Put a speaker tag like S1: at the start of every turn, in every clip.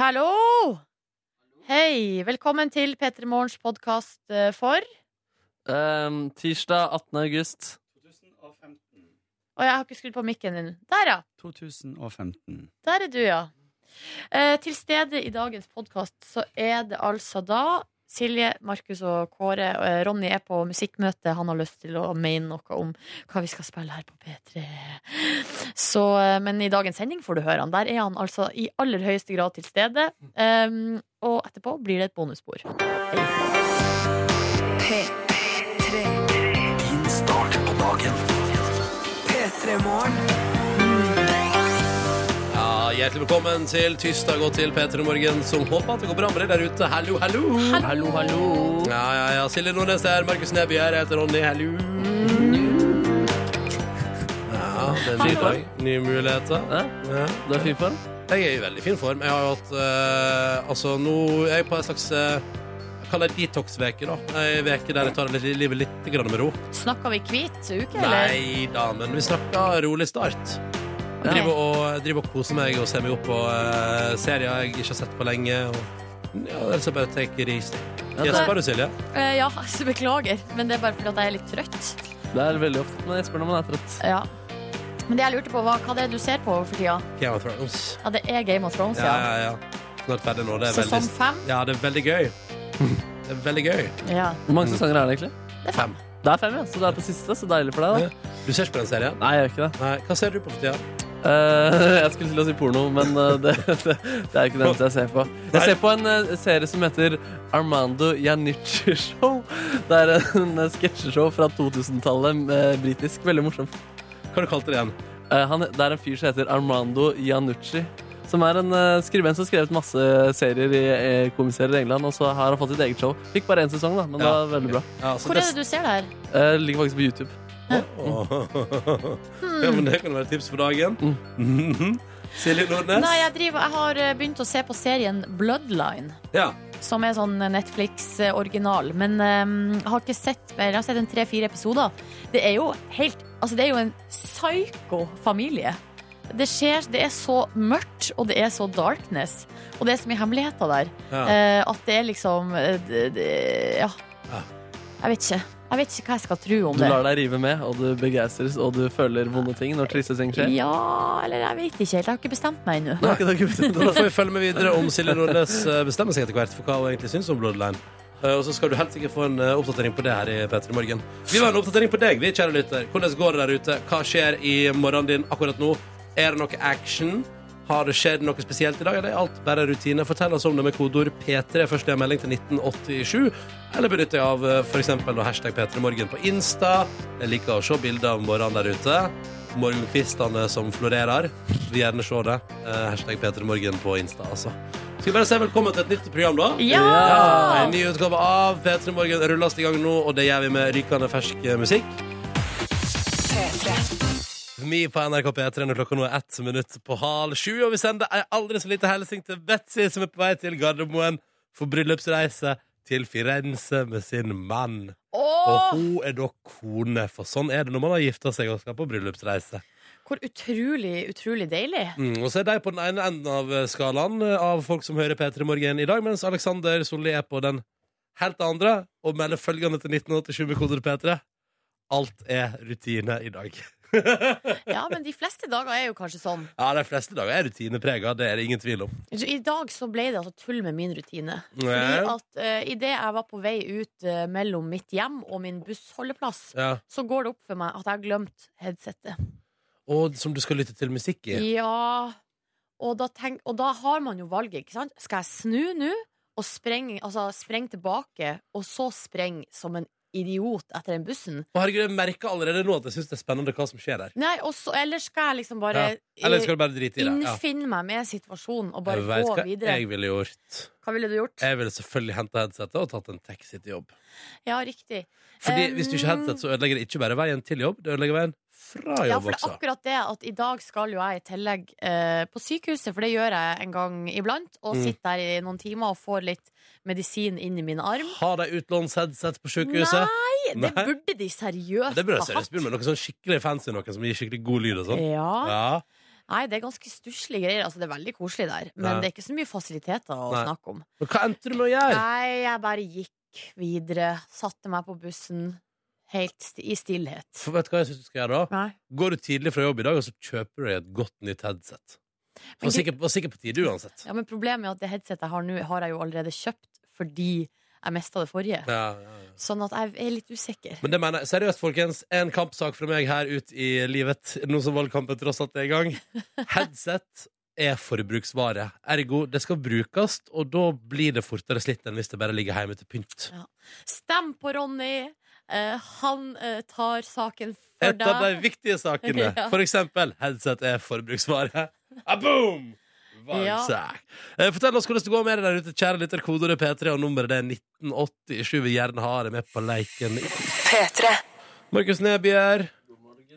S1: Hallo! Hei. Velkommen til P3 Morgens podkast for
S2: Ehm, tirsdag 18. august.
S3: 2015.
S1: Og jeg har ikke skrudd på mikken din. Der, ja.
S3: 2015.
S1: Der er du, ja. Eh, til stede i dagens podkast så er det altså da Silje, Markus og Kåre. eh, Ronny er på musikkmøte. Han har lyst til å mene noe om hva vi skal spille her på P3. Så, eh, men i dagens sending får du høre han. Der er han altså i aller høyeste grad til stede. Em, og etterpå blir det et bonusspor.
S4: Din start på dagen.
S2: Ja, Hjertelig velkommen til tirsdag og til P3 Morgen, som håper at det går bra med deg der ute. Hallo, hallo!
S1: Hallo, hallo.
S2: Ja, ja, ja. Silje Nordnes der, Markus Neby her, jeg heter Ronny. Hallo! Ja, det er en ny
S1: Hallo.
S2: dag. Nye muligheter. Ja.
S5: Du er fin form.
S2: Jeg er i veldig fin form. Jeg har jo hatt eh, Altså, nå er jeg på en slags eh, jeg kaller det detox-veke, da. Ei veke der jeg tar litt, livet litt grann med ro.
S1: Snakka vi hvit uke, eller?
S2: Nei da, men vi snakka rolig start. Jeg
S1: Ja.
S2: driver og, jeg driver og koser meg og ser meg opp på eh, serier jeg ikke har sett på lenge. Og, ja, ellers er det bare å take it easy. Gjesper du, Silje?
S1: Eh, ja, så beklager. Men det er bare fordi at jeg er litt trøtt.
S5: Det er veldig ofte man gjesper når man er trøtt.
S1: Ja. Men det jeg lurte på, var hva det er du ser på for tida?
S2: Game of Thrones.
S1: Ja, det er Game of Thrones,
S2: Ja,
S1: ja.
S2: ja, ja. Snart ferdig nå. Det er
S1: Sesong
S2: veldig,
S1: fem.
S2: ja, det er veldig gøy. Det er veldig gøy.
S1: Ja.
S5: Hvor mange sesonger er det egentlig?
S1: Det er fem.
S5: Det er fem, ja. Så det er på siste. Så deilig for deg, da.
S2: Du ser ikke på den serien?
S5: Nei, jeg gjør ikke det.
S2: Nei, Hva ser du på for tida?
S5: Eh, jeg skulle til å si porno, men eh, det, det, det er jo ikke det eneste jeg ser på. Jeg ser på en eh, serie som heter Armando Janici Show. Det er en eh, sketsjeshow fra 2000-tallet, eh, britisk. Veldig morsomt.
S2: Hva har du kalt det igjen?
S5: Eh, han, det er en fyr som heter Armando Iannucci. Som er en eh, skribent som har skrevet masse serier i eh, komiserier i England. Og så har han fått sitt eget show. Fikk bare én sesong, da, men det
S2: Ja.
S5: var veldig bra.
S2: Ja, så
S1: Hvor er det du ser det her?
S5: Eh, ligger faktisk på YouTube.
S2: Ja,
S1: Hmm.
S2: men det kan være et tips for dagen. Silje Nordnes.
S1: Nei, jeg, driver, jeg har eh, begynt å se på serien Bloodline.
S2: Ja.
S1: Som er sånn Netflix-original. Men eh, jeg har ikke sett mer. Jeg har sett en tre-fire episoder. Det er jo helt Altså, det er jo en psyko-familie. Det skjer Det er så mørkt, og det er så darkness. Og det er så mye hemmeligheter der.
S2: Ja.
S1: Eh, at det er liksom eh, det, det, Ja.
S2: Ja.
S1: Jeg vet ikke. Jeg vet ikke hva jeg skal tro om
S5: Du
S1: det.
S5: lar deg rive med, og du begeistres, og du føler vonde ting når triste ting skjer.
S1: Ja, eller jeg vet ikke helt. Jeg har ikke bestemt meg ennå.
S5: Nei, det er ikke
S2: Så Da får vi følge med videre om Silje Nordnes eh, bestemmer seg etter hvert for hva hun egentlig syns om Bloodline. Eh, Og så skal du helt sikkert få en eh, oppdatering på det her i Petter i morgen. Vi vil ha en oppdatering på deg, vi, kjære lytter. Hvordan går det der ute? Hva skjer i morgenen din akkurat nå? Er det noe action? Har det skjedd noe spesielt i dag? Eller er alt bare rutine? Fortell oss om det med kodeord P3 først i en melding til 1987. Eller benytt deg av eh, for eksempel hashtag P3morgen på Insta. Jeg liker å se bilder av morgenen der ute. Morgenkvistene som florerer. Vil gjerne se det. Eh, hashtag P3morgen på Insta, altså. Skal vi bare si velkommen til et nytt program, da?
S1: Ja!
S2: Ja, En ny utgave av P3 Morgen rulles i gang nå, og det gjør vi med rykende fersk eh, musikk. Vi på NRK P3 når klokka nå er ett minutt på halv sju, og vi sender ei aldri så lite hilsen til Betzy, som er på vei til Gardermoen for bryllupsreise til Firenze med sin mann. Og
S1: Åh,
S2: hun er da kone, for sånn er det når man har gifta seg og skal på bryllupsreise.
S1: hvor utrolig, utrolig deilig.
S2: Mm, og så er de på den ene enden av eh, skalaen eh, av folk som hører P3 Morgen i dag, mens Alexander Solli er på den helt andre og melder følgende til 1987 med koder P3. Alt er rutine i dag.
S1: Ja, men de fleste dager er jo kanskje sånn.
S2: Ja, de fleste dager er rutineprega, det er det ingen tvil om.
S1: Så I dag så ble det altså tull med min rutine. Fordi
S2: Ja.
S1: at uh, idet jeg var på vei ut eh, mellom mitt hjem og min bussholdeplass,
S2: Ja.
S1: så går det opp for meg at jeg har glemt headsettet.
S2: Og som du skal lytte til musikk i.
S1: Ja. Og da, tenk, og da har man jo valget, ikke sant? Skal jeg snu nå og spreng, altså, spreng tilbake, og så spreng som en idiot etter den bussen?
S2: Å, herregud, jeg merker allerede nå at jeg syns det er spennende hva som skjer der.
S1: Nei, og så, eller skal jeg liksom bare
S2: Ja. Eller skal du bare drite i det? Ja.
S1: innfinne meg med situasjonen og bare
S2: Jeg vet
S1: gå
S2: hva
S1: videre?
S2: jeg ville gjort.
S1: Hva ville du gjort?
S2: Jeg ville selvfølgelig henta headsetet og tatt en taxi til jobb.
S1: Ja, riktig.
S2: Fordi
S1: Um,
S2: Hvis du ikke har headset, så ødelegger det ikke bare veien til jobb, det ødelegger veien fra
S1: Ja,
S2: jobb
S1: for det er
S2: også.
S1: akkurat det at i dag skal jo jeg i tillegg eh, på sykehuset, for det gjør jeg en gang iblant, og
S2: Mm.
S1: sitter der i noen timer og får litt medisin inn i min arm.
S2: Har de utlånsheadset på sykehuset?
S1: Nei, det
S2: Nei.
S1: burde de seriøst
S2: Det burde
S1: ha
S2: jeg seriøst begynne med. Noe sånn skikkelig fancy, noe som gir skikkelig god lyd og sånn.
S1: Ja.
S2: Ja.
S1: Nei, det er ganske stusslige greier. Altså, det er veldig koselig der, men
S2: Nei.
S1: det er ikke så mye fasiliteter å
S2: Nei.
S1: snakke om.
S2: Men hva endte du med å gjøre?
S1: Nei, jeg bare gikk videre, satte meg på bussen, helt st i stillhet.
S2: For vet du hva jeg synes du skal gjøre da?
S1: Nei.
S2: Går du tidlig fra jobb i dag, og så kjøper du deg et godt nytt headset.
S1: Men
S2: Var
S1: du-
S2: sikker, var sikker på tide uansett.
S1: Ja, men problemet er at det headsetet jeg har nå, har jeg jo allerede kjøpt fordi jeg mista det forrige.
S2: Ja, ja, ja.
S1: Sånn at jeg er litt usikker.
S2: Men det mener jeg. Seriøst, folkens. En kampsak fra meg her ut i livet. Nå som valgkampen tross alt er i gang. Headset er forbruksvare. Ergo, det skal brukes, og da blir det fortere slitt enn hvis det bare ligger hjemme til pynt.
S1: Stem på Ronny! Eh, han eh, tar saken for
S2: Et av de
S1: deg.
S2: viktige sakene.
S1: Ja.
S2: For eksempel, headset er forbruksvare. Ah, boom! Varm
S1: Ja.
S2: sak. Eh, Fortell oss hvordan det går med det der ute, kjære lytter. Kodeordet P3 og nummeret det er 1987. Vi gjerne har det med på leiken. Markus Nebjer.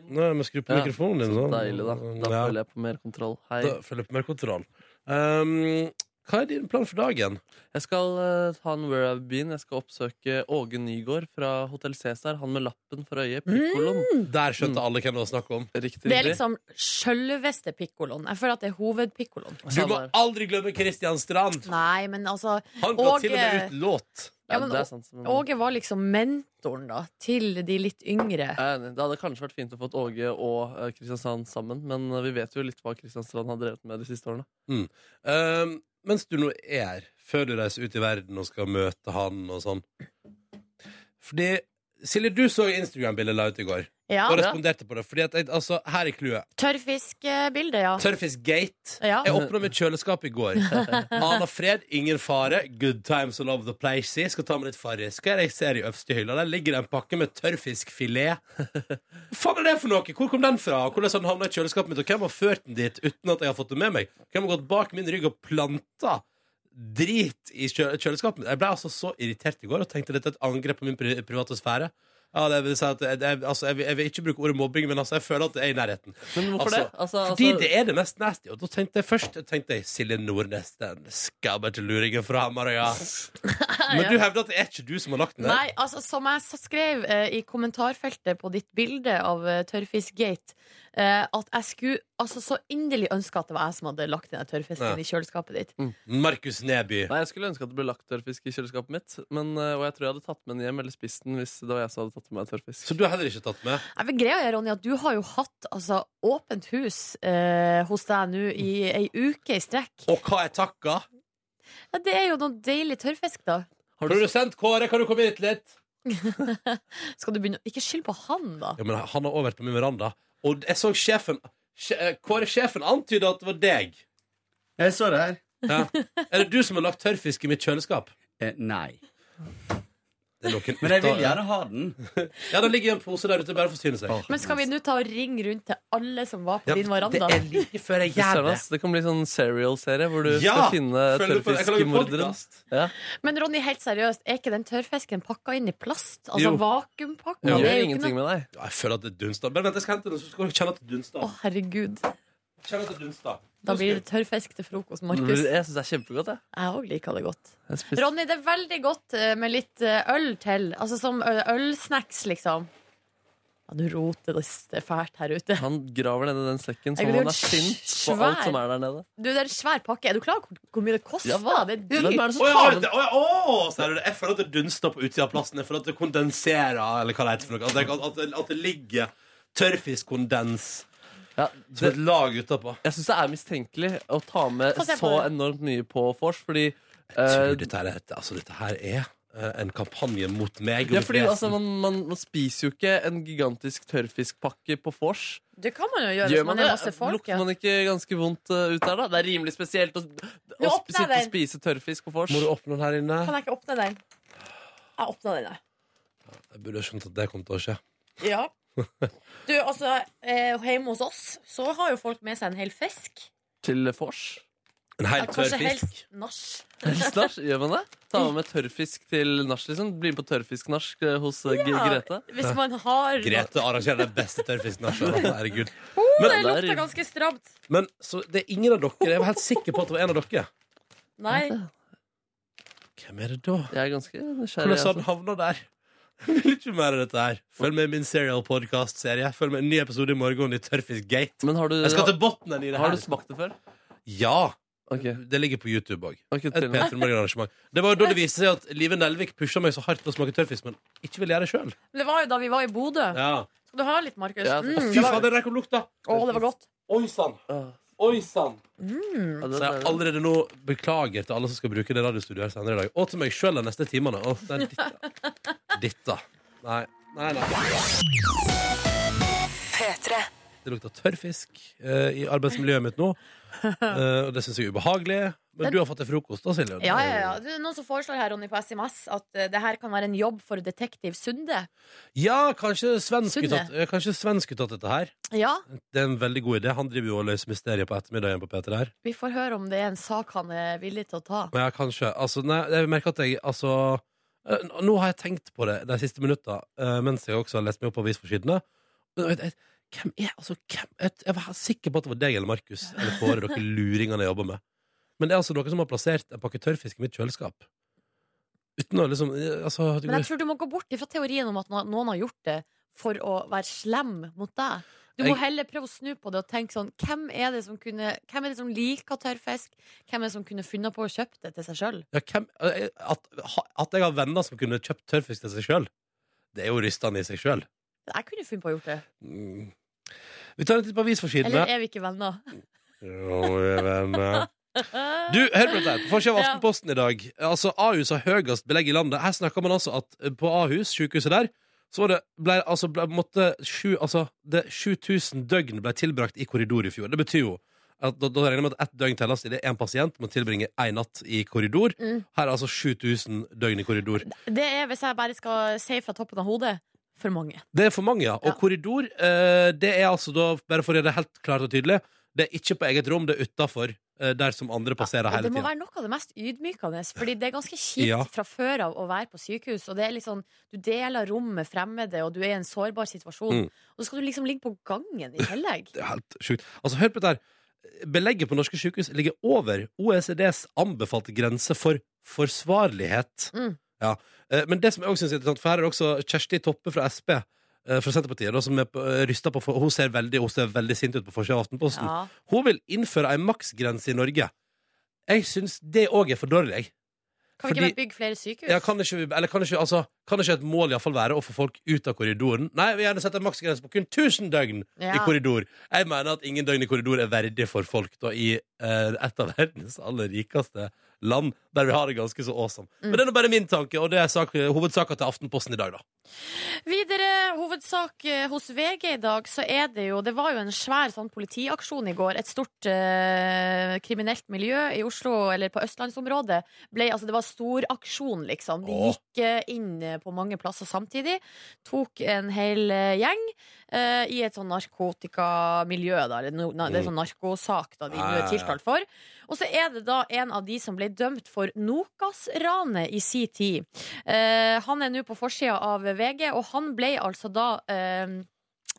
S2: Nå må jeg skru på
S5: Ja,
S2: mikrofonen din.
S5: Så
S2: sånn.
S5: deilig, da. Da
S2: Ja.
S5: føler jeg på mer kontroll. Hei.
S2: Da følger jeg på mer kontroll. Ehm, hva er din plan for dagen?
S5: Jeg skal eh, ta en Where I've Been. Jeg skal oppsøke Åge Nygård fra Hotell Cæsar. Han med lappen for øyet. Pikkoloen.
S2: Mm. Der skjønte alle hvem det var snakk om.
S5: Riktig.
S1: Det er
S5: riktig.
S1: liksom sjølveste pikkoloen. Jeg føler at det er hovedpikkoloen.
S2: Du må
S5: Sander.
S2: aldri glemme Christian Strand!
S1: Nei, men altså
S2: Han ga
S1: Åge-
S2: til og med
S1: eh,
S2: ut låt.
S1: Ja,
S5: Ja,
S1: men
S5: det er sant. Men,
S1: Åge var liksom mentoren da til de litt yngre.
S5: Jeg er enig. Eh, Det hadde kanskje vært fint å få Åge og eh, Kristiansand sammen, men eh, vi vet jo litt hva Kristiansand har drevet med de siste årene.
S2: Ehm, mens du nå er her, før du reiser ut i verden og skal møte han og sånn Fordi Silje, du så Instagram-bildet la ut i går,
S1: Ja,
S2: og responderte på det. Fordi at jeg, altså, Her er clouet.
S1: Tørrfiskbilde, ja.
S2: Tørrfisk Gate.
S1: Ja.
S2: Jeg åpna mitt kjøleskap i går. Aner fred, ingen fare. Good times all over the place. Jeg skal ta med litt farrisk. Jeg ser i øverste hylla der ligger det en pakke med tørrfiskfilet. Hva faen er det for noe? Hvor kom den fra? Hvordan har den havna i kjøleskapet mitt? Og hvem har ført den dit uten at jeg har fått det med meg? Hvem har gått bak min rygg og planta? Drit i kjø kjøleskapet mitt. Jeg ble altså så irritert i går og tenkte dette er et angrep på min pri private sfære. Ja, det vil si at jeg, jeg, altså, jeg, vil, jeg vil ikke bruke ordet mobbing, men altså, jeg føler at det er i nærheten.
S5: Men hvorfor
S2: Altså,
S5: det? Altså,
S2: Fordi
S5: altså,
S2: det er det mest nasty. Og da tenkte jeg først tenkte jeg, Silje Nordnes, den skabbete luringen fra Hamarøya. Men du hevder at det er ikke du som har lagt den der.
S1: Nei, altså som jeg s- skrev eh, i kommentarfeltet på ditt bilde av eh, Tørrfiskgate, eh, at jeg skulle altså, så inderlig ønske at det var jeg som hadde lagt den der tørrfisken
S2: Ja.
S1: i kjøleskapet ditt.
S2: Markus Neby.
S5: Mm. Nei, Jeg skulle ønske at det ble lagt tørrfisk i kjøleskapet mitt. Men, eh, og jeg tror jeg hadde tatt med den hjem eller spist den hvis det var jeg som hadde tatt med meg tørrfisk.
S2: Så du har heller ikke tatt med?
S1: Jeg vil greie, Ronny, at du har jo hatt altså, åpent hus eh, hos deg nå i ei uke i strekk.
S2: Og hva er takka?
S1: Ja, det er jo noe deilig tørrfisk, da.
S5: Har du
S2: Produsent Kåre, kan du komme hit litt?
S1: Skal du begynne Ikke skyld på han, da.
S2: Ja, men Han har også vært på min veranda. Og jeg så sjefen sje- eh, Kåre, sjefen antyda at det var deg.
S3: Jeg så det her.
S2: Ja. Er det du som har lagt tørrfisk i mitt kjøleskap?
S3: Eh, nei.
S2: Det er noen
S3: Men jeg
S2: uta-
S3: vil gjerne ha den.
S2: Ja, det ligger i en pose der ute, bare forsyne seg.
S1: Men skal vi nå ta og ringe rundt til alle som var på
S2: Ja,
S1: din veranda?
S2: Det er like før jeg gjør
S5: Søren,
S2: det.
S5: ass, det kan bli sånn serial-serie hvor du
S2: Ja!
S5: skal finne
S2: Følger du på- jeg kan lage
S5: tørrfiskmorderen.
S2: podcast.
S5: Ja.
S1: Men Ronny, helt seriøst, er ikke den tørrfisken pakka inn i plast? Altså
S2: Jo.
S1: vakuumpakka?
S5: Det
S1: Det er
S5: gjør
S1: jo ikke
S5: ingenting
S1: noe-
S5: med deg.
S2: Ja, Jeg føler at det er dunsta. Men vent, jeg skal hente den, så skal du kjenne at det
S1: Å,
S2: dunsta.
S1: herregud.
S2: Kjenn at det dunsta.
S1: Da blir det tørrfisk til frokost, Markus. Jeg
S5: Jeg syns det er kjempegodt. Jeg.
S1: òg liker det godt.
S5: Jeg spiste-
S1: Ronny, det er veldig godt eh, med litt eh, øl til. Altså som ø- ølsnacks, liksom. Ja, du roter det s- det er fælt her ute.
S5: Han graver nedi den sekken
S1: Jeg
S5: som
S1: blir
S5: han er
S1: jo
S5: sint på
S1: svær.
S5: alt som er der nede.
S1: Du, det er en svær pakke. Er du klar over hvor- hvor mye det koster?
S5: Ja, hva?
S1: det er
S5: Men hva er
S1: dyrt.
S5: det som
S2: Å, ja,
S5: tar
S2: det- å, ja, å, så er det det. Jeg føler at det dunster på utsida av plassen. Jeg føler at det kondenserer, eller hva det heter for noe. At det, at det, at det ligger tørrfiskkondens
S5: Ja,
S2: som et
S5: det,
S2: lag utapå.
S5: jeg syns det er mistenkelig å ta med
S1: Få se på
S5: så
S1: det.
S5: enormt mye på vors, fordi
S2: Tror
S5: eh,
S2: du Dette, her er- altså, dette her er eh, en kampanje mot meg. og
S5: ja,
S2: mitt
S5: fordi
S2: vesen.
S5: altså, man, man, man spiser jo ikke en gigantisk tørrfiskpakke på vors.
S1: Det kan man jo gjøre
S5: Gjør
S1: hvis
S5: man
S1: man
S5: det?
S1: er masse folk.
S5: Lukter
S1: Ja.
S5: man ikke ganske vondt eh, ut der, da? Det er rimelig spesielt å, å
S1: åpner jeg
S5: sitte og
S1: den.
S5: spise tørrfisk på vors.
S2: Må du åpne den her inne?
S1: Kan jeg ikke åpne den? Jeg åpna den, jeg.
S2: Jeg burde ha skjønt at det kom til å skje.
S1: Ja. Du, altså, eh, hjemme hos oss så har jo folk med seg en hel fisk.
S5: Til vors?
S2: En
S1: Ja,
S2: helt
S1: kanskje
S2: tørrfisk.
S1: helst nach.
S5: Snasj, gjør man det? Tar man med tørrfisk til nach, liksom? Blir med på tørrfisknarsk eh, hos eh, G-
S1: Ja,
S5: Grete?
S1: Hvis man har
S2: Grete arrangerer den beste tørrfisken. altså. Herregud.
S1: Å, det
S5: Men-
S1: lukter ganske stramt.
S2: Men så det er ingen av dere. Jeg var helt sikker på at det var en av dere.
S1: Nei.
S2: Hvem er det da?
S5: Jeg er ganske nysgjerrig.
S2: Hvordan har
S5: Altså.
S2: den havna der? vil ikke mer av dette her. Følg med i min serial podcast-serie. Følg med i en ny episode i morgen i Tørrfisk Gate.
S5: Men har du,
S2: Jeg skal til bunnen i det
S5: har
S2: her.
S5: du smakt det før?
S2: Ja!
S5: Ok,
S2: Det ligger på YouTube òg.
S5: ok,
S2: Et
S5: til og med.
S2: Peter Morgan-arrangement. Det var jo da det viste seg at Live Nelvik pusha meg så hardt til å smake tørrfisk, men ikke ville gjøre det sjøl.
S1: Det var jo da vi var i Bodø.
S2: Ja.
S1: Skal du ha litt, Markus?
S5: Ja,
S1: Mm,
S2: Fy
S1: det var-
S2: fader, der kom lukta!
S1: Å, det var godt.
S2: Oi sann!
S5: Ah,
S2: Oi sann!
S1: Mm.
S5: ja,
S2: Så
S5: den
S2: jeg
S5: er-
S2: allerede nå beklager til alle som skal bruke det radiostudioet her senere i dag. Og til meg sjøl de neste timene. Å, det er ditta. ditta. Nei. Nei, nei. Det lukter tørrfisk eh, i arbeidsmiljøet mitt nå. Eh, og det syns jeg er ubehagelig. Men du har fått deg frokost da, Silje?
S1: Ja, ja, ja. Det er noen som foreslår her, Ronny, på SMS at eh, det her kan være en jobb for detektiv Sunde.
S2: ja kanskje svensk
S1: Sunne.
S2: ut at- eh, kanskje svensk ut at dette her.
S1: Ja,
S2: Det er en veldig god idé. Han driver jo og løser mysterier på ettermiddagen på P3 her.
S1: vi får høre om det er en sak han er villig til å ta.
S2: Men ja, kanskje. Altså, nei, jeg merker at jeg altså eh, Nå har jeg tenkt på det de siste minutta, eh, mens jeg også har lest meg opp på avisforsidene. Men jeg vet- jeg- Hvem er altså hvem, jeg, jeg var helt sikker på at det var deg eller Markus eller Kåre, dere luringene jeg jobber med. Men det er altså noen som har plassert en pakke tørrfisk i mitt kjøleskap. Uten å liksom eh, altså, det
S1: Men jeg
S2: går,
S1: tror du må gå bort ifra teorien om at no- noen har gjort det for å være slem mot deg. Du må
S2: Jeg-
S1: heller prøve å snu på det og tenke sånn Hvem er det som, kunne, hvem er det som liker tørrfisk? Hvem er det som kunne funnet på å kjøpe det til seg sjøl?
S2: ja, hvem, eh, at, ha- at jeg har venner som kunne kjøpt tørrfisk til seg sjøl, det er jo rystende i seg sjøl.
S1: Jeg kunne funnet på å gjort det.
S2: Mm. Vi tar en titt på avisforsidene.
S1: Eller er vi ikke venner?
S2: Jo, jeg er venner. Du, hør på dette her. På forsiden av
S1: Ja.
S2: Aftenposten i dag. Altså, Ahus har høyest belegg i landet. Her snakker man altså at eh, på Ahus, sykehuset der, så var det, ble, altså, ble, måtte sju, altså, det 7000 døgn ble tilbrakt i korridor i fjor. Det betyr jo at da, da regner jeg med at ett døgn telles i det én pasient må tilbringe én natt i korridor.
S1: Mm.
S2: Her er altså 7000 døgn i korridor.
S1: Det er, hvis jeg bare skal si fra toppen av hodet, for mange.
S2: Det er for mange, ja. Og
S1: Ja.
S2: korridor, eh, det er altså da, bare for å gjøre det helt klart og tydelig, det er ikke på eget rom, det er utafor, eh, der som andre passerer
S1: Og
S2: hele
S1: det må
S2: tiden.
S1: være noe av det mest ydmykende, Fordi det er ganske kjipt
S2: Ja.
S1: fra før av å være på sykehus. Og det er litt sånn, Du deler rom med fremmede, og du er i en sårbar situasjon.
S2: Mm.
S1: Og så skal du liksom ligge på gangen i tillegg.
S2: Det er helt sjukt. Altså, hør på dette her. Belegget på norske sykehus ligger over OECDs anbefalte grense for forsvarlighet.
S1: Mm.
S2: Ja. Eh, Men det som jeg også synes er interessant, for her er det også Kjersti Toppe fra Sp, eh, fra Senterpartiet, da, som er på- eh, rysta på for- Hun ser veldig, hun ser veldig sint ut på forsida av Aftenposten.
S1: Ja.
S2: Hun vil innføre ei maksgrense i Norge. Jeg syns det òg er for dårlig. jeg.
S1: Kan vi
S2: Fordi-
S1: ikke bare bygge flere sykehus?
S2: Ja, kan, ikke, vi- eller kan, ikke, altså, kan ikke et mål i hvert fall være å få folk ut av korridoren? Nei, vi vil gjerne sette en maksgrense på kun 1000 døgn i
S1: Ja.
S2: korridor. Jeg mener at ingen døgn i korridor er verdig for folk da, i eh, et av verdens aller rikeste land, der vi har det ganske så awesome.
S1: Mm.
S2: Men det er nå bare min tanke, og det er sak, hovedsaka til Aftenposten i dag, da.
S1: Videre hovedsak eh, hos VG i dag, så er det jo Det var jo en svær sånn politiaksjon i går. Et stort eh, kriminelt miljø i Oslo, eller på østlandsområdet. Ble, altså, det var storaksjon, liksom. De
S2: Åh.
S1: gikk eh, inn eh, på mange plasser samtidig. Tok en hel eh, gjeng eh, i et sånn narkotikamiljø, da. Eller no, na, det er sånn narkosak da de nå
S2: Ja, ja,
S1: er
S2: ja.
S1: tiltalt for. Og så er det da en av de som ble dømt for Nokas-ranet i si tid. Eh, han er nå på forsida av VG, og han ble altså da eh,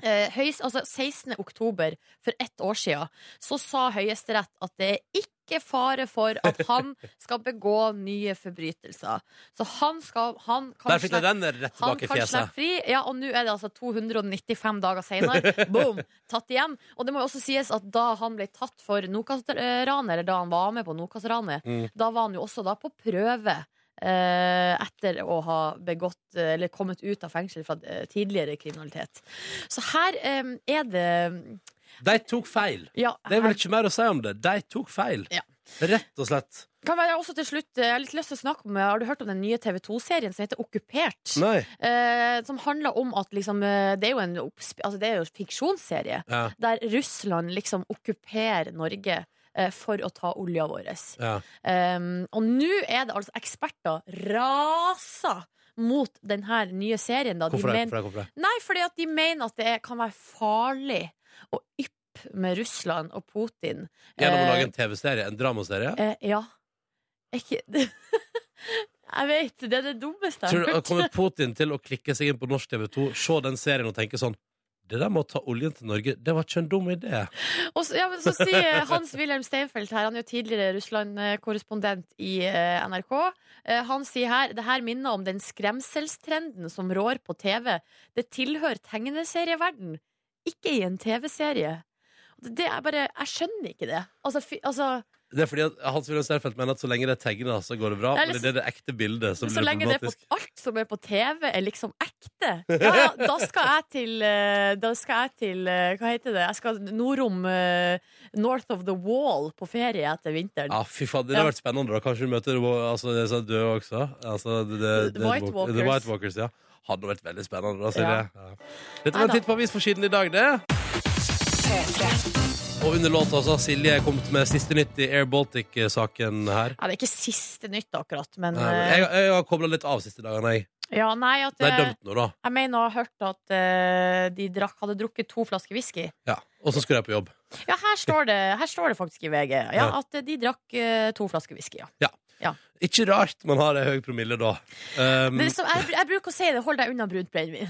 S1: eh, høys, altså 16. oktober for ett år siden så sa Høyesterett at det er ikke fare for at han skal begå nye forbrytelser. Så han, skal, han kan
S2: Der fikk jeg den rett
S1: han
S2: tilbake i
S1: kan
S2: fjeset.
S1: slippe fri, ja, og nå er det altså 295 dager senere. Boom! Tatt igjen. Og det må jo også sies at da han ble tatt for Nokas-ranet, eller da han var med på Nokas-ranet,
S2: Mm.
S1: da var han jo også da på prøve. eh, etter å ha begått eh, eller kommet ut av fengsel fra eh, tidligere kriminalitet. Så her eh, er det
S2: De tok feil.
S1: ja,
S2: Det er
S1: her-
S2: vel ikke mer å si om det. De tok feil.
S1: Ja.
S2: Rett og slett.
S1: kan være også til slutt, eh, jeg har litt lyst til å snakke om eh, Har du hørt om den nye TV2-serien som heter Okkupert?
S2: Nei.
S1: Eh, som handler om at liksom, eh, det er jo en oppsp- altså, det er jo en fiksjonsserie
S2: Ja,
S1: der Russland liksom okkuperer Norge eh, for å ta olja vår.
S2: ja.
S1: Um, og nå er det altså eksperter raser mot denne nye serien. Da. De
S2: Hvorfor
S1: mener-
S2: det? Hvorfor det? Hvorfor det?
S1: Nei, fordi at de mener at det er- kan være farlig å yppe med Russland og Putin.
S2: Gjennom å
S1: Eh,
S2: lage en TV-serie, en dramaserie?
S1: Eh, ja. Er Ikke Jeg vet, det er det dummeste jeg
S2: Tror du
S1: har
S2: at
S1: hørt.
S2: Kommer Putin til å klikke seg inn på norsk TV 2, se den serien og tenke sånn Det der med å ta oljen til Norge, det var ikke en dum idé.
S1: Og så, ja, men så sier Hans-Wilhelm Steinfeld her, han er jo tidligere Russland-korrespondent i eh, NRK. Eh, han sier her det her minner om den skremselstrenden som rår på TV. Det tilhører tegneserieverden, ikke i en TV-serie. Det det er bare, Jeg skjønner ikke det. Altså, fi, altså
S2: Det er fordi at Hans Wilhelm Steinfeld mener at så lenge det er tegna, så går det bra.
S1: Eller
S2: Men det er det ekte bildet som
S1: Så
S2: blir
S1: lenge det er på,
S2: problematisk.
S1: alt som er på TV, er liksom ekte. Ja, ja, da skal jeg til eh, Da skal jeg til eh, Hva heter det? Jeg skal nordom eh, North of the Wall på ferie etter vinteren.
S2: Ja, Ah, fy faen, det har vært spennende da Kanskje du møter altså, det som er døde også altså, det, det,
S1: The White
S2: Walk- The
S1: Walkers.
S2: White Walkers, ja Hadde vært veldig spennende da,
S1: Ja.
S2: Silje. ja. Dette var en
S1: Neida.
S2: titt på avisforsiden i dag, det Og under låta så har Silje kommet med siste nytt i Air Baltic-saken her
S1: Ja, det er ikke siste nytt akkurat, men eh,
S2: jeg, jeg har koblet litt av siste dagene jeg.
S1: Ja, nei, at
S2: Det er
S1: eh,
S2: dømt nå da
S1: Jeg mener å ha hørt at eh, de drakk, hadde drukket to flasker whisky.
S2: ja. Og så skulle jeg på jobb
S1: Ja, her står det, her står det faktisk i VG. Ja,
S2: Ja.
S1: At eh, de drakk eh, to flasker whisky, ja.
S2: Ikke rart man har en høy promille da um,
S1: Det er som, jeg, jeg bruker å si det, hold deg unna brunt brennevin.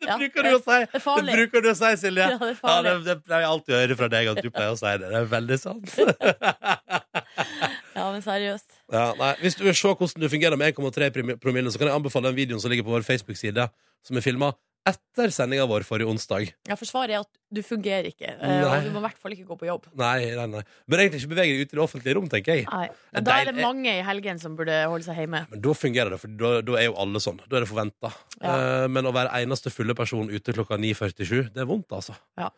S1: ja,
S2: Bruker du å si
S1: Det er
S2: Det
S1: farlig.
S2: bruker du å si, Silje.
S1: Ja, det er
S2: Ja,
S1: farlig.
S2: det, det pleier jeg alltid å høre fra deg at du pleier å si det. Det er veldig sant.
S1: Ja, men seriøst.
S2: Ja, nei. Hvis du vil se hvordan du fungerer med 1,3 promille, promille, så kan jeg anbefale den videoen som ligger på vår Facebook-side, som er filma etter sendinga vår forrige onsdag.
S1: Ja, for svaret er at du fungerer ikke, eh,
S2: Nei.
S1: og du må i hvert fall ikke gå på jobb.
S2: Nei, nei, nei. Bør egentlig ikke bevege deg ut i det offentlige rom, tenker jeg.
S1: Nei.
S2: Men
S1: Men da er
S2: deil-
S1: det mange i helgen som burde holde seg hjemme.
S2: Men da fungerer det, for da, da er jo alle sånn. Da er det forventa.
S1: Ja.
S2: Eh, men å være eneste fulle person ute klokka 9.47, det er vondt, altså.
S1: Ja.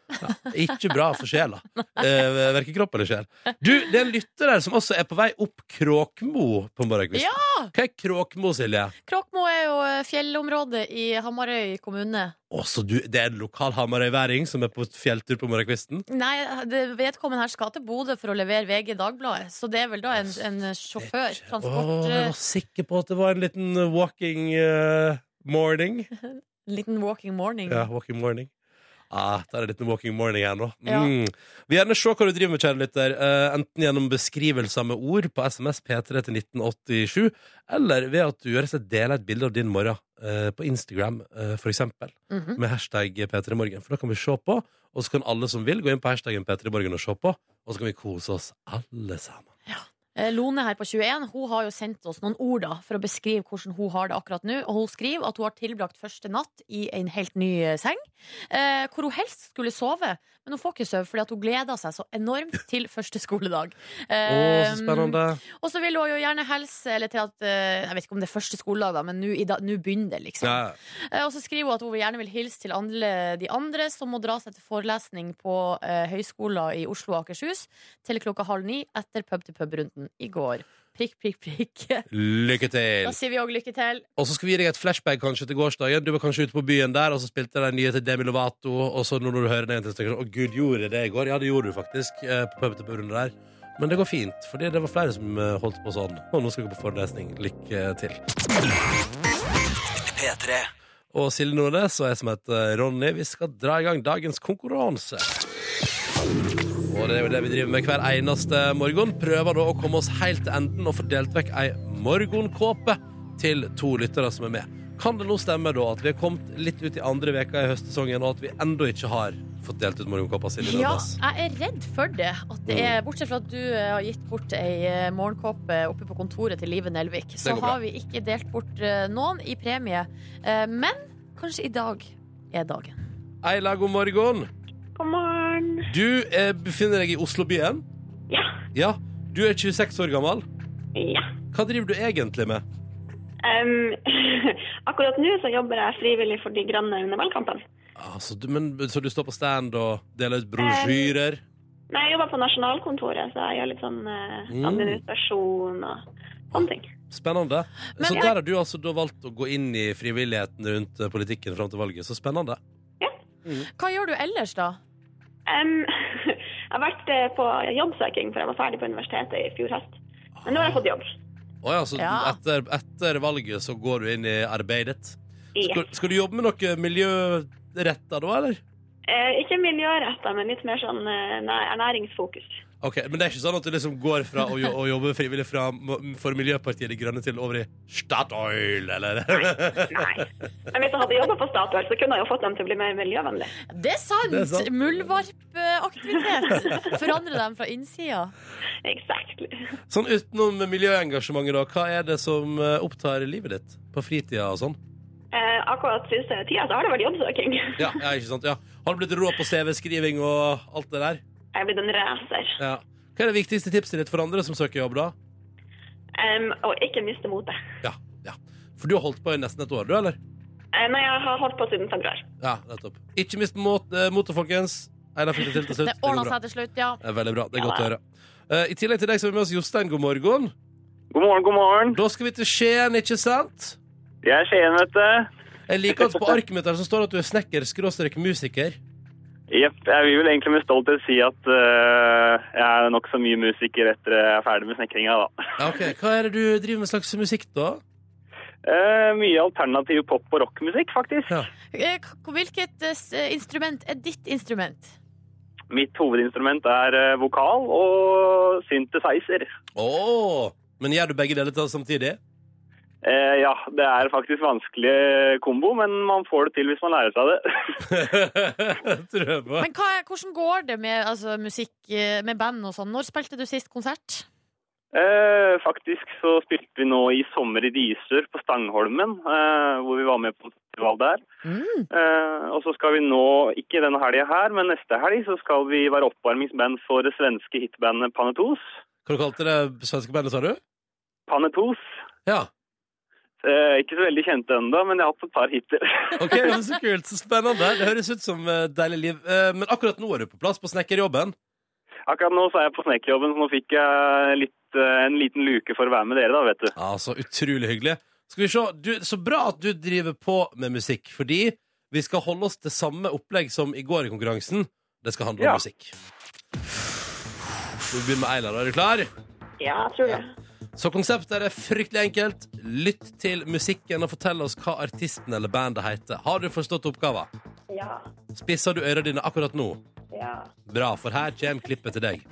S2: Ikke bra for sjela. Eh, Verken kropp eller sjel. Du, det er en lytter der som også er på vei opp Kråkmo på morgenkvisten. Hva er Kråkmo, Silje?
S1: Kråkmo er jo eh, fjellområdet i Hamarøy kommune.
S2: Å, så du, det er en lokal hamarøyværing som er på fjelltur på morgenkvisten?
S1: Nei, det- vedkommende her skal til Bodø for å levere VG Dagbladet, så det er vel da en, en sjåfør, transport...
S2: Å, jeg
S1: eh,
S2: var sikker på at det var en liten walking eh, morning.
S1: En liten walking morning.
S2: Ja, walking morning. Ah, der er det en liten walking morning her nå.
S1: Ja.
S2: Mm. Vil gjerne se hva du driver med, kjære lytter. eh, enten gjennom beskrivelser med ord på SMS P3 til 1987, eller ved at du gjør seg deler et bilde av din morgen eh, på Instagram, eh, for eksempel,
S1: Mhm.
S2: med hashtag P3morgen. For da kan vi se på, og så kan alle som vil, gå inn på hashtaggen P3morgen og se på, og så kan vi kose oss alle sammen.
S1: Eh, Lone her på 21 hun har jo sendt oss noen ord da, for å beskrive hvordan hun har det akkurat nå. Og Hun skriver at hun har tilbrakt første natt i en helt ny eh, seng, eh, hvor hun helst skulle sove. Men hun får ikke sove fordi at hun gleder seg så enormt til første skoledag.
S2: Å,
S1: Eh,
S2: så spennende.
S1: Og så vil hun jo gjerne helse eller til at eh, Jeg vet ikke om det er første skoledag, da, men nå i dag- nå begynner det, liksom.
S2: Ja.
S1: Eh, Og så skriver hun at hun gjerne vil hilse til alle de andre som må dra seg til forelesning på eh, høyskoler i Oslo og Akershus til klokka halv ni etter pub-til-pub-runden i går. Prikk, prikk, prikk.
S2: Lykke til!
S1: Da sier vi òg lykke til.
S2: Og så skal vi gi deg et flashback kanskje til gårsdagen. Du var kanskje ute på byen der, og så spilte de nye til Demi Lovato. Og så nå når du hører den igjen, så tenker du sånn Å, gud, gjorde jeg det i går? Ja, det gjorde du faktisk. eh, På pub til pub der. Men det går fint, fordi det var flere som eh, holdt på sånn. Og nå skal vi på forelesning. Lykke til.
S4: P3
S2: Og Silje Nordnes og jeg som heter eh, Ronny, vi skal dra i gang dagens konkurranse. Og det er jo det vi driver med hver eneste morgen. Prøver da å komme oss helt til enden og få delt vekk ei morgenkåpe til to lyttere som er med. Kan det nå stemme da at vi har kommet litt ut i andre veka i høstsesongen, og at vi ennå ikke har fått delt ut morgenkåpa, Silje
S1: Ja,
S2: Nordnes?
S1: jeg er redd for det. At det er, bortsett fra at du eh, har gitt bort ei eh, morgenkåpe oppe på kontoret til Live Nelvik, så
S2: går bra.
S1: har vi ikke delt bort eh, noen i premie. Eh, Men kanskje i dag er dagen.
S2: Eila, god morgen.
S6: God morgen.
S2: Du eh, befinner deg i Oslobyen.
S6: Ja.
S2: Ja. Du er 26 år gammel.
S6: Ja.
S2: Hva driver du egentlig med?
S6: Em, akkurat nå så jobber jeg frivillig for De grønne under valgkampen.
S2: Altså, du, men, så du står på stand og deler
S6: Eh.
S2: ut brosjyrer?
S6: Nei, jeg jobber på Nasjonalkontoret, så jeg gjør litt sånn eh,
S2: Mm.
S6: administrasjon og sånne ting.
S2: Spennende.
S1: Men-
S2: så der har du altså da valgt å gå inn i frivilligheten rundt eh, politikken fram til valget. Så spennende.
S1: Hva gjør du ellers, da?
S6: Em, jeg har vært eh, på jobbsøking, for jeg var ferdig på universitetet i fjor høst. Men nå har jeg fått jobb.
S2: Å ja, så
S1: Ja.
S2: Etter, etter valget så går du inn i arbeidet.
S6: Ja.
S2: Skal, skal du jobbe med noe miljøretta da, eller?
S6: Eh, ikke miljøretta, men litt mer sånn eh, nei, ernæringsfokus.
S2: Ok, Men det er ikke sånn at du liksom går fra å, jo- å jobbe frivillig fra, m- for Miljøpartiet De Grønne til over i Statoil, eller?
S6: Nei. Men hvis jeg hadde jobba på Statoil, så kunne jeg jo fått dem til å bli mer miljøvennlig.
S1: Det er sant!
S2: Det er sant.
S1: Muldvarpaktivitet. Forandre dem fra innsida.
S6: Exactly.
S2: Sånn utenom miljøengasjementet, da, hva er det som eh, opptar livet ditt på fritida og sånn?
S6: Eh, akkurat siste tida så har det vært jobbsøking.
S2: Ja, ja, ikke sant? Ja. Har du blitt rå på CV-skriving og alt det der?
S6: Jeg er blitt en racer.
S2: Ja. Hva er det viktigste tipset ditt for andre som søker jobb, da?
S6: Em, og ikke miste motet.
S2: Ja, ja. For du har holdt på i nesten et år, du, eller?
S6: Eh, nei, jeg har holdt på siden februar.
S2: Ja, nettopp. Ikke mist mot- eh, motet, folkens. Einar fikk det til til slutt.
S1: Det
S2: Det går
S1: ordna
S2: bra.
S1: seg til slutt, ja.
S2: Det er veldig bra. Det er
S6: Ja,
S2: godt å høre. Eh, I tillegg til deg så er vi med oss Jostein. God morgen.
S7: God morgen, god morgen.
S2: Da skal vi til Skien, ikke sant?
S7: Jeg er Skien, vet du.
S2: Jeg liker at på arket mitt der så står det at du er snekker skråstrek musiker.
S7: Jepp, jeg vil vel egentlig med stolthet si at øh, jeg er nokså mye musiker etter jeg er ferdig med snekringa, da.
S2: Ja, ok. Hva er det du driver med slags musikk, da?
S7: Eh, mye alternativ pop- og rockmusikk, faktisk.
S2: Ja.
S1: Eh, k- Hvilket eh, s- instrument er ditt instrument?
S7: Mitt hovedinstrument er øh, vokal og synthesizer.
S2: Åh, men gjør du begge deler til samtidig?
S7: Eh, ja, det er faktisk vanskelig kombo, men man får det til hvis man lærer seg det.
S2: Tror jeg på.
S1: Men hva, er- hvordan går det med altså, musikk, eh, med band og sånn? Når spilte du sist konsert?
S7: Eh, faktisk så spilte vi nå i sommer i Diser på Stangholmen, eh, hvor vi var med på en festival der.
S1: Mm.
S7: Eh, og så skal vi nå, ikke denne helga her, men neste helg, så skal vi være oppvarmingsband for det svenske hitbandet Panetos.
S2: Hva du kalte det svenske bandet, sa du?
S7: Panetos.
S2: Ja.
S7: Eh, ikke så veldig kjente ennå, men jeg har hatt et par hiter.
S2: Ok, men Så kult. Så spennende. Det høres ut som eh, deilig liv. Eh, Men akkurat nå er du på plass på snekkerjobben.
S7: Akkurat nå så er jeg på snekkerjobben, så nå fikk jeg litt, eh, en liten luke for å være med dere, da, vet du.
S2: Ja, så utrolig hyggelig. Skal vi se. Du, så bra at du driver på med musikk, fordi vi skal holde oss til samme opplegg som i går i konkurransen. Det skal handle om
S7: Ja.
S2: musikk. Vi begynner med Eilar. Er du klar?
S6: Ja, jeg tror det.
S2: Så konseptet er fryktelig enkelt. Lytt til musikken og fortell oss hva artisten eller bandet heter. Har du forstått oppgaven?
S6: Ja.
S2: Spisser du ørene dine akkurat nå?
S6: Ja.
S2: Bra, for her kommer klippet til deg.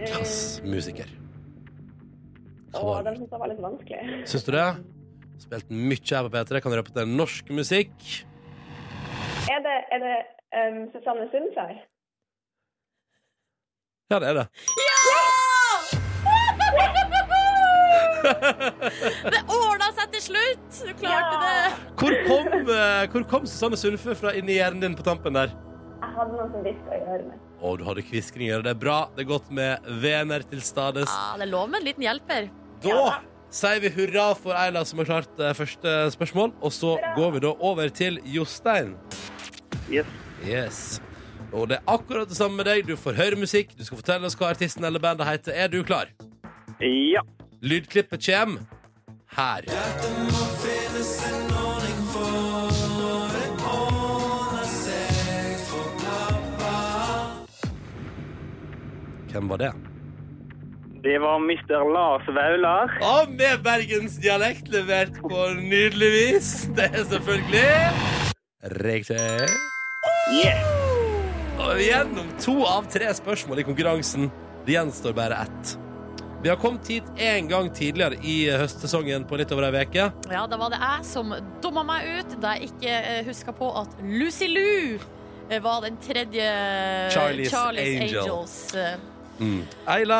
S6: Eh,
S2: Klass musiker.
S6: Å,
S2: Hva var
S6: den
S2: det?
S6: synes jeg var litt vanskelig.
S2: Syns du det? Spilt mye her på P3. Kan røpe at det er norsk musikk.
S6: Er det, er det em, Susanne Sundfør?
S2: Ja, det er det.
S1: Det ordna seg til slutt! Du klarte
S6: Ja.
S1: det!
S2: Hvor kom, eh, hvor kom Susanne Sundfø fra inni hjernen din på tampen der?
S6: Jeg hadde noen som visste å gjøre meg.
S2: Å, du hadde kviskring i øret. Det er bra. Det er godt med venner til stades.
S1: Ja, det er lov med en liten hjelper.
S2: Da sier vi hurra for Eila som har klart eh, første spørsmål, og så går vi da over til Jostein.
S7: Yes.
S2: Yes. Og det er akkurat det samme med deg. Du får høre musikk, du skal fortelle oss hva artisten eller bandet heter. Er du klar?
S7: Ja.
S2: Lydklippet kommer her. Hvem var det?
S7: Det var Mr. Lars Vaular.
S2: Og med bergensdialekt levert på nydelig vis. Det er selvfølgelig Riktig.
S7: Yes.
S2: Og gjennom to av tre spørsmål i konkurransen. Det gjenstår bare ett. Vi har kommet hit én gang tidligere i høstsesongen på litt over ei uke.
S1: Ja, da var det jeg som dumma meg ut da jeg ikke eh, huska på at Lucy Lou eh, var den tredje
S2: Charlie's Angel.
S1: Angels. eh.
S2: Eila,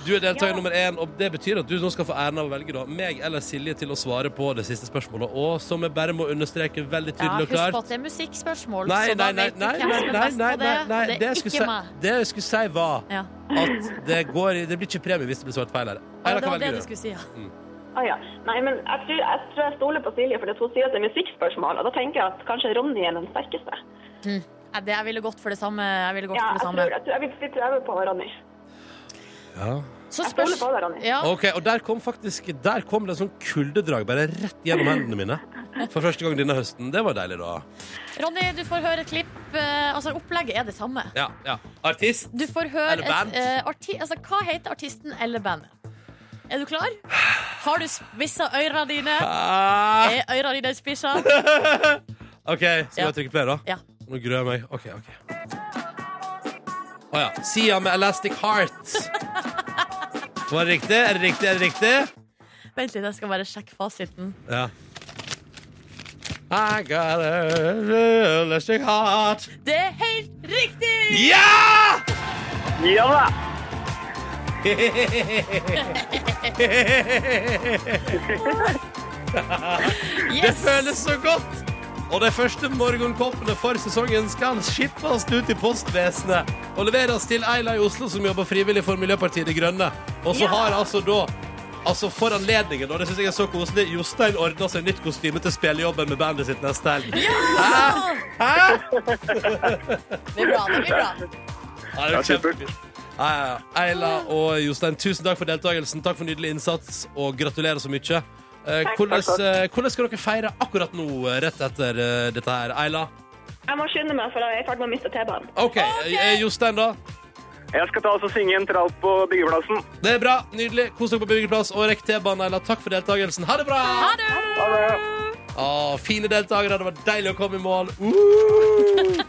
S2: du er deltaker
S6: Ja.
S2: nummer én, og det betyr at du nå skal få æren av å velge da, meg eller Silje til å svare på det siste spørsmålet, og som jeg bare må understreke veldig
S1: Ja,
S2: tydelig
S1: husk
S2: og
S1: på
S2: klart
S1: at det er musikkspørsmål,
S2: Nei,
S1: så da
S2: nei, nei,
S1: vet du
S2: nei,
S1: hvem
S2: nei,
S1: som er
S2: nei,
S1: best
S2: nei,
S1: på det.
S2: nei, nei.
S1: Det
S2: Det jeg
S1: er
S2: skulle
S1: ikke
S2: si,
S1: meg.
S2: det jeg skulle si var
S1: Ja.
S2: at det, går, i- det blir ikke premie hvis det blir svart feil her.
S1: Ja,
S2: Eila,
S1: det
S2: hva
S1: var det du
S2: velger du? Mm.
S1: skulle si, ja.
S6: Å ja. Nei, men jeg tror, jeg tror jeg stoler på Silje, for det hun sier at det er musikkspørsmål. Og da tenker jeg at kanskje Ronny er den sterkeste.
S1: Nei, det- Jeg ville gått for det samme. Jeg ville gått for det
S6: Ja, jeg
S1: samme.
S6: tror, jeg tror jeg vil vi prøver på Ronny.
S2: Ja.
S1: Så
S6: Jeg stoler på deg, Ronny.
S1: ja,
S2: Ok, og der kom faktisk Der kom det en sånn kuldedrag bare rett gjennom hendene mine. For første gang denne høsten. Det var deilig, da.
S1: Ronny, du får høre et klipp. eh, Altså, opplegget er det samme.
S2: Ja, ja. Artist.
S1: Du får høre
S2: Eller band.
S1: et eh, arti Altså, hva heter artisten eller bandet? Er du klar? Har du spissa øyra dine?
S2: Ah,
S1: Er øyra dine spissa?
S2: OK, skal jeg trykke play, da?
S1: Ja.
S2: Nå gruer jeg meg. OK. ok Å ja. Sia med Elastic Heart. Var det riktig? Er det riktig? Er det riktig?
S1: Vent litt, jeg skal bare sjekke fasiten.
S2: Ja. I got a elastic heart.
S1: Det er helt riktig!
S2: Ja!
S7: Ja da!
S2: Det
S1: Yes!
S2: føles så godt! Og de første morgenkoppene for sesongen skal skippes ut i postvesenet og leveres til Eila i Oslo, som jobber frivillig for Miljøpartiet De Grønne. Og så
S1: Ja.
S2: har altså da Altså For anledningen, og det syns jeg er så koselig, Jostein ordna seg nytt kostyme til spillejobben med bandet sitt neste helg.
S1: Ja! Det blir bra. det blir bra
S2: Ja, det er kjempefint. Ja, ja, ja. Eila og Jostein, tusen takk for deltakelsen. Takk for nydelig innsats, og gratulerer så mye. Eh,
S6: Takk,
S2: hvordan,
S6: takk, takk.
S2: eh, hvordan skal dere feire akkurat nå, eh, rett etter eh, dette her? Eila?
S6: Jeg må skynde meg, for jeg er i ferd med å miste T-banen.
S2: OK. eh, Jostein, da?
S7: Jeg skal ta oss og synge en trall på byggeplassen.
S2: Det er bra. Nydelig. Kos dere på byggeplass og rekk T-banen, Eila. Takk for deltakelsen. Ha det bra!
S1: Ha det!
S7: Ha det!
S2: Å, fine deltakere. Det var deilig å komme i mål. Uh!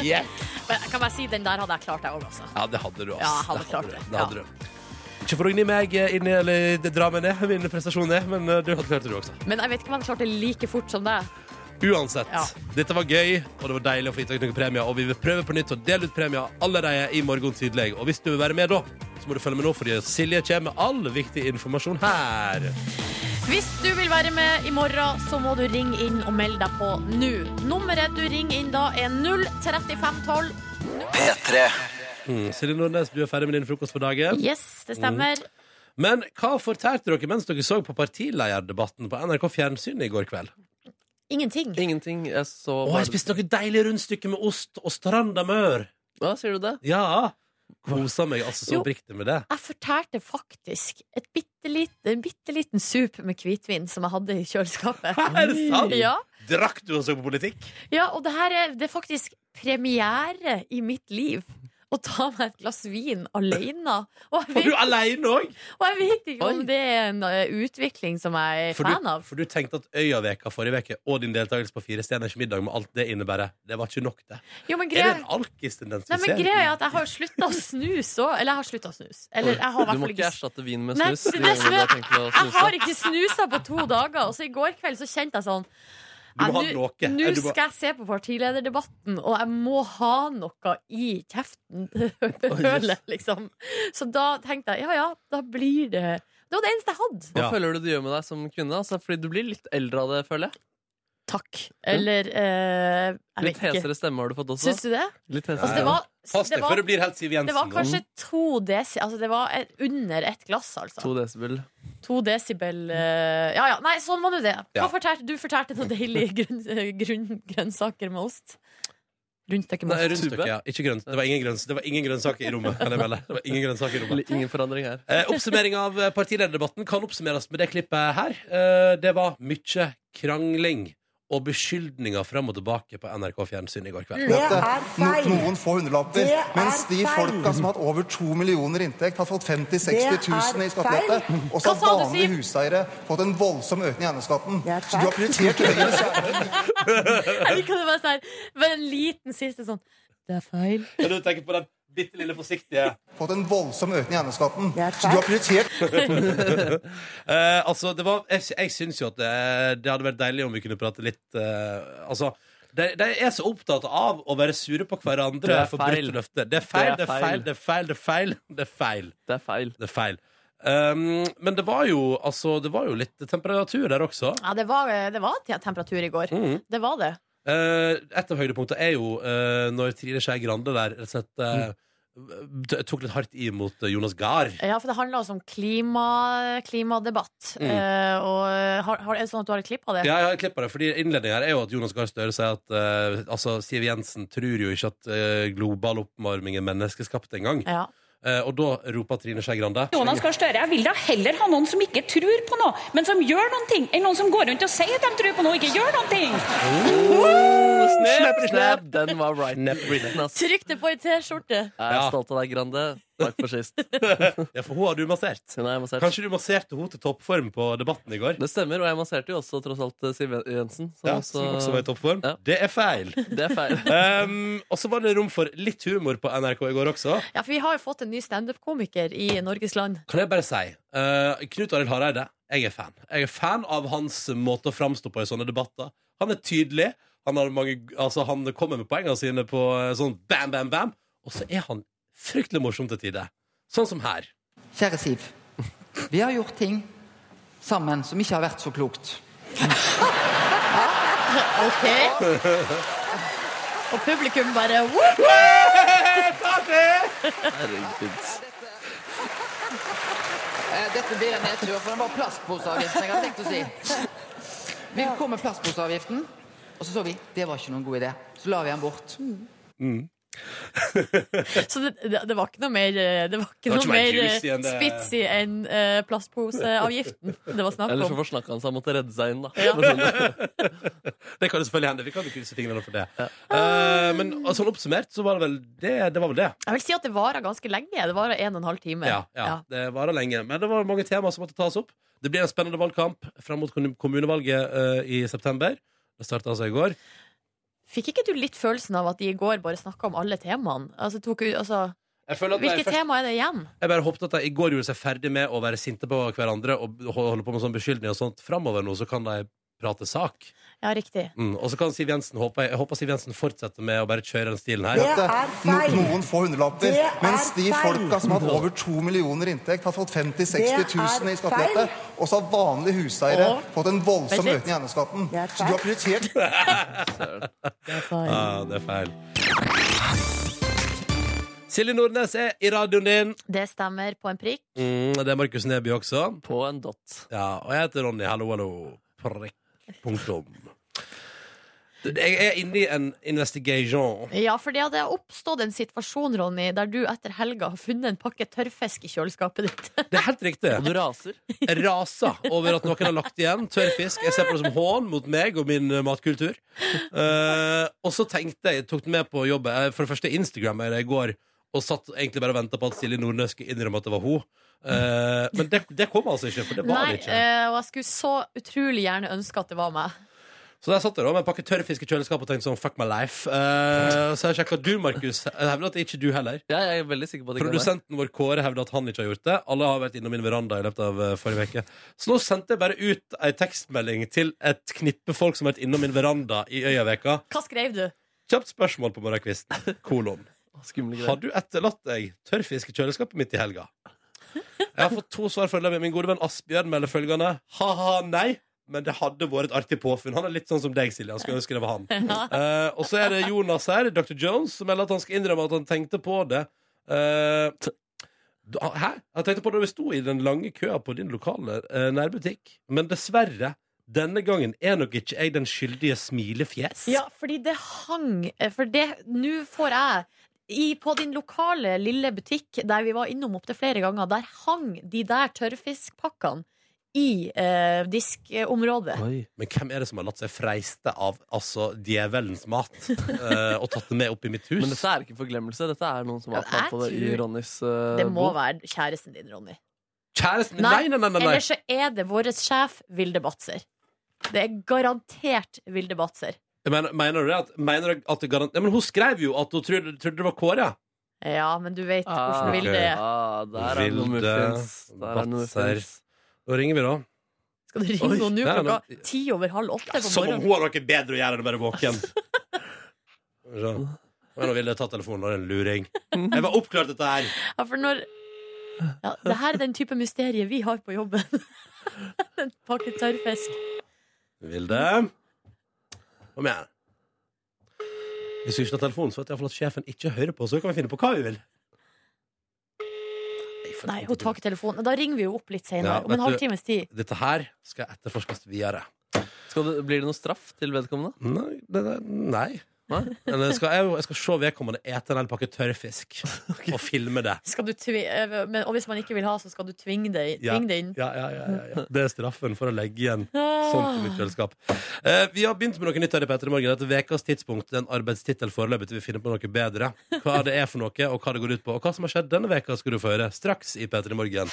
S2: Yeah.
S1: Men jeg kan bare si, den der hadde jeg klart, jeg òg, altså.
S2: Ja, det hadde du, ass.
S1: Ja, jeg hadde klart
S2: du.
S1: det.
S2: det hadde du. Ikke for å gni meg eh, inn i eller dra meg ned, vinne prestasjonen ned, men eh, du hadde klart det, du også.
S1: Men jeg vet ikke om jeg hadde klart det like fort som deg.
S2: Uansett,
S1: Ja.
S2: dette var gøy, og det var deilig å få gitt dere noen premier. Og vi vil prøve på nytt å dele ut premier allerede i morgen tidlig. Og hvis du vil være med da, så må du følge med nå, fordi Silje kommer med all viktig informasjon her.
S1: Hvis du vil være med i morgen, så må du ringe inn og melde deg på nå. Nummeret du ringer inn da, er 03512.
S4: P3
S2: Mm. Silje Nordnes, du er ferdig med din frokost for dagen. Mm.
S1: Yes, det stemmer.
S2: Men hva fortalte dere mens dere så på partilederdebatten på NRK Fjernsynet i går kveld?
S1: Ingenting.
S5: Ingenting. Jeg så
S2: Å,
S5: bare-
S2: jeg spiste noe deilig rundstykke med ost og strandamør.
S5: Hva, sier du det?
S2: Ja. Kosa meg altså så
S1: Jo.
S2: oppriktig med det.
S1: Jeg fortærte faktisk et bitte lite, en bitte liten sup med hvitvin som jeg hadde i kjøleskapet.
S2: Er det sant?
S1: Ja,
S2: Drakk du og så på politikk?
S1: ja og det her er, det er faktisk premiere i mitt liv. Å ta meg et glass vin alene. Og jeg
S2: Var du
S1: vet,
S2: aleine òg?
S1: og jeg vet ikke om
S5: Oi.
S1: det er en eh, utvikling som jeg er
S2: For du,
S1: fan av.
S2: for du tenkte at Øyaveka forrige uke og din deltakelse på Fire stjerners middag med alt det innebærer, det var ikke nok, det.
S1: Jo, men
S2: Er det
S1: greia,
S2: en alkistendens
S1: nei, men greia er at jeg har slutta å snuse òg. Eller jeg har slutta å snuse. Eller jeg har i
S5: Du
S1: hvert
S5: må
S1: fall
S5: ikke
S1: ikke
S5: erstatte vin med
S1: Nei,
S5: snus.
S1: det er
S5: de
S1: det som er-
S5: gangene du har tenkt å
S1: Jeg
S5: snuse.
S1: har ikke snusa på to dager, og så i går kveld så kjente jeg sånn
S2: Du må
S1: «Nei,
S2: ha noe.
S1: Nå
S2: Du må-
S1: skal jeg se på partilederdebatten, og jeg må ha noe i kjeften. Hølet, liksom. Så da tenkte jeg ja ja, da blir det Det var det eneste jeg hadde.
S5: Hva
S2: Ja.
S5: føler du det gjør med deg som kvinne? Altså, fordi du blir litt eldre av det, føler jeg.
S1: Takk. Eller eh, jeg
S5: Litt
S1: vet ikke.
S5: hesere stemme har du fått også.
S1: Syns du det?
S5: Litt hesere.
S1: Altså, det var,
S2: Pass
S1: det
S2: deg før
S1: var,
S2: det blir helt Siv Jensen.
S1: det var
S2: nå.
S1: kanskje to desi... Altså, det var et, under ett glass, altså.
S5: To desibel.
S1: To desibel eh, Ja ja, nei, sånn var nå det. Hva
S2: Ja.
S1: fortalte du? fortalte noen deilige grønn, grunn, grønnsaker med ost? Rundstykke
S2: Nei,
S1: med ost.
S2: rundstykke, ja. Ikke grønt. Det var ingen, grønns, det var ingen grønnsaker i rommet. Kan jeg melde. Det var ingen grønnsaker i rommet.
S5: Eller Ingen forandring her.
S2: Eh, oppsummering av eh, partilederdebatten kan oppsummeres med det klippet her. Eh, det var mye krangling og beskyldninger fram og tilbake på NRK Fjernsyn i går kveld.
S8: Det er feil. Noen få hundrelapper. Mens de folka som har hatt over to millioner inntekt, har fått 50 000-60 000 i skattelette. Og så
S1: Hva
S8: har
S1: sa du,
S8: vanlige
S1: Siv?
S8: huseiere fått en voldsom økning i eiendomsskatten. Så du har prioritert høyere kjerne.
S1: Jeg liker det bare sånn her. Bare en liten siste sånn Det er feil.
S2: Kan du tenke på den bitte lille forsiktige
S8: Fått en voldsom økning i eiendomsskatten. Så du har prioritert
S2: Eh, altså, det var Jeg, jeg syns jo at det, det hadde vært deilig om vi kunne prate litt eh, Altså de, de er så opptatt av å være sure på hverandre.
S5: Det er
S2: for
S5: feil.
S2: brutte løfter. Det er feil, det
S5: Det er
S2: er feil, det er feil, det er feil. Det er feil.
S5: Det er feil.
S2: Det er feil. Um, men det var jo altså, Det var jo litt temperatur der også.
S1: Ja, det var, eh, det var te- temperatur i går.
S2: Mm.
S1: Det var det.
S2: Eh, et av høydepunktene er jo eh, når Trine Skei Grande der rett og slett eh, t- tok litt hardt i mot eh, Jonas Gahr.
S1: Ja, for det handla også om klima, klimadebatt. Eh, og har, har, er det sånn at du har et klipp av det?
S2: Mm. Ja, jeg har klippet det, fordi innledningen her er jo at Jonas Gahr Støre sier at eh, altså, Siv Jensen tror jo ikke at eh, global oppvarming er menneskeskapt engang.
S1: Ja.
S2: Eh, og da roper Trine Skei Grande
S9: Jonas Gahr Støre, jeg vil da heller ha noen som ikke tror på noe, men som gjør noen ting, enn noen som går rundt og sier at de tror på noe og ikke gjør noen ting.
S2: «Åh,
S5: Oh, Snap, snap! Den var right.
S2: Snap, Britney.
S5: Ass. Jeg
S1: Trykk det på ei T-skjorte.
S5: er
S2: Ja.
S5: stolt av deg, Grande. Takk for sist.
S2: Ja, for hun har du massert.
S5: Hun er massert.
S2: Kanskje du masserte hun til toppform på debatten i går?
S5: Det stemmer, og jeg masserte jo også tross alt eh, Siv Jensen. som
S2: Ja,
S5: også-
S2: som også var i toppform.
S5: Ja.
S2: Det er feil.
S5: Det er feil.
S2: Um, og så var det rom for litt humor på NRK i går også.
S1: Ja, for vi har jo fått en ny standup-komiker i Norges land.
S2: Kan jeg bare si eh, Knut Arild Hareide, jeg er fan. Jeg er fan av hans måte å framstå på i sånne debatter. Han er tydelig. Han, har mange, altså, han kommer med poengene sine på eh, sånn bam, bam, bam. Og så er han fryktelig morsom til tider. Sånn som her.
S10: Kjære Siv. Vi har gjort ting sammen som ikke har vært så klokt.
S1: Ok Og publikum bare whoop!
S5: Herregud.
S10: Eh, Dette blir en nedtur, for den var plastposeavgiften jeg hadde tenkt å si. Vi kom med plastposeavgiften, og så så vi det var ikke noen god idé. Så la vi den bort.
S1: Så det, det, det var ikke noe mer eh, Det var ikke
S2: var
S1: noe
S2: ikke
S1: mer
S2: mer
S1: eh,
S2: juicy enn det-
S1: spitsy enn eh, plastposeavgiften det var snakk
S5: Ellers så
S1: om.
S5: forsnakka han seg og måtte redde seg inn, da. sånn.
S2: Det kan jo selvfølgelig hende. Vi kan jo krysse fingrene for det. Eh, men altså, sånn oppsummert så var det vel det. det, var vel det.
S1: Jeg vil si at det varer ganske lenge. Det varer en og en halv time.
S2: Ja, ja, Det varer lenge. Men det var mange temaer som måtte tas opp. Det blir en spennende valgkamp fram mot kommun- kommunevalget eh, i september. Det starta altså i går.
S1: Fikk ikke du litt følelsen av at de i går bare snakka om alle temaene? Altså, tok, ut- altså,
S2: Jeg føler at det er
S1: hvilke
S2: første-
S1: tema er det igjen?
S2: Jeg bare håpet at de i går gjorde seg ferdig med å være sinte på hverandre og ho- holde på med sånn beskyldning og sånt. Framover nå så kan de prate sak.
S1: Ja, riktig.
S2: Mm. Og så kan Siv Jensen håpe Jeg håper Siv Jensen fortsetter med å bare kjøre den stilen her.
S8: Det er feil. Noen få hundrelapper. Mens de folka som har hatt over to millioner i inntekt, har fått 50 000-60 000 i skattelette. Og så har vanlige huseiere fått en voldsom
S1: Vent litt.
S8: økning i eiendomsskatten. Så du har prioritert
S2: Ja, Ah, det er feil. Silje Nordnes er i radioen din.
S1: Det stemmer på en prikk.
S2: Mm, det er Markus Neby også.
S5: På en dott.
S2: Ja, og jeg heter Ronny. Hallo, hallo. Prikk. Punktum. Jeg er inne i en investigation.
S1: Ja, for det hadde oppstått en situasjon, Ronny, der du etter helga har funnet en pakke tørrfisk i kjøleskapet ditt.
S2: Det er helt riktig.
S5: Og du raser.
S2: rasa over at noen har lagt igjen tørr fisk. Jeg ser på det som hån mot meg og min eh, matkultur. Eh, og så tenkte jeg, tok den med på jobbet, eh, for det første Instagram jeg i går, og satt egentlig bare og venta på at Silje Nordnes skulle innrømme at det var hun. Eh, men det, det kom altså ikke, for det var
S1: Nei,
S2: det ikke.
S1: eh, og jeg skulle så utrolig gjerne ønske at det var meg.
S2: Så der satt jeg da med en pakke tørr fisk i kjøleskapet og tenkte sånn fuck my life. Eh, så jeg sjekka du, Markus. Jeg hevder at det ikke er du heller.
S5: Ja, jeg er veldig sikker på at det ikke er det.
S2: Produsenten vår Kåre hevder at han ikke har gjort det. Alle har vært innom min veranda i løpet av eh, forrige uke. Så nå sendte jeg bare ut ei tekstmelding til et knippe folk som har vært innom min veranda i øyaveka.
S1: Hva skrev du?
S2: Kjapt spørsmål på morgenkvisten. Kolon.
S5: Skumle
S2: Har
S5: greier.
S2: du etterlatt deg tørrfisk i kjøleskapet mitt i helga? Jeg har fått to svar foreløpig. Min gode venn Asbjørn melder følgende. Ha-ha, nei. Men det hadde vært et artig påfunn. Han er litt sånn som deg, Silje. Han skulle ønske det var han. Eh, og så er det Jonas her, Dr. Jones, som melder at han skal innrømme at han tenkte på det. Eh, da- hæ? Han tenkte på det da vi sto i den lange køa på din lokale eh, nærbutikk. Men dessverre, denne gangen er nok ikke jeg den skyldige smilefjes.
S1: Ja, fordi det hang eh, For det, nå får jeg i, på din lokale lille butikk der vi var innom opptil flere ganger, der hang de der tørrfiskpakkene i eh, diskområdet.
S5: Oi.
S2: Men hvem er det som har latt seg freiste av altså, djevelens mat eh, og tatt det med opp i mitt hus?
S5: Men dette er ikke forglemmelse. Dette er noen som har
S1: Ja,
S5: tatt på det
S1: jeg
S5: i
S1: tror-
S5: Ronnys eh,
S1: Det må
S5: bok.
S1: være kjæresten din, Ronny.
S2: Kjæresten min?
S1: Nei,
S2: Nei, nei, nei. nei, nei.
S1: Eller så er det vår sjef Vilde Batzer. Det er garantert Vilde Batzer.
S2: Men, mener du det? At, mener du at det garant... ja, men hun skrev jo at hun trodde, trodde det var Kåre.
S1: Ja, men du vet
S5: Ah,
S1: hvordan Vilde
S2: ok.
S1: er.
S5: Ah, der er det noe
S2: Vilde
S5: muffins. Der er det noe
S2: Batzer.
S5: muffins.
S2: Da ringer vi, da.
S1: Skal du
S2: Oi,
S1: ringe henne nå
S2: nei,
S1: klokka
S2: nei.
S1: ti over halv åtte på
S2: Som om
S1: morgenen?
S2: hun har noe bedre å gjøre enn å være våken. Så. Men hun ville ta telefonen, og det er en luring. Jeg var oppklart dette her.
S1: Ja, for når ja, Det her er den type mysterier vi har på jobben. En pakke tørrfisk.
S2: Vilde? Kom igjen. Hvis vi ikke tar telefonen, så vet jeg iallfall at sjefen ikke hører på, så kan vi finne på hva vi vil.
S1: Nei, hun tar ikke telefonen. Da ringer vi jo opp litt senere.
S2: Ja,
S1: Om
S2: vet
S1: en
S2: du-
S1: halvtimes tid.
S2: Dette her skal etterforskes videre.
S5: Skal det, blir det noe straff til vedkommende?
S2: Nei, det, det, nei. Men jeg skal, jeg, jeg skal se vedkommende ete en hel pakke tørrfisk og filme det.
S1: Skal du tvi eh, men, og hvis man ikke vil ha, så skal du tvinge det, i-
S2: Ja.
S1: tvinge det inn.
S2: Ja, ja, ja, ja, ja. Det er straffen for å legge igjen
S1: Ah.
S2: sånt i mitt kjøleskap. Eh, vi har begynt med noe nytt her i Petter i morgen. Etter ukas tidspunkt, den arbeidstittel foreløpig til vi finner på noe bedre. Hva det er for noe, og hva det går ut på. Og hva som har skjedd denne veka skal du få høre straks i Petter i morgen.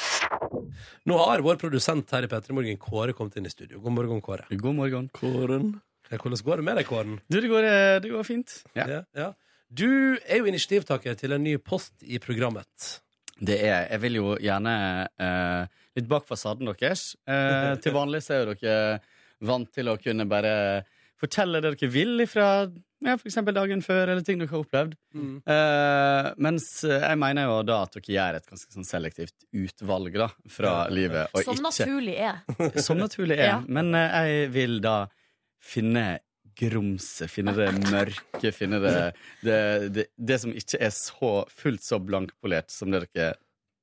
S2: Nå har vår produsent her i Petter i morgen, Kåre, kommet inn i studio. God morgen, Kåre.
S3: God morgen.
S5: Kåren.
S2: Hvordan går det med deg, Kåren?
S3: Du, det går, eh, det går fint.
S2: Ja, ja. Du er jo initiativtaker til en ny post i programmet.
S3: Det er, jeg vil jo gjerne eh, litt bak fasaden deres. Eh, til vanlig så er jo dere vant til å kunne bare fortelle det dere vil fra ja, for eksempel dagen før, eller ting dere har opplevd.
S11: Mm.
S3: Eh, mens jeg mener jo da at dere gjør et ganske sånn selektivt utvalg da, fra livet. Og
S1: Som
S3: ikke,
S1: naturlig er.
S3: Som
S2: Sånn,
S3: naturlig
S1: Ja.
S3: er. Men eh, jeg vil da finne grumset, finne det mørke, finne det det, det det som ikke er så fullt så blankpolert som det dere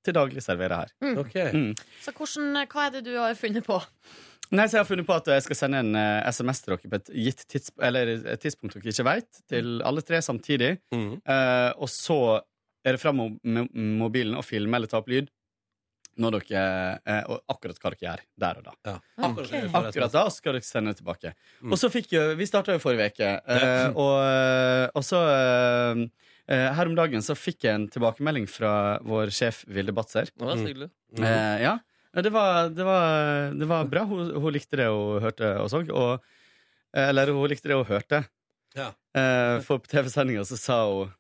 S3: til daglig serverer her.
S1: Mm.
S3: Mm.
S1: Så hvordan, hva er det du har funnet på?
S3: Nei, så Jeg har funnet på at jeg skal sende en eh, SMS til dere på et gitt tids, eller et tidspunkt dere ikke vet, til alle tre samtidig.
S2: Mm.
S3: Eh, og så er det fram mo- mo- mobilen og filme eller ta opp lyd når dere, eh, og akkurat hva dere gjør der og da.
S2: Akkurat, det Mm. vi får
S3: Akkurat da skal dere sende det tilbake. Og så fikk jo, Vi starta jo forrige uke, eh, og, og så eh, eh, Her om dagen så fikk jeg en tilbakemelding fra vår sjef Vilde Batzer.
S5: Å, så hyggelig.
S3: Mm. Eh, ja. Det var, det, var, det var bra. Hun, hun likte det hun hørte og så. Og, eh, eller hun likte det hun hørte.
S2: Ja.
S3: Eh, for på TV-sendinga så sa hun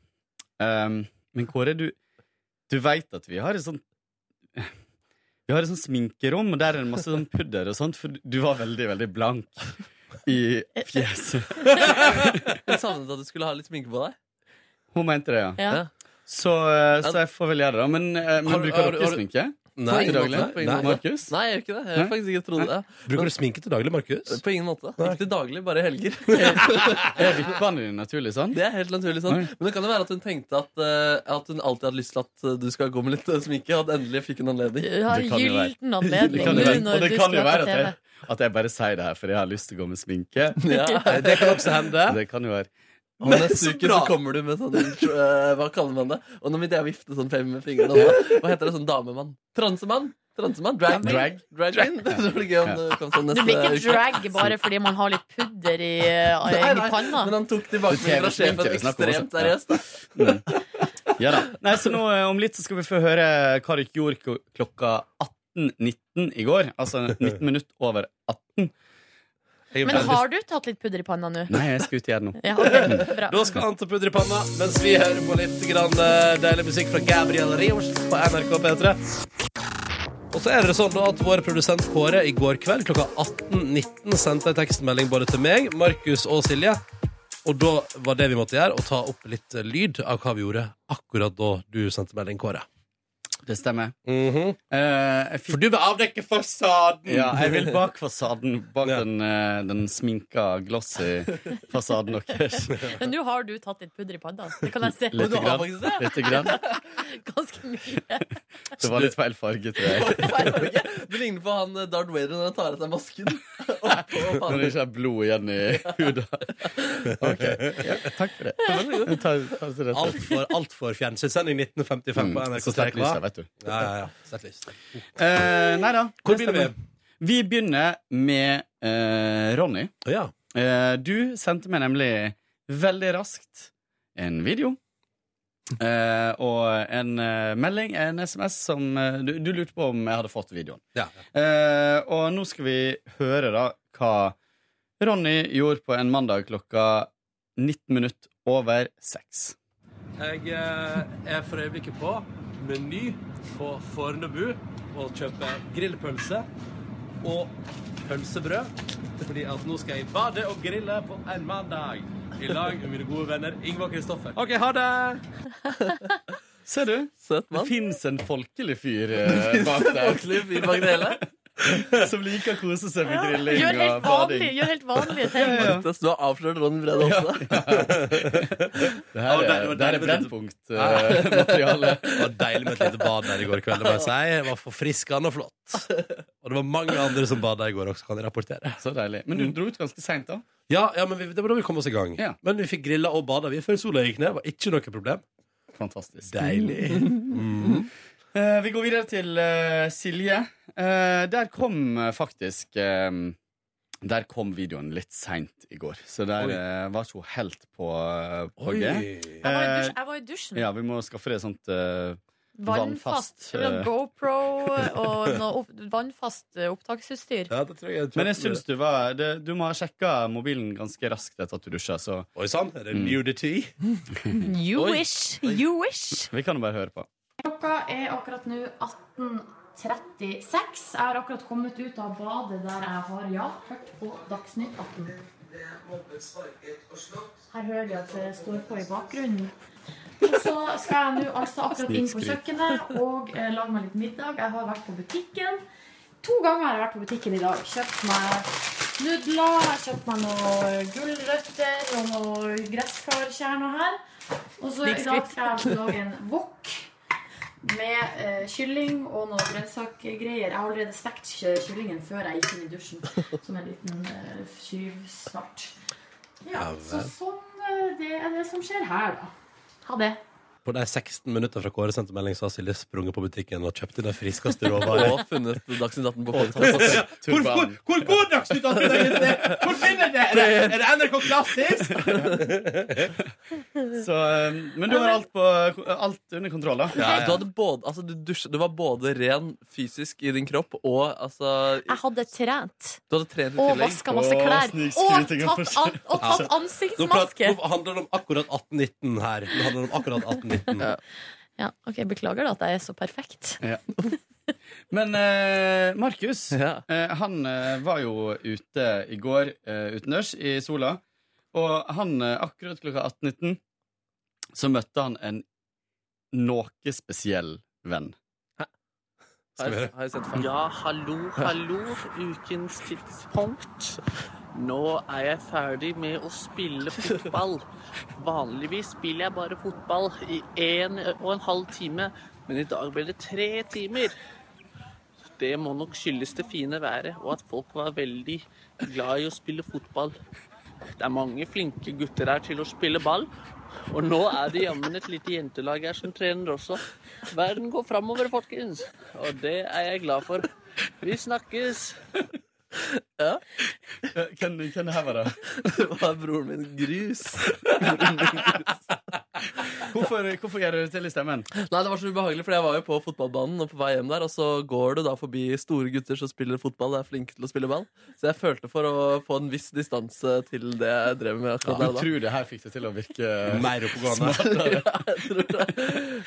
S3: ehm, Men Kåre, du, du veit at vi har et sånt vi har et sånt sminkerom, og der er det masse sånn pudder og sånt, for du var veldig, veldig blank i fjeset.
S5: Jeg savnet at du skulle ha litt sminke på deg.
S3: Hun mente det, ja.
S5: Ja.
S3: Så, eh, så jeg får vel gjøre det, da. Men, eh, men
S5: Har du- har
S3: bruker
S5: du-
S3: dere
S5: har du-
S3: sminke?
S5: På ingen
S3: til daglig?
S5: måte, på ingen måte.
S3: Markus?
S5: Nei, jeg gjør ikke det. Jeg har
S3: Nei?
S5: faktisk ikke trodd det. Eh,
S2: Bruker du sminke til daglig, Markus?
S5: På ingen måte. Ikke til daglig, bare i helger.
S3: Er vippene dine naturlig sånn?
S5: Det er helt naturlig sånn. Men det kan jo være at hun tenkte at, eh, at hun alltid hadde lyst til at eh, du skal gå med litt eh, sminke, og at endelig fikk hun anledning.
S1: Du har Det kan jo være. gylden anledning
S3: Det kan
S1: nå
S3: jo være,
S1: når
S3: og det
S1: du
S3: kan
S1: skal
S3: jo
S1: på
S3: være at
S1: TV.
S3: jeg, at jeg bare sier det her fordi jeg har lyst til å gå med sminke.
S5: Ja. Eh, Det kan også hende.
S3: Det kan jo være.
S5: Og neste uke så kommer du med sånn eh, Hva kaller man det? Og nå begynte jeg å vifte sånn fem med fingrene. også. Hva heter det? Sånn damemann? Transemann? Transemann? Drag?
S3: Drag.
S5: Drag-in? Det blir gøy om det kom sånn
S1: Du
S5: neste
S1: blir ikke
S5: uke.
S1: drag bare fordi man har litt pudder i, eh,
S5: Nei,
S1: i
S5: nei,
S1: panna.
S5: Men han tok tilbakemelding fra
S3: Det er
S5: sjefen
S3: TV-sminke vi snakker om altså.
S5: ekstremt
S3: også.
S5: seriøst. da.
S3: Ja da. Nei, så nå eh, om litt så skal vi få høre hva dere gjorde ko- klokka 18.19 i går. Altså 19 minutt over 18.
S1: Men har du tatt litt pudder i panna nå?
S3: Nei, jeg skal ut igjen nå.
S1: Ja, ok, bra.
S2: Da skal Ante pudre i panna mens vi hører på litt grann, eh, deilig musikk fra Gabriel Rios på NRK P3. Og så er det sånn da at Vår produsent Kåre i går kveld klokka 18.19 sendte en tekstmelding både til meg, Markus og Silje. Og da var det vi måtte gjøre, å ta opp litt eh, lyd av hva vi gjorde akkurat da du sendte melding, Kåre. Mhm.
S3: Det stemmer. Eh,
S2: For du vil avdekke fasaden!
S3: Ja, jeg vil bak fasaden. Bak den, eh, den sminka, glossy fasaden deres.
S1: Men nå har du tatt litt pudder i panna. Det kan jeg se.
S3: Litt grann. Litt grann.
S1: Ganske mye.
S3: Det var litt feil farge, tror jeg.
S5: Du ligner på han eh, Darth Vader når han tar av seg masken. Oppå
S3: Når det
S5: panna.
S3: ikke er blod igjen i huden. Ok, ja, Takk for det. Jeg tar, tar til rette.
S2: Altfor alt for fjernsynssending 1955 på
S3: Mm,
S2: NRK.
S3: så slett
S2: Strekva.
S3: lyset, vet du.
S2: Ja, ja, ja. Slett lyset.
S3: Eh, nei da.
S2: Hvor
S3: det
S2: begynner vi?
S3: stemmer. Vi begynner med eh, Ronny. Eh, du sendte meg nemlig veldig raskt en video. eh, og en eh, melding, en SMS, som eh, du, du lurte på om jeg hadde fått videoen.
S2: Ja.
S3: Eh, og nå skal vi høre da hva Ronny gjorde på en mandag klokka 19 minutt over 6.
S2: Jeg eh, er for øyeblikket på Meny på Fornebu og kjøper grillpølse og pølsebrød. Fordi at nå skal jeg bade og grille på en mandag i lag med mine gode venner Ingvar Kristoffer. OK, ha det!
S3: Ser du?
S5: Søt mann.
S3: Det fins en folkelig fyr eh, bak der.
S5: Folkelig fyr bak det hele.
S3: Som liker å kose seg med grilling
S1: Gjør helt
S3: og bading.
S1: vanlige, gjør helt vanlige ting.
S5: Mathias, du har avslørt Ronny Brede Aase.
S3: Det her
S2: det
S3: er,
S2: var
S3: det her er eh,
S2: deilig med et lite-
S3: Brennpunkt-materiale.
S2: Det var deilig med et lite bad der i går kveld. Det må jeg si. Jeg var forfriskende og flott. Og det var mange andre som bada i går også, kan jeg rapportere. Mm.
S3: Så deilig. Men du dro ut ganske seint, da.
S2: Ja, ja men vi, det var da vi kom oss i gang.
S3: Ja.
S2: Men vi fikk grilla og bada før sola gikk ned. Var ikke noe problem.
S3: Fantastisk.
S2: Deilig. Mm.
S3: Eh, vi går videre til eh, Silje. Eh, der kom eh, faktisk eh, Der kom videoen litt seint i går, så der
S2: Oi.
S3: eh, var ikke hun helt på, eh, på
S2: Oi.
S3: G.
S1: Jeg var i
S3: Eh,
S1: dusj- jeg var i dusjen.
S3: ja, vi må skaffe det sånt eh,
S1: Vannfast.
S3: vannfast, eh.
S1: GoPro og noe opp, vannfast eh, opptaksutstyr.
S2: Ja, det tror jeg.
S3: Men jeg syns du var det, Du må ha sjekka mobilen ganske raskt etter at du dusja, så Mm.
S2: Oi sann, er det nudity?
S1: You
S3: Oi.
S1: wish! You wish!
S3: vi kan jo bare høre på.
S1: Klokka er akkurat nå 18.36. Jeg har akkurat kommet ut av badet der jeg har, ja, hørt på Dagsnytt 18. Her hører jeg at det står på i bakgrunnen. Og Så skal jeg nå altså akkurat inn på
S3: Snikskryt.
S1: kjøkkenet og eh, lage meg litt middag. Jeg har vært på butikken. To ganger har jeg vært på butikken i dag. Kjøpt meg nudler, jeg har kjøpt meg noen gulrøtter og noen gresskarkjerner her. Og så i dag skal jeg altså lage en wok med eh, kylling og noen grønnsakgreier. Jeg har allerede stekt ky- kyllingen før jeg gikk inn i dusjen, som en liten eh, skyvstart. Ja, så sånn eh, det er det som skjer her, da. Ha det.
S2: På de 16 minutter fra Kåre sendte melding, så har Silje sprunget på butikken og kjøpt inn de friskeste råvarene.
S5: Og funnet Dagsnytt 18 på podcast.
S2: Hvor, hvor, hvor går Dagsnytt 18? egentlig? Hvor finner dere det? Er det NRK Klassisk?
S3: Så, eh, men du har alt, på, alt under kontroll, da.
S2: Ja,
S5: Du, hadde både, altså, du, dusjet, du var både ren fysisk i din kropp og altså,
S1: Jeg hadde trent
S5: Du hadde trent i
S1: og
S5: tillegg.
S1: vaska masse
S3: Å,
S1: klær. Og
S3: snikskrytingen
S1: tatt,
S3: fortsatt.
S1: an og tatt
S2: Nå, prat,
S1: ansiktsmaske.
S2: nå handler det om akkurat 1819 her. Nå handler det om akkurat 1819
S1: Ja, ok, Beklager da at jeg er så perfekt.
S3: Men eh, Markus,
S5: Ja.
S3: eh, han eh, var jo ute i går eh, utendørs i sola. Og han, eh, akkurat klokka 18.19, så møtte han en noe spesiell venn.
S5: Har
S2: Skal vi
S5: jeg,
S2: høre?
S5: har jeg sett feil?
S11: Ja, hallo, hallo. Ukens tidspunkt. Nå er jeg ferdig med å spille fotball. Vanligvis spiller jeg bare fotball i en og en halv time, men i dag ble det tre timer. Det må nok skyldes det fine været, og at folk var veldig glad i å spille fotball. Det er mange flinke gutter her til å spille ball. Og nå er det jammen et lite jentelag her som trener også. Verden går framover, folkens. Og det er jeg glad for. Vi snakkes.
S3: Eh, Hvem hvem det her var det?
S5: Det var broren min Grus.
S3: Hvorfor, hvorfor gjør du det til i stemmen?
S5: Nei, det var så ubehagelig, for jeg var jo på fotballbanen og på vei hjem der, og så går du da forbi store gutter som spiller fotball og er flinke til å spille ball. Så jeg følte for å få en viss distanse til det jeg drev med akkurat
S3: Du
S5: der og da.
S3: tror det her fikk det til å virke
S2: Mer oppegående.
S5: Jeg tror det,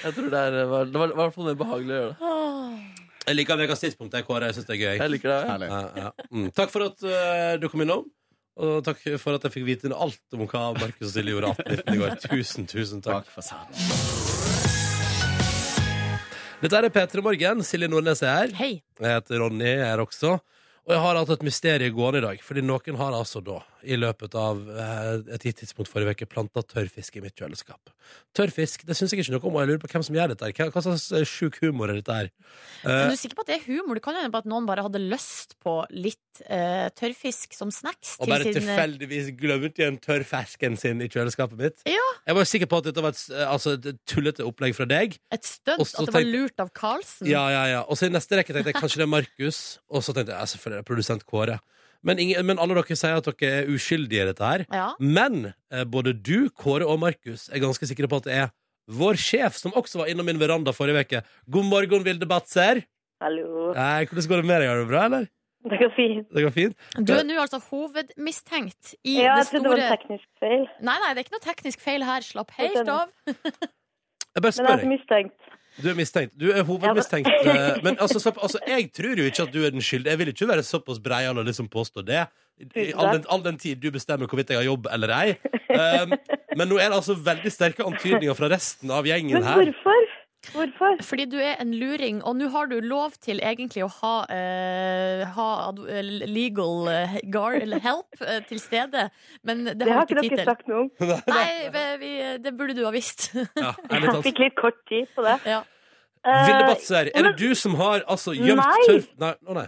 S5: jeg tror det, er, eh, var- det var i hvert fall mer behagelig å gjøre det.
S2: Jeg liker ukas tidspunkt. Jeg, Kåre, jeg synes det er gøy.
S5: Jeg liker det.
S3: Herlig.
S2: Ja, ja. Mm. Takk for at eh, du kom innom. Og takk for at jeg fikk vite alt om hva Markus og Silje gjorde 1819 i går. Tusen, tusen takk.
S3: Bak fasaden.
S2: Dette er P3 Morgen. Silje Nordnes er her.
S1: Hei.
S2: Jeg heter Ronny, jeg er også. Og jeg har hatt et mysterium gående i dag. Fordi noen har altså da, i løpet av eh, et gitt tidspunkt forrige uke, planta tørrfisk i mitt kjøleskap. Tørrfisk det syns jeg ikke noe om, og jeg lurer på hvem som gjør dette. her. Hva, hva slags eh, sjuk humor er dette her? Eh.
S1: Men du er sikker på at det er humor? Det kan jo hende på at noen bare hadde lyst på litt eh, tørrfisk som snacks.
S2: Og
S1: til
S2: bare
S1: sin- eh,
S2: tilfeldigvis glemt igjen tørrfisken sin i kjøleskapet mitt.
S1: Ja.
S2: Jeg var sikker på at dette var et, s- altså, et tullete opplegg fra deg.
S1: Et stunt.
S2: Og så
S1: At det var
S2: tenkte-
S1: lurt av Karlsen.
S2: Ja, ja, ja. Og så i neste rekke tenkte jeg kanskje det er Markus. Og så tenkte jeg ja, selvfølgelig er det produsent Kåre. Men, ingen, men alle dere sier at dere er uskyldige i dette her.
S1: Ja.
S2: Men eh, både du, Kåre og Markus er ganske sikre på at det er vår sjef, som også var innom min veranda forrige uke. God morgen, Vilde Batzer.
S12: Hallo.
S2: Nei, hvordan går det med deg? Har du det bra, eller?
S12: Det går fint.
S2: Det går fint?
S1: Du er nå altså hovedmistenkt i
S12: Ja,
S1: det
S12: jeg trodde det var
S1: store
S12: en teknisk feil.
S1: Nei, nei, det er ikke noe teknisk feil her. Slapp
S12: Jeg
S1: helt
S12: skjønner.
S1: av.
S2: Jeg bare
S12: Men jeg
S2: spør
S12: er så
S2: deg.
S12: mistenkt.
S2: Du er mistenkt. Du er hovedmistenkt. eh, Men altså, slapp- altså, jeg tror jo ikke at du er den skyldige. Jeg vil ikke være såpass breial og liksom påstå det. I all den, all den tid du bestemmer hvorvidt jeg har jobb eller Ehm, ei. Um, men nå er det altså veldig sterke antydninger fra resten av gjengen
S12: Men
S2: her.
S12: hvorfor?
S1: Hvorfor? Fordi du er en luring, og nå har du lov til egentlig å ha, eh, ha ad- eh, legal eh, gar, eller help eh, til stede, men det,
S12: Det har ikke
S1: tid
S12: dere
S1: til.
S12: sagt noe om.
S1: Nei, vi- vi, det burde du ha visst.
S2: ærlig talt.
S12: Jeg fikk litt kort tid på det.
S1: Ja.
S2: Vilde Batser, er det du som har altså gjemt
S12: eh, Nei.
S2: tørr... Nei, å nei.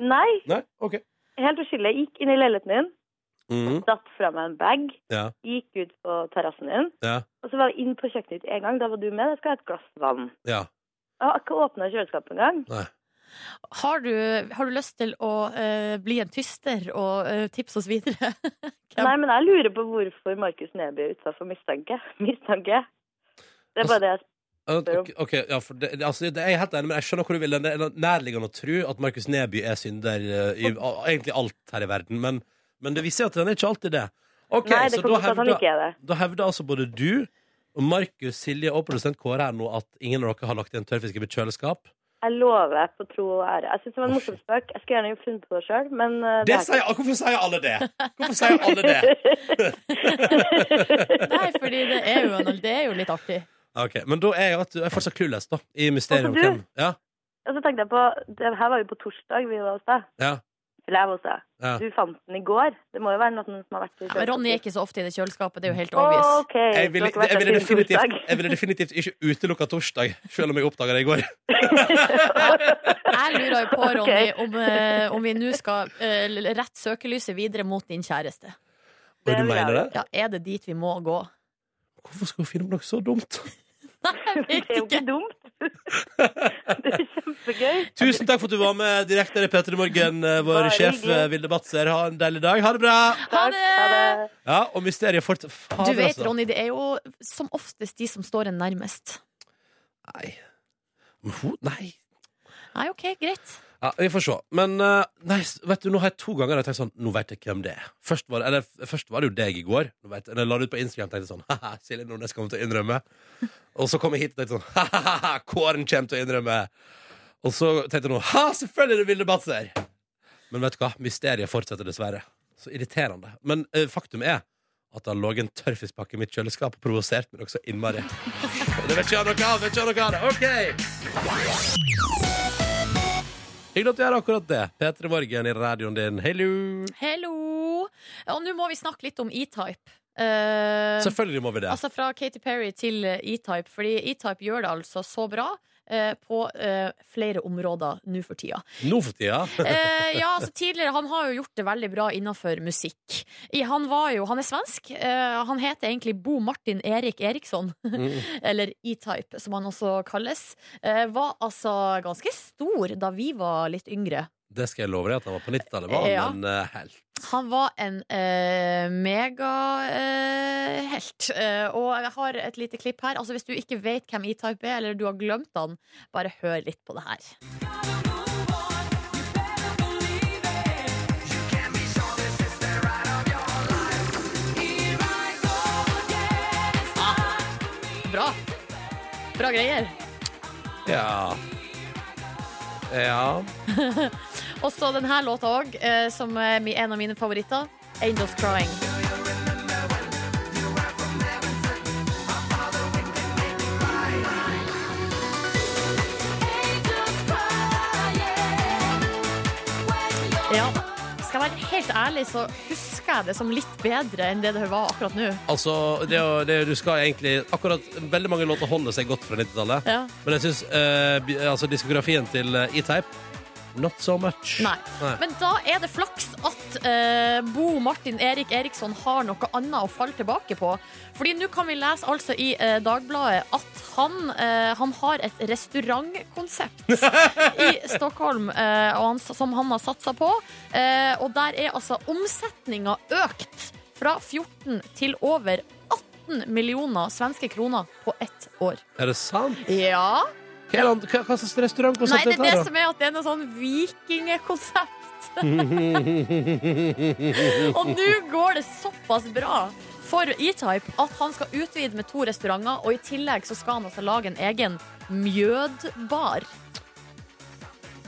S12: Nei,
S2: nei. OK.
S12: helt uskyldig. Jeg gikk inn i leiligheten din,
S2: Mhm.
S12: datt fra meg en bag,
S2: Ja.
S12: gikk ut på terrassen din,
S2: Ja.
S12: og så var jeg inn på kjøkkenet ditt en gang. Da var du med. Jeg skal ha et glass vann.
S2: Ja.
S12: Jeg har ikke åpna kjøleskapet engang.
S2: Nei.
S1: Har du, har du lyst til å eh, bli en tyster og eh, tipse oss videre?
S12: Nei, men jeg lurer på hvorfor Markus Neby er utsatt for mistanke. Mistanke. Det er bare det jeg
S2: Ja, Ok, ok, ja, for det, det- altså, det, jeg er helt enig, men jeg skjønner hvor du vil. Det er nærliggende å tro at Markus Neby er synder eh, i a- egentlig alt her i verden, men, men det viser seg at han er ikke alltid det. Ok,
S12: Nei, det
S2: så da
S12: kommer til at han
S2: hevder-
S12: ikke er det.
S2: Da hevder altså både du, og Markus, Silje og produsent Kåre her nå at ingen av dere har lagt igjen tørrfisk i mitt kjøleskap.
S12: Jeg lover på tro og ære. Jeg syns det var en morsom spøk. Jeg skulle gjerne funnet på det sjøl, men eh,
S2: Det
S12: er ikke-
S2: sier, hvorfor sier alle det? Hvorfor sier alle det?
S1: Nei, fordi det er jo, en- det er jo litt artig.
S2: Ok, Men da er jeg, vet du, jeg er fortsatt clueless, da. I mysteriet om
S12: Altså,
S2: hvem.
S12: du-
S2: Ja,
S12: Og så tenkte jeg på det Her var jo på torsdag vi var hos deg.
S2: ja.
S12: Eller jeg var hos deg.
S2: Ja.
S12: Du fant den i går. Det må jo være noen som har vært i
S1: Men Ronny er ikke så ofte i det kjøleskapet, det er jo helt obvious.
S12: Å, OK.
S2: Jeg ville,
S12: så dere har vært
S2: jeg, ville
S12: der siden
S2: definitivt,
S12: torsdag.
S2: jeg ville definitivt ikke utelukka torsdag, selv om jeg oppdaga det i går.
S1: Jeg lurer jo på,
S12: Ok.
S1: Ronny, om, eh, om vi nå skal eh, rette søkelyset videre mot din kjæreste.
S2: Og du mener det?
S1: Ja, er det dit vi må gå?
S2: Hvorfor skal hun finne på noe så dumt?
S12: Det er jo ikke dumt. Det er kjempegøy.
S2: Tusen takk for at du var med direkte i P3 Morgen, eh, vår
S12: Bare
S2: sjef
S12: hyggelig.
S2: eh, Vilde Batzer. Ha en deilig dag. Ha det bra!
S1: Ha det!
S2: Ja, og mysteriet fort...
S1: Du vet,
S2: altså.
S1: Ronny, det er jo som oftest de som står en nærmest.
S2: Nei.
S1: Nei, OK, greit.
S2: Ja, vi får se. Men eh, nei, s- vet du, nå har jeg to ganger tenkt sånn Nå vet jeg hvem det er. Først var, det- eller, f- først var det jo deg i går. Nå vet, jeg- når jeg la det ut på Instagram, tenkte jeg sånn Haha, Silje Nordnes kommer til å innrømme. Og så kom jeg hit og tenkte sånn Haha, Kåren kommer til å innrømme. Og så tenkte jeg nå Ha, selvfølgelig er det Vilde Batzer! Men vet du hva? Mysteriet fortsetter dessverre. Så irriterende. Men eh, faktum er at det har ligget en tørrfiskpakke i mitt kjøleskap og provosert meg også innmari. Det vet ikke jeg noe av! Vet ikke jeg noe av det. OK! Hyggelig at du gjør akkurat det. P3 Morgen i radioen din. Hello!
S1: Hello! Og nå må vi snakke litt om E-Type. Eh,
S2: Selvfølgelig må vi det.
S1: Altså Fra Katy Perry til eh, E-Type, fordi E-Type gjør det altså så bra eh, på eh, flere områder nå for tida.
S2: Nå for tida.
S1: Eh, ja, altså tidligere, Han har jo gjort det veldig bra innenfor musikk. I, han, var jo, han er svensk. Eh, han heter egentlig Bo Martin Erik Eriksson.
S2: Mm.
S1: Eller E-Type, som han også kalles. Eh, var altså ganske stor da vi var litt yngre.
S2: Det skal jeg love deg at han var på 90-tallet, var han
S1: Ja.
S2: en eh, helt.
S1: Han var en eh, megahelt. Eh, helt. eh, og jeg har et lite klipp her. Altså Hvis du ikke vet hvem E-Type er, eller du har glemt han, bare hør litt på det her. Bra. Bra greier.
S2: Ja. Ja.
S1: og så denne låta òg, eh, som er mi- en av mine favoritter. Angels Crying. Ja. Skal jeg være helt ærlig, så husker jeg det som litt bedre enn det det var akkurat nå.
S2: Altså, det, er jo- det, du skal egentlig Akkurat veldig mange låter holder seg godt fra 90-tallet.
S1: Ja.
S2: Men jeg syns eh, bi- altså, diskografien til eh, E-Type Not so much.
S1: Nei. Men da er det flaks at eh, Bo Martin Erik Eriksson har noe annet å falle tilbake på. Fordi nå kan vi lese altså i eh, Dagbladet at han, eh, han har et restaurantkonsept i Stockholm eh, og han, som han har satsa på. Eh, og der er altså omsetninga økt fra 14 til over 18 millioner svenske kroner på ett år.
S2: Er det sant?
S1: Ja.
S2: Hva, er det, hva, hva slags
S1: Nei,
S2: restaurantkonsept
S1: det er det
S2: dette
S1: som er at det er noe sånn vikingekonsept. Og nå går det såpass bra for E-Type at han skal utvide med to restauranter, og i tillegg så skal han altså lage en egen mjødbar.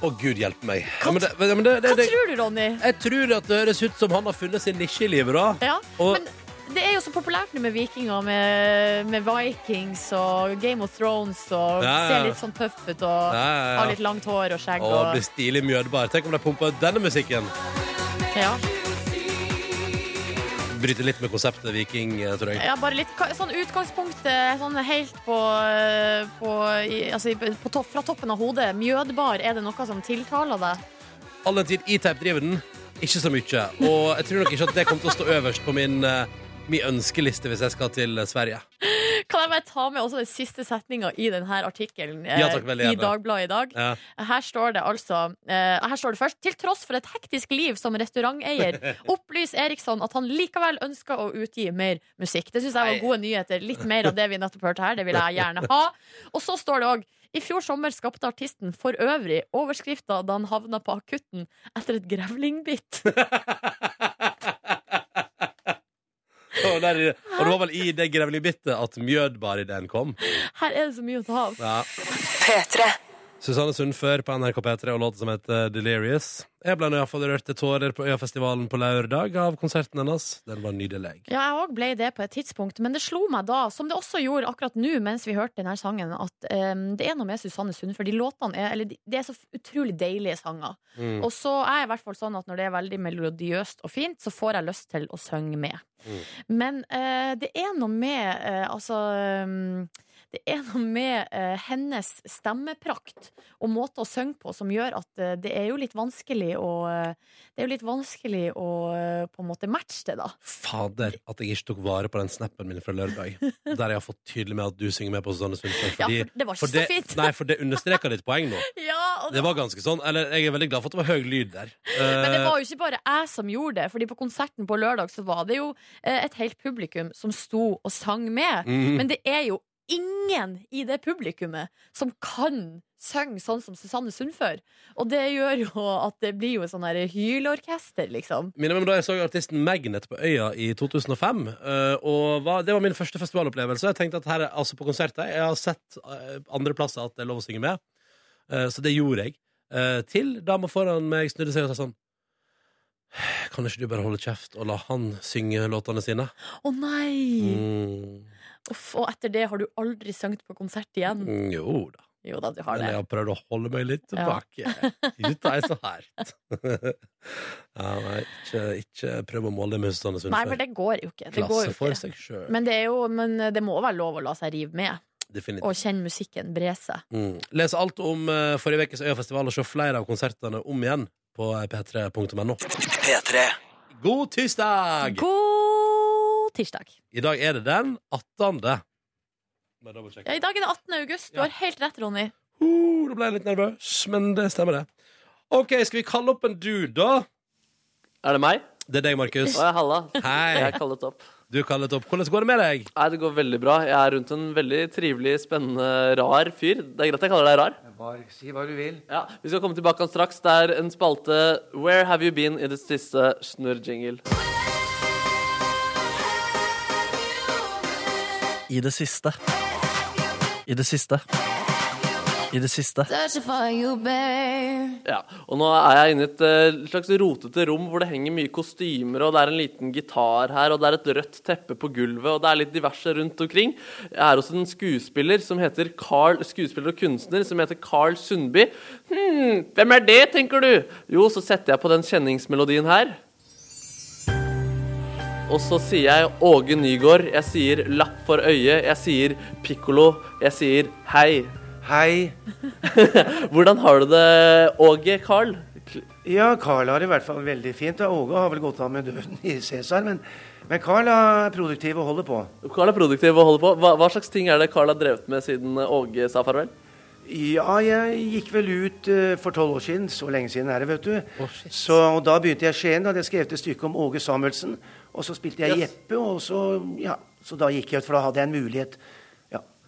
S2: Å, gud hjelpe meg. Ja, men det, men det, det,
S1: Hva
S2: det,
S1: tror du, Ronny?
S2: jeg tror at det høres ut som han har funnet sin nisje i livet, da.
S1: Ja,
S2: Og
S1: men Det er jo så populært nå med vikinger, med, med Vikings og Game of Thrones og
S2: Ja, ja.
S1: ser litt sånn tøff ut og
S2: ja, ja.
S1: har litt langt hår og skjegg.
S2: Å,
S1: Og,
S2: bli stilig mjødbar. Tenk om de pumpa ut denne musikken.
S1: ja.
S2: Bryter litt med konseptet viking, eh, tror jeg.
S1: Ja, bare litt ka- sånn utgangspunktet sånn helt på, eh, på, i, altså, i- på topp- fra toppen av hodet. Mjødbar, er det noe som tiltaler deg?
S2: All den tid E-Type driver den, ikke så mye. Og jeg tror nok ikke at det kommer til å stå øverst på min, eh, min ønskeliste hvis jeg skal til eh, Sverige.
S1: Kan jeg bare ta med også den siste setninga i denne artikkelen eh,
S2: Ja, takk, veldig
S1: i
S2: gjerne.
S1: Dagbladet i dag?
S2: Ja.
S1: Her står det altså eh, Her står det først Til tross for et hektisk liv som restauranteier opplyser Eriksson at han likevel ønsker å utgi mer musikk. Det syns jeg var gode nyheter. Litt mer av det vi nettopp hørte her. Det vil jeg gjerne ha. Og så står det òg i fjor sommer skapte artisten for øvrig overskrifta da han havna på akutten etter et grevlingbitt.
S2: Og, der, og det var vel i det grevlingbittet at mjødbar-ideen kom.
S1: Her er det så mye å ta av.
S2: Ja.
S1: P3.
S2: Susanne Sundfør på NRK P3 og låten som heter Delirious. Jeg ble nå iallfall rørt til tårer på Øyafestivalen på lørdag av konserten hennes. Den var nydelig.
S1: Ja, jeg òg ble det på et tidspunkt, men det slo meg da, som det også gjorde akkurat nå mens vi hørte denne sangen, at em, det er noe med Susanne Sund, for de låtene er Eller de- det er så f- utrolig deilige sanger.
S13: Mm.
S1: Og så er jeg i hvert fall sånn at når det er veldig melodiøst og fint, så får jeg lyst til å synge med.
S2: Mm.
S1: Men eh, det er noe med eh, Altså em, det er noe med eh, hennes stemmeprakt og måte å synge på som gjør at eh, det er jo litt vanskelig å eh, Det er jo litt vanskelig å eh, på en måte matche det, da.
S2: Fader, at jeg ikke tok vare på den snappen min fra lørdag. Der jeg har fått tydelig med at du synger med på Susanne Sundfør.
S1: Ja, for det var ikke så fint.
S2: Nei, for det understreker ditt poeng nå.
S1: Ja, og
S2: Det var eh, ganske sånn, eller Jeg er veldig glad for at det var høy lyd der.
S1: Men det var jo ikke bare jeg som gjorde det, Fordi på konserten på lørdag så var det jo eh, et helt publikum som sto og sang med.
S13: Mhm.
S1: Men det er jo ingen i det publikummet som kan synge sånn som Susanne Sundfør. Og det gjør jo at det blir jo sånn her hyleorkester, liksom.
S2: Minner meg om da jeg så artisten Magnet på Øya i 2005. eh, og var, Det var min første festivalopplevelse. Jeg tenkte at her, er- altså på konserter, Jeg har sett eh, andre plasser at det er lov å synge med, Eh, så det gjorde jeg. Eh, til dama foran meg snudde seg og sa sånn Kan ikke du bare holde kjeft og la han synge låtene sine?
S1: Å nei!
S2: Mm,
S1: Uff, og etter det har du aldri sunget på konsert igjen.
S2: mm, jo da.
S1: Jo da, du har
S2: Men jeg
S1: det.
S2: har prøvd å holde meg litt
S1: Ja.
S2: tilbake. Ikke ta i så hardt. ja, nei, ikke, ikke prøv å måle det med Susanne Sundfør.
S1: Nei, for det går jo ikke. Det går jo
S2: Klasse for
S1: ikke.
S2: seg sjøl.
S1: Men det, er jo, men det må være lov å la seg rive med.
S2: Definitivt.
S1: Og kjenne musikken bre seg.
S2: Mm. Les alt om eh, forrige ukes Øyafestival og se flere av konsertene om igjen på eh, p3.no.
S4: P3.
S2: God tirsdag!
S1: God tirsdag.
S2: I dag er det den 18. Bare dobbeltsjekke.
S1: Ja, I dag er det 18. august. Du har helt rett, Ronny.
S2: Uh, da ble jeg litt nervøs, men det stemmer, det. OK, skal vi kalle opp en dude, da?
S5: Er det meg?
S2: Det er deg, Markus.
S5: Å, ja, halla. Jeg
S2: Hei.
S5: er kallet opp.
S2: Du er kallet opp. Hvordan går det med deg?
S5: Nei, Det går veldig bra. Jeg er rundt en veldig trivelig, spennende, rar fyr. Det er greit jeg kaller deg rar.
S10: Bare si hva du vil.
S5: Ja, Vi skal komme tilbake han straks. Det er en spalte Where have you been i det siste snurrjingle.
S14: I det siste. I det siste. I det siste.
S5: Ja, og nå er jeg inne i et eh, slags rotete rom hvor det henger mye kostymer, og det er en liten gitar her, og det er et rødt teppe på gulvet, og det er litt diverse rundt omkring. Jeg er også en skuespiller som heter Carl, skuespiller og kunstner som heter Carl Sundby. Hm, hvem er det, tenker du? Jo, så setter jeg på den kjenningsmelodien her. Og så sier jeg Åge Nygård, jeg sier Lapp for øye, jeg sier Pikkolo, jeg sier hei. Hei. Hvordan har du det, Eh, Åge Carl?
S15: Ja, Carl har det i hvert fall veldig fint. Og Åge har vel gått av med døden i Cæsar, men, men Carl er produktiv og holder på.
S5: Carl er produktiv og holder på. Hva, hva slags ting er det Carl har drevet med siden Åge sa farvel?
S15: Ja, jeg gikk vel ut eh, for tolv år siden. Så lenge siden er det, vet du. så, og da begynte jeg i Skien. Da hadde jeg skrevet et stykke om Åge Samuelsen. Og så spilte jeg Jeppe, og så Ja. Så da gikk jeg ut, for da hadde jeg en mulighet.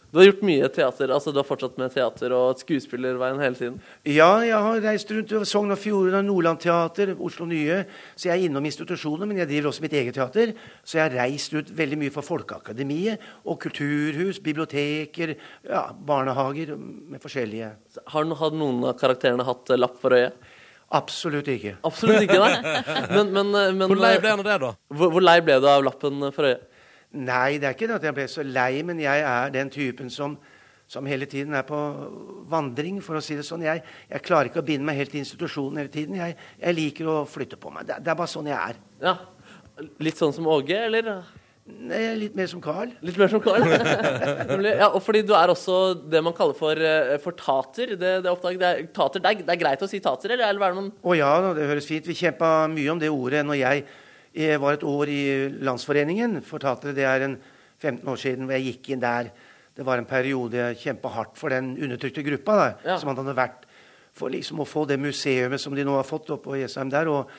S5: Du har gjort mye teater, altså du har fortsatt med teater og skuespillerveien hele tiden.
S15: Ja, jeg har reist rundt til Sogn og Fjordane, Nordland Teater, Oslo Nye. Så jeg er innom institusjoner, men jeg driver også mitt eget teater. Så jeg har reist ut veldig mye for Folkeakademiet og kulturhus, biblioteker, ja, barnehager med forskjellige
S5: Har no- har noen av karakterene hatt eh, lapp for øyet?
S15: Absolutt ikke.
S5: Absolutt ikke, nei. Men, men, eh, men
S15: Hvor lei ble han av
S2: det, da?
S5: Hvor, hvor lei ble du av lappen for øyet?
S15: Nei, det er ikke det at jeg ble så lei, men jeg er den typen som som hele tiden er på vandring, for å si det sånn. Jeg, jeg klarer ikke å binde meg helt til institusjonen hele tiden. Jeg, jeg liker å flytte på meg. Det, det er bare sånn jeg er.
S5: Ja. Litt sånn som Åge, eller?
S15: Nei, litt mer som Carl.
S5: Litt mer som Carl. Nemlig. ja, og fordi du er også det man kaller for, eh, for tater. Det, det, oppdaget, det, er, tater det, er, det er greit å si tater, eller? eller hva er det man
S15: Å ja, det høres fint. Vi kjempa mye om det ordet når jeg, jeg var et år i Landsforeningen for tatere. Det er en 15 år siden hvor jeg gikk inn der det var en periode jeg kjempa hardt for den undertrykte gruppa. Da, ja. som han hadde vært For liksom å få det museet som de nå har fått oppe på Jessheim der. og,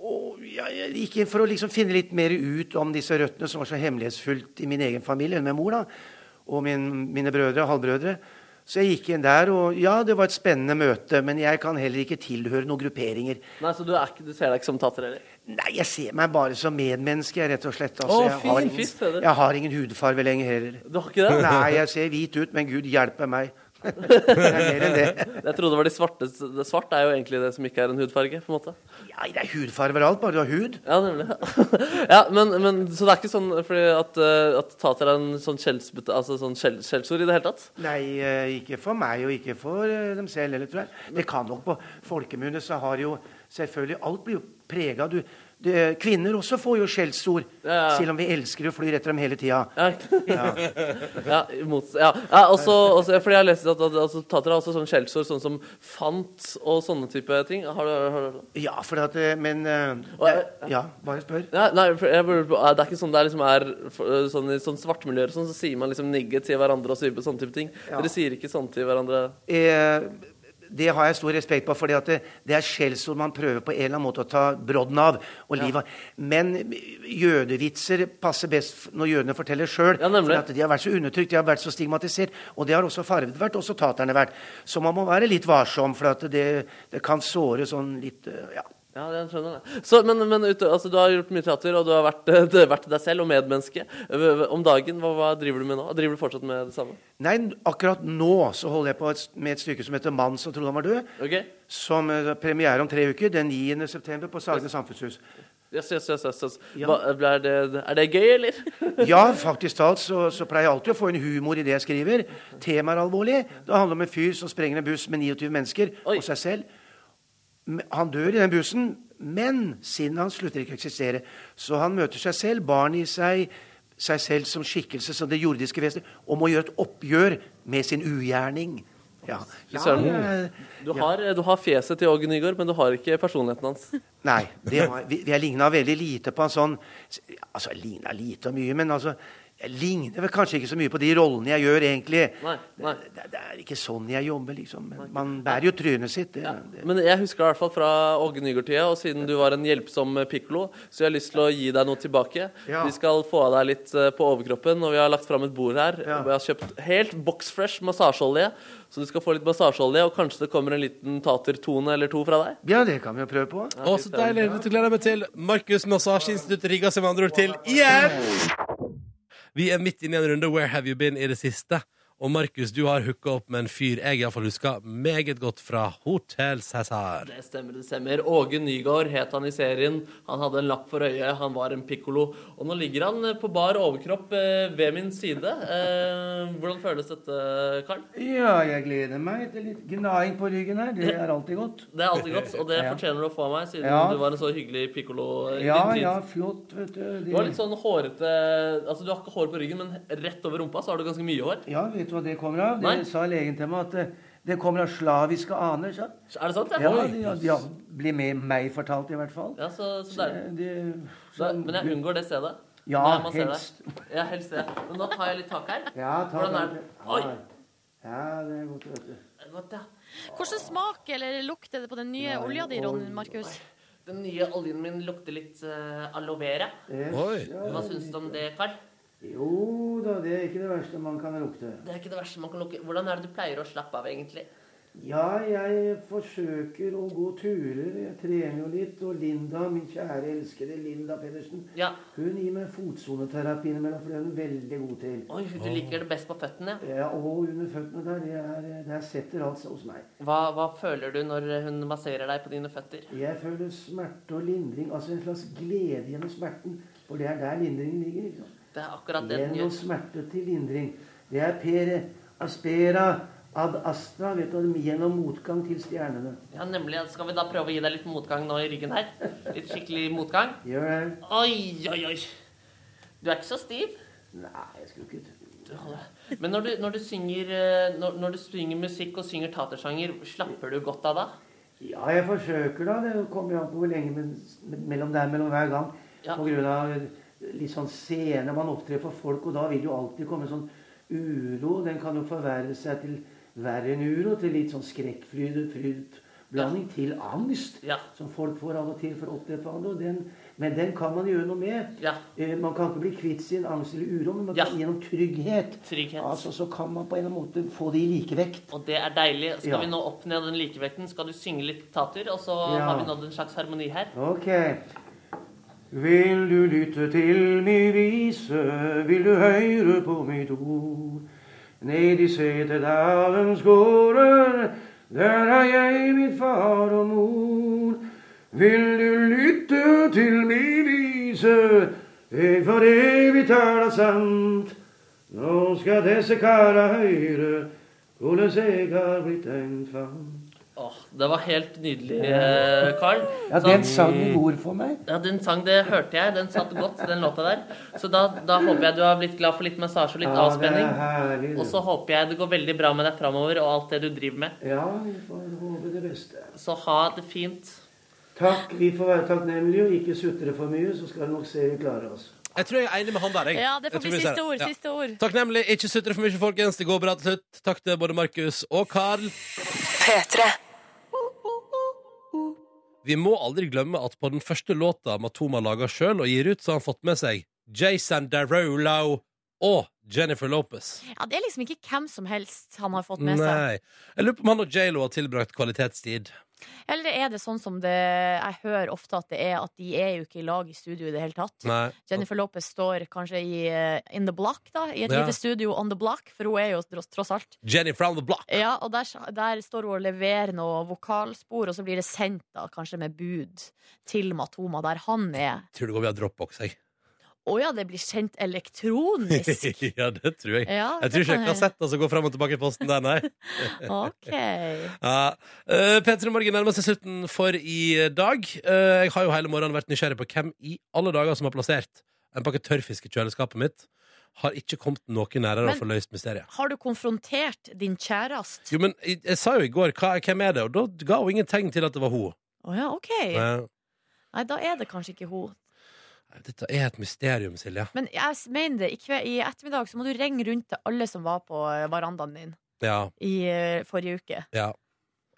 S15: og jeg, jeg gikk inn for å liksom finne litt mer ut om disse røttene som var så hemmelighetsfullt i min egen familie, med mor da, og min, mine brødre og halvbrødre. Så jeg gikk inn der, og ja, det var et spennende møte, men jeg kan heller ikke tilhøre noen grupperinger.
S5: Nei, Så du, er ikke, du ser deg ikke som tater heller?
S15: Nei, jeg ser meg bare som medmenneske, rett og slett. Altså,
S5: Å,
S15: jeg,
S5: fin,
S15: har ingen,
S5: fint, Peder.
S15: jeg har ingen hudfarve lenger heller.
S5: Du har ikke det?
S15: Nei, jeg ser hvit ut, men gud hjelpe meg. det er mer enn det.
S5: Jeg trodde det var de svarte det Svart er jo egentlig det som ikke er en hudfarge. på en måte
S15: Nei, det er hudfarve overalt, bare du har hud.
S5: Ja, nemlig. ja, men, men, Så det er ikke sånn fordi at, eh, at tater er en sånn skjellsbete- altså sånn skjell- skjellsord i det hele tatt?
S15: Nei, eh, ikke for meg, og ikke for eh, dem selv heller, tror jeg. Det kan nok på folkemunne, så har jo selvfølgelig Alt blir jo prega av du. Det, kvinner også får jo skjellsord,
S5: Ja, ja.
S15: selv om vi elsker og flyr etter dem hele tida.
S5: Ja. ja, imot, ja. ja også, også, fordi jeg har lest at, at altså, tater har også sånn skjellsord sånn som fant og sånne type ting. Har du har du hørt det?
S15: Ja, for at, eh, men eh, det- Ja, bare spør.
S5: Ja, nei, for jeg lurer på, det er ikke sånn det er, liksom er for- sånn, I sånn svartmiljøer og sånn, så sier man liksom nigge til hverandre og sybe, sånne type ting.
S15: Ja.
S5: Dere sier ikke sånn til hverandre.
S15: Eh, det har jeg stor respekt på, for det, det er skjellsord man prøver på en eller annen måte å ta brodden av. Og
S5: Ja.
S15: livet. av. Men eh, jødevitser passer best f- når jødene forteller sjøl. for at de har vært så undertrykt, de har vært så stigmatisert. Og det har også farvede vært, også taterne vært. Så man må være litt varsom, for at det, det kan såre sånn litt eh, Ja.
S5: Ja, det skjønner jeg. Så, men men ut, altså, du har gjort mye teater, og du har vært, du har vært deg selv og medmenneske. Om dagen, hva, hva driver du med nå? Driver du fortsatt med det samme?
S15: Nei, n- akkurat nå så holder jeg på et, s- med et stykke som heter 'Mann som trodde han var død'.
S5: Ok?
S15: Som eh, premiere om tre uker, den 9. september, på Sagene samfunnshus.
S5: Yes, yes, yes, yes, yes.
S15: Ja.
S5: Hva, er, det, er det gøy, eller?
S15: Ja, faktisk talt så, så pleier jeg alltid å få en humor i det jeg skriver. Temaet er alvorlig. Det handler om en fyr som sprenger en buss med 29 mennesker og seg selv. Men Han dør i den bussen, men sinnet hans slutter ikke å eksistere. Så han møter seg selv, barn i seg, seg selv som skikkelse, som det jordiske vesenet, og må gjøre et oppgjør med sin ugjerning. Ja. Ja,
S5: Søren.
S15: ja,
S5: du, har, du har fjeset til Åge Nygaard, men du har ikke personligheten hans.
S15: Nei. Det var, vi, jeg ligna veldig lite på en sånn Altså, jeg ligna lite og mye, men altså jeg ligner vel kanskje ikke så mye på de rollene jeg gjør, egentlig.
S5: Nei, nei.
S15: Det, det er ikke sånn jeg jobber, liksom. Men man bærer jo trynet sitt. Det, det.
S5: Men jeg husker deg i hvert fall fra Åge Nygaard-tida, og siden du var en hjelpsom pikkolo, så jeg har lyst til å gi deg noe tilbake.
S15: Ja.
S5: Vi skal få av deg litt eh, på overkroppen, og vi har lagt fram et bord her.
S15: Ja.
S5: Og jeg har kjøpt helt boxfresh massasjeolje, så du skal få litt massasjeolje, og kanskje det kommer en liten tatertone eller to fra deg.
S15: Ja, det kan vi jo prøve på.
S2: Å, så deilig. Dette gleder jeg meg til. Markus Massasjeinstitutt rigga seg med andre ord til igjen. Vi er midt inne i en runde Where have you been i det siste? Og Markus, du har hooka opp med en fyr jeg iallfall husker meget godt fra Hotel Cæsar.
S5: Det stemmer, det stemmer. Åge Nygaard het han i serien. Han hadde en lapp for øyet, han var en pikkolo. Og nå ligger han eh, på bar overkropp eh, ved min side. Eh, hvordan føles dette, Karl?
S15: Ja, jeg gleder meg til litt gnaing på ryggen her. Det er alltid godt.
S5: Det er alltid godt, og det
S15: Ja.
S5: fortjener du å få av meg, siden
S15: Ja.
S5: du var en så hyggelig pikkolo i
S15: Ja,
S5: din tid.
S15: ja, flott, vet du.
S5: Du har
S15: Det,
S5: litt sånn hårete Altså, du har ikke hår på ryggen, men rett over rumpa så har du ganske mye hår.
S15: ja, vet du hva det kommer av? Det
S5: Nei.
S15: sa legen til meg at eh, det kommer av slaviske aner. Så.
S5: Er det sant?
S15: Ja, det ja, ja, blir med meg fortalt, i hvert fall.
S5: Ja, så, så deilig.
S15: så-
S5: Nei, men jeg unngår det stedet.
S15: sånn- Ja,
S5: Nei, man ser det.
S15: helst.
S5: Ja, helst det. Men nå tar jeg litt tak her.
S15: Ja, ta
S5: Hvordan er
S15: det.
S5: det? Oi!
S15: Ja, det er godt, vet du.
S5: Godt, ja.
S1: Hvordan smaker eller lukter det på den nye olja di, Ron Markus?
S5: Den nye oljen min lukter litt eh, aloe vera.
S15: Yes. Oi.
S5: Hva syns du om det, Karl?
S15: Jo da, det er ikke det verste man kan lukte.
S5: Det er ikke det verste man kan lukke. Hvordan er det du pleier å slappe av, egentlig?
S15: Ja, jeg forsøker å gå turer. Jeg trener jo litt. Og Linda, min kjære elskede Linda Pedersen,
S5: Ja.
S15: hun gir meg fotsoneterapi innimellom, for det er hun veldig god til.
S5: Oi, du liker det best på føttene, ja.
S15: Ja, og under føttene der, det er, der setter alt seg hos meg.
S5: Hva, hva føler du når hun masserer deg på dine føtter?
S15: Jeg føler smerte og lindring, altså en slags glede gjennom smerten. For det er der lindringen ligger. ikke sant?
S11: Det er akkurat det den
S15: Gjennom
S11: gjør.
S15: smerte til lindring. Det er per aspera ad astra, vet du, gjennom motgang til stjernene.
S11: Ja, nemlig. Skal vi da prøve å gi deg litt motgang nå i ryggen her? Litt skikkelig motgang?
S15: Gjør det.
S11: Oi, oi, oi. Du er ikke så stiv.
S15: Nei, jeg skulle ikke tro
S11: Du holder- Men når du, når du synger eh, når, når du synger musikk og synger tatersanger, slapper du godt av da?
S15: Ja, jeg forsøker da. Det kommer jo an på hvor lenge men, men- mellom det er mellom hver gang.
S11: Ja.
S15: På grunn av litt sånn scene man opptrer for folk, og da vil jo alltid komme sånn uro. Den kan jo forverre seg til verre enn uro, til litt sånn skrekkfryd-blanding, til angst. Som folk får av og til for å opptre for andre. og den- Men den kan man gjøre noe med. Eh, Man kan ikke bli kvitt sin angst eller uro, men man kan gjennom trygghet. Altså, så kan man på en eller annen måte få det i likevekt.
S11: Og det er deilig. Skal
S15: Ja.
S11: vi nå opp ned den likevekten? Skal du synge litt tater? Og så
S15: Ja.
S11: har vi nådd en slags harmoni her.
S15: Ok. Vil du lytte til mi vise, vil du høre på mitt ord? Ned i setedalens gårder, der har jeg mitt far og mor. Vil du lytte til mi vise, jeg for evig tala sant. Nå skal disse kara høre hvordan jeg har blitt en fant.
S11: Det var helt nydelig, eh, Carl.
S15: Ja,
S11: Så-
S15: den sangen bor for meg.
S11: Ja, den sang, det hørte jeg. Den satt godt, den låta der. Så da, da håper jeg du har blitt glad for litt massasje og litt
S15: Ja, det er
S11: avspenning.
S15: herlig, det.
S11: Og så håper jeg det går veldig bra med deg framover og alt det du driver med.
S15: Ja, vi får håpe det beste.
S11: Så ha det fint.
S15: Takk, vi får være takknemlige og ikke sutre for mye, så skal vi nok se vi klarer oss.
S2: Jeg tror jeg er enig med han der. Jeg.
S1: Ja, det får
S2: Jeg tror
S1: bli
S2: vi ser
S1: siste ord, siste ord.
S2: Takknemlig. Ikke sutre for mye, folkens. Det går bra til slutt. Takk til både Markus og Carl. Vi må aldri glemme at på den første låta Matoma laga sjøl og gir ut, så har han fått med seg Jason Derulo og Jennifer Lopez.
S1: Ja, det er liksom ikke hvem som helst han har fått med seg.
S2: Nei. Jeg lurer på om han og J.Lo har tilbrakt kvalitetstid.
S1: Eller er det sånn som det, jeg hører ofte at det er, at de er jo ikke i lag i studio i det hele tatt.
S2: Nei.
S1: Jennifer Lopez står kanskje i eh, In the Block, da. I et
S2: Ja.
S1: lite studio on the block, for hun er jo tross- tross alt
S2: Jenny from the block.
S1: Ja, og der, der står hun og leverer noe vokalspor, og så blir det sendt da, kanskje med bud til Matoma, der han er.
S2: Tror du går via dropbox, jeg.
S1: Å ja, det blir sendt elektronisk!
S2: ja, det tror jeg.
S1: Ja,
S2: jeg
S1: det
S2: tror ikke
S1: kan
S2: jeg
S1: jeg.
S2: har sett altså, gå fram og tilbake i posten der, nei.
S1: OK.
S2: Ja. Uh, P3 Morgen nærmer seg slutten for i dag. Eh, jeg har jo hele morgenen vært nysgjerrig på hvem i alle dager som har plassert en pakke tørrfisk i kjøleskapet mitt. Har ikke kommet noe nærere å
S1: Men-
S2: få løst mysteriet.
S1: Har du konfrontert din kjæreste?
S2: Jo, men jeg, jeg sa jo i går hva, 'hvem er det', og da ga hun ingen tegn til at det var hun.
S1: Å ja, OK.
S2: Eh,
S1: Nei, da er det kanskje ikke hun.
S2: dette er et mysterium, Silje.
S1: Men jeg s- mener det, i, kve, i ettermiddag så må du ringe rundt til alle som var på eh, verandaen din
S2: Ja.
S1: i eh, forrige uke,
S2: ja.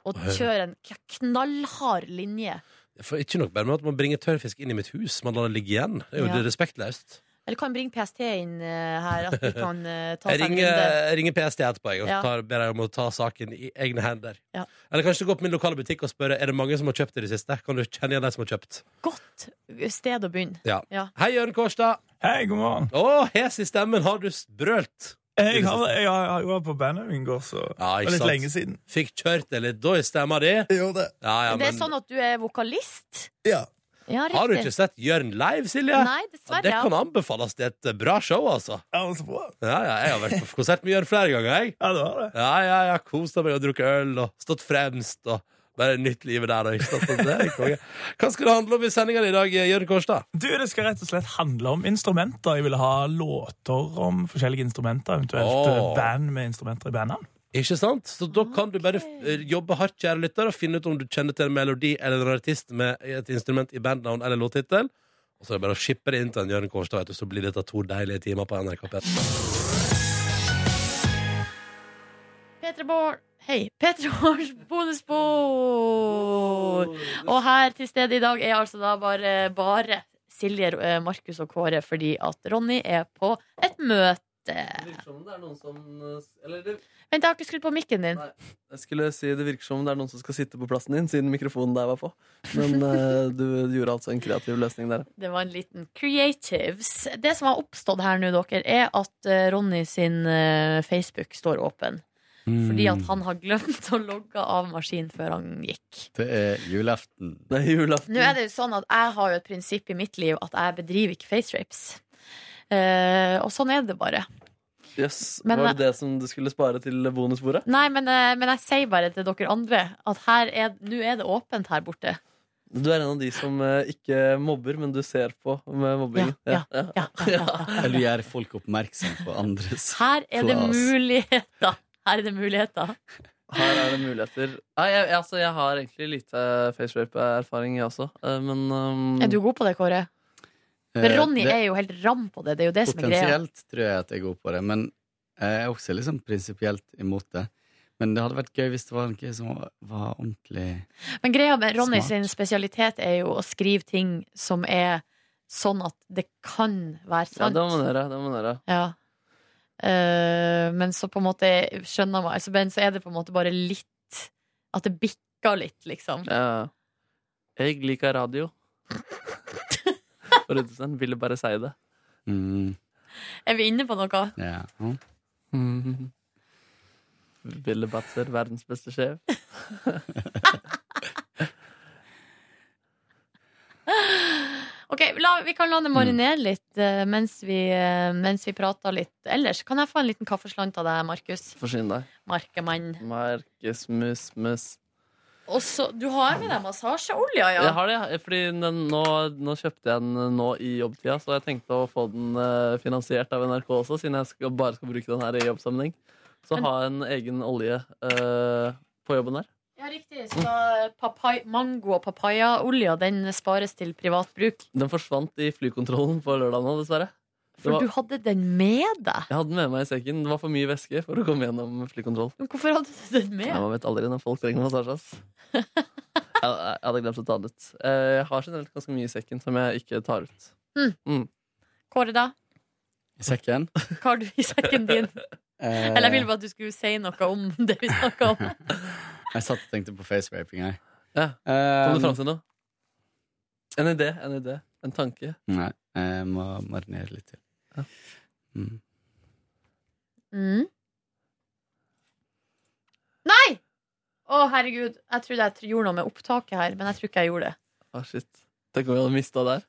S1: og kjøre en k- knallhard linje.
S2: For ikke nok bare med at man bringer tørrfisk inn i mitt hus, man lar det ligge igjen. Det er jo
S1: Ja.
S2: respektløst.
S1: Eller kan bringe PST inn eh, her, at vi kan eh, ta
S2: Jeg
S1: seg en
S2: ringer,
S1: runde.
S2: jeg ringer PST etterpå jeg, og
S1: Ja.
S2: tar, ber dem om å ta saken i egne hender.
S1: Ja.
S2: Eller kanskje gå på min lokale butikk og spørre Er det mange som har kjøpt i det siste. Kan du kjenne igjen de som har kjøpt?
S1: eh, sted å begynne.
S2: Ja.
S1: Ja.
S2: Hei, Jørn Kårstad.
S13: Hei, god morgen.
S2: Å, hes i stemmen. Har du brølt?
S13: Jeg har, jeg har, jeg har jo vært på bandøving i går, så det var litt
S2: sant.
S13: lenge siden.
S2: Fikk kjørt det litt da i stemma di?
S13: Jo, det.
S2: Ja, ja,
S1: Det er
S2: men,
S1: sånn at du er vokalist?
S13: Ja.
S1: Ja, riktig.
S2: Har du ikke sett Jørn live, Silje?
S1: Nei, dessverre.
S2: det kan anbefales. Det er et bra show, altså.
S13: Ja, så bra.
S2: Ja, ja, jeg har vært på konsert med Jørn flere ganger. Jeg.
S13: Ja, det var det.
S2: Ja, ja, ja, koset meg og drukket øl og stått fremst og bare nytt livet der. Og ikke sant? Så det er konge. Hva skal det handle om i sendingen i dag, Jørn Kårstad?
S13: Du, Det skal rett og slett handle om instrumenter. Jeg ville ha låter om forskjellige instrumenter, eventuelt
S2: Åh.
S13: eh, band med instrumenter i bandene.
S2: Ikke sant? Så da kan du bare eh, jobbe hardt, kjære lytter, og finne ut om du kjenner til en melodi eller en artist med et instrument i bandnavn eller låttittel. Og så er det bare å shippe det inn til en Jørn Kårstad, vet du, så blir dette to deilige timer på NRK P3.
S1: Petre Bård Hei. Petre Bårds bonusbord! Og her til stede i dag er altså da bare, bare Silje, eh, Markus og Kåre fordi at Ronny er på et møte.
S5: virker som om det er noen som eh, Eller det,
S1: Vent, jeg har ikke skrudd på mikken din.
S5: jeg skulle si det virker som om det er noen som skal sitte på plassen din, siden mikrofonen der var på. Men eh, du gjorde altså en kreativ løsning der.
S1: Det var en liten creatives. Det som har oppstått her nå, dere, er at eh, Ronny sin eh, Facebook står åpen. Fordi
S3: Mm.
S1: at han har glemt å logge av maskinen før han gikk.
S16: Det er julaften.
S5: Det er julaften.
S1: Nå er det jo sånn at jeg har jo et prinsipp i mitt liv at jeg bedriver ikke facerapes. Eh, og sånn er det bare.
S5: Yes.
S1: Men,
S5: Var det det som du skulle spare til bonusbordet?
S1: Nei, men, eh, men jeg sier bare til dere andre at her er, nå er det åpent her borte.
S5: Du er en av de som eh, ikke mobber, men du ser på med mobbingen.
S1: Ja, ja,
S3: Eller gjør folk oppmerksom på andres
S1: Her er det
S5: Klas.
S1: muligheter. Her er det muligheter.
S5: Her er det muligheter. Nei, jeg, jeg- altså, jeg har egentlig lite facerape-erfaring, jeg også. eh, Men um,
S1: Er du god på det, Kåre? Men
S3: Eh,
S1: Ronny
S3: det-
S1: er jo helt ram på det. Det er jo det som er greia.
S3: Potensielt tror jeg at jeg er god på det, men jeg er også liksom prinsipielt imot det. Men det hadde vært gøy hvis det var noe som var ordentlig
S1: Men greia med Ronny sin spesialitet er jo å skrive ting som er sånn at det kan være
S5: Ja,
S1: sant.
S5: det må man gjøre. Det må man gjøre.
S1: Ja. Eh, men så på en måte skjønner man altså, Men så er det på en måte bare litt At det bikker litt, liksom.
S5: Ja. Jeg liker radio. For ute sånn, ville bare si det.
S3: Mm.
S1: Er vi inne på noe?
S3: Ja.
S1: Mm.
S5: Ville Batzer, verdens beste sjef.
S1: Ok, la, Vi kan la det marinere
S5: Mm.
S1: litt eh, mens, vi, eh, mens vi prater litt ellers. Kan jeg få en liten kaffeslant av deg, Markus?
S5: Forsyn deg.
S1: Markemann.
S5: Markus Mus Mus.
S1: Og så, Du har med deg massasjeolja, ja?
S5: Jeg har det, ja, fordi den, nå, nå kjøpte jeg den eh, nå i jobbtida, så jeg tenkte å få den eh, finansiert av NRK også, siden jeg skal, bare skal bruke den her i jobbsammenheng. Så
S1: Men-
S5: ha en egen olje eh, på jobben der.
S1: Ja, riktig. Så da papai, mango- og papayaolja den spares til privat bruk.
S5: Den forsvant i flykontrollen på lørdag nå, dessverre. Det
S1: For
S5: var-
S1: du hadde den med deg?
S5: Jeg hadde den med meg i sekken. Det var for mye væske for å komme gjennom flykontroll.
S1: Men Hvorfor hadde du den med?
S5: Ja, man vet aldri når folk trenger massasje, ass. jeg, jeg hadde glemt å ta den ut. Eh, Jeg har generelt ganske mye i sekken som jeg ikke tar ut.
S1: Mm.
S5: Mm.
S1: Kåre, da?
S3: I sekken.
S1: Hva har du i sekken din?
S3: Eh,
S1: Eller jeg ville bare at du skulle si noe om det vi snakka om.
S3: Jeg satt og tenkte på Eh, faceraping, jeg.
S5: Ja. Kom
S3: Ehm,
S5: du fram til noe? En idé, en idé, en tanke.
S3: Nei, jeg må marinere litt til. Mm.
S1: Mm. Nei! Å, herregud. Jeg trodde jeg tr- gjorde noe med opptaket her, men jeg tror ikke jeg gjorde det.
S5: Å, Ah, shit. Tenk om vi hadde mista der.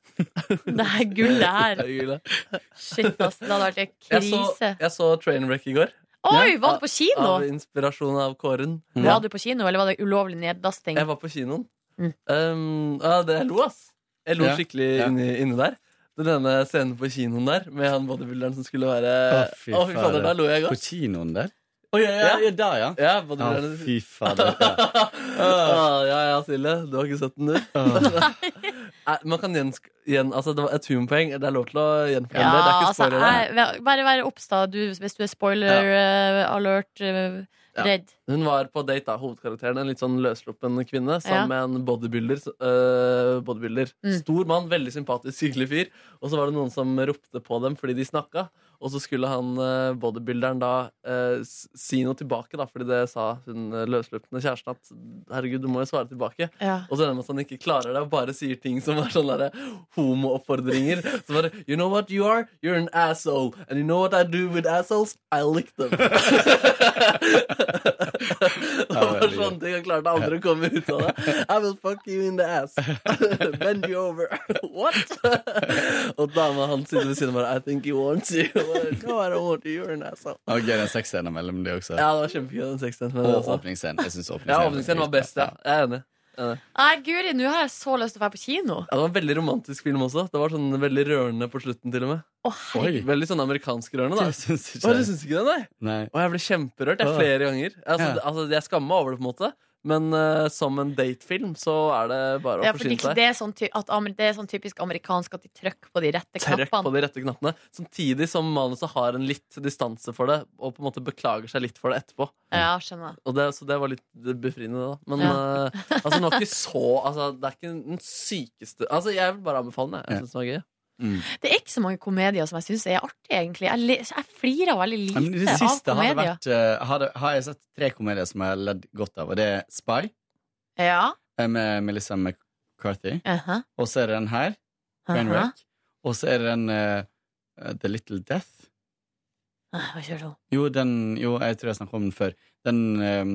S1: Det er gullet her.
S5: Det er gullet.
S1: Shit, ass. Det hadde vært en
S5: Jeg så,
S1: krise.
S5: jeg så Trainwreck i går.
S1: Oi,
S5: Ja.
S1: var du på kino?
S5: Av inspirasjon av Kåren. Ja.
S1: Var du på kino, eller var det ulovlig neddasting?
S5: Jeg var på kinoen.
S1: Mm.
S5: Um, ja, det jeg lo, ass. Jeg lo
S1: Ja,
S5: skikkelig
S1: ja.
S5: Inni, inni der. Den ene scenen på kinoen der med han bodybuilderen som skulle være
S3: Å,
S5: Eh, Å, fy fader, da lo jeg
S3: På
S5: godt.
S3: kinoen der?
S5: Å, ja, ja, ja.
S3: Da, ja.
S5: Ja,
S3: Å,
S5: bodybuilderen.
S3: fy fader. Ja.
S5: Ah, ja, ja, Silje. Du har ikke sett den, du? Nei, Man kan gjensk... Gjen, altså, det var et humorpoeng. Det er lov til å gjenfortelle. det. Det er ikke
S1: altså,
S5: spoiler. det.
S1: jeg, vær- bare vær obs, da, du, hvis du er spoiler eh, alert, eh,
S5: Ja.
S1: redd.
S5: Hun var på date, da, hovedkarakteren. En litt sånn løssluppen kvinne
S1: Ja. Mm.
S5: sammen med en bodybuilder. øh, bodybuilder. Stor mann, veldig sympatisk, hyggelig fyr. Og så var det noen som ropte på dem fordi de snakka. Og så skulle han øh, bodybuilderen da øh, s- si noe tilbake, da, fordi det sa hun øh, løsslupne kjæresten at herregud, du må jo svare tilbake.
S1: Ja.
S5: Og så ender det med at han ikke klarer det og bare sier ting som er sånne der homooppfordringer. Så bare You know what you are? You're an asshole. And you know what I do with assholes? I lick them. Det var
S3: veldig
S5: sånne ting jeg klarte aldri å komme ut av det. I will fuck you in the ass. Bend you over. What? Og dama han sitter ved siden av bare I think he wants you. Og bare, No, I don't want you. You're an asshole.
S3: Det var gøy den sexscenen mellom de også.
S5: Ja, det var kjempegøy, den sexscenen. med det
S3: Og
S5: også.
S3: åpningsscenen. Jeg synes
S5: Ja,
S3: åpningsscenen
S5: åpningsscenen var best, ja. Jeg er enig. Jeg er enig.
S1: Nei, guri, nå har jeg så lyst til å være på kino.
S5: Ja, det var en veldig romantisk film også. Det var sånn veldig rørende på slutten til og med.
S1: herregud.
S5: Veldig sånn amerikansk rørende, da.
S3: Det syns ikke
S5: Å,
S3: jeg.
S5: du syns ikke det, nei?
S3: Nei.
S5: Og jeg ble kjemperørt jeg,
S3: Å.
S5: flere ganger. Altså,
S3: Ja.
S5: det- altså, jeg skammer meg over det, på en måte. Men eh, som en datefilm så er det bare å
S1: Ja, for
S5: forsyne
S1: det,
S5: seg.
S1: det, er sånn ty at, amer- det er sånn typisk amerikansk at de trykker på de rette
S5: Trykk på
S1: knappene.
S5: de rette knappene. Samtidig som manuset har en litt distanse for det, og på en måte beklager seg litt for det etterpå.
S1: Ja, skjønner.
S5: Og det, så det var litt befriende, da. Men
S1: Ja.
S5: eh, altså, den var ikke så altså, Det er ikke den sykeste Altså, jeg vil bare anbefale den. jeg. Jeg syns den var gøy.
S1: Det er ikke så mange komedier som jeg syns er artige, egentlig. Jeg, le- jeg flirer veldig
S3: Ja, men
S1: lite
S3: det
S1: av
S3: siste har, det
S1: komedier.
S3: vært, eh, har, det, har jeg sett tre komedier som jeg har ledd godt av, og det er Spy
S1: Ja.
S3: eh, med Melissa McCarthy,
S1: aha,
S3: og så er det den her,
S1: aha.
S3: Trainwreck, og så er det den eh, The Little Death.
S1: Nei, Ah, hva kjører du?
S3: Jo, den, jo, jeg tror jeg snakket om den før. Den eh,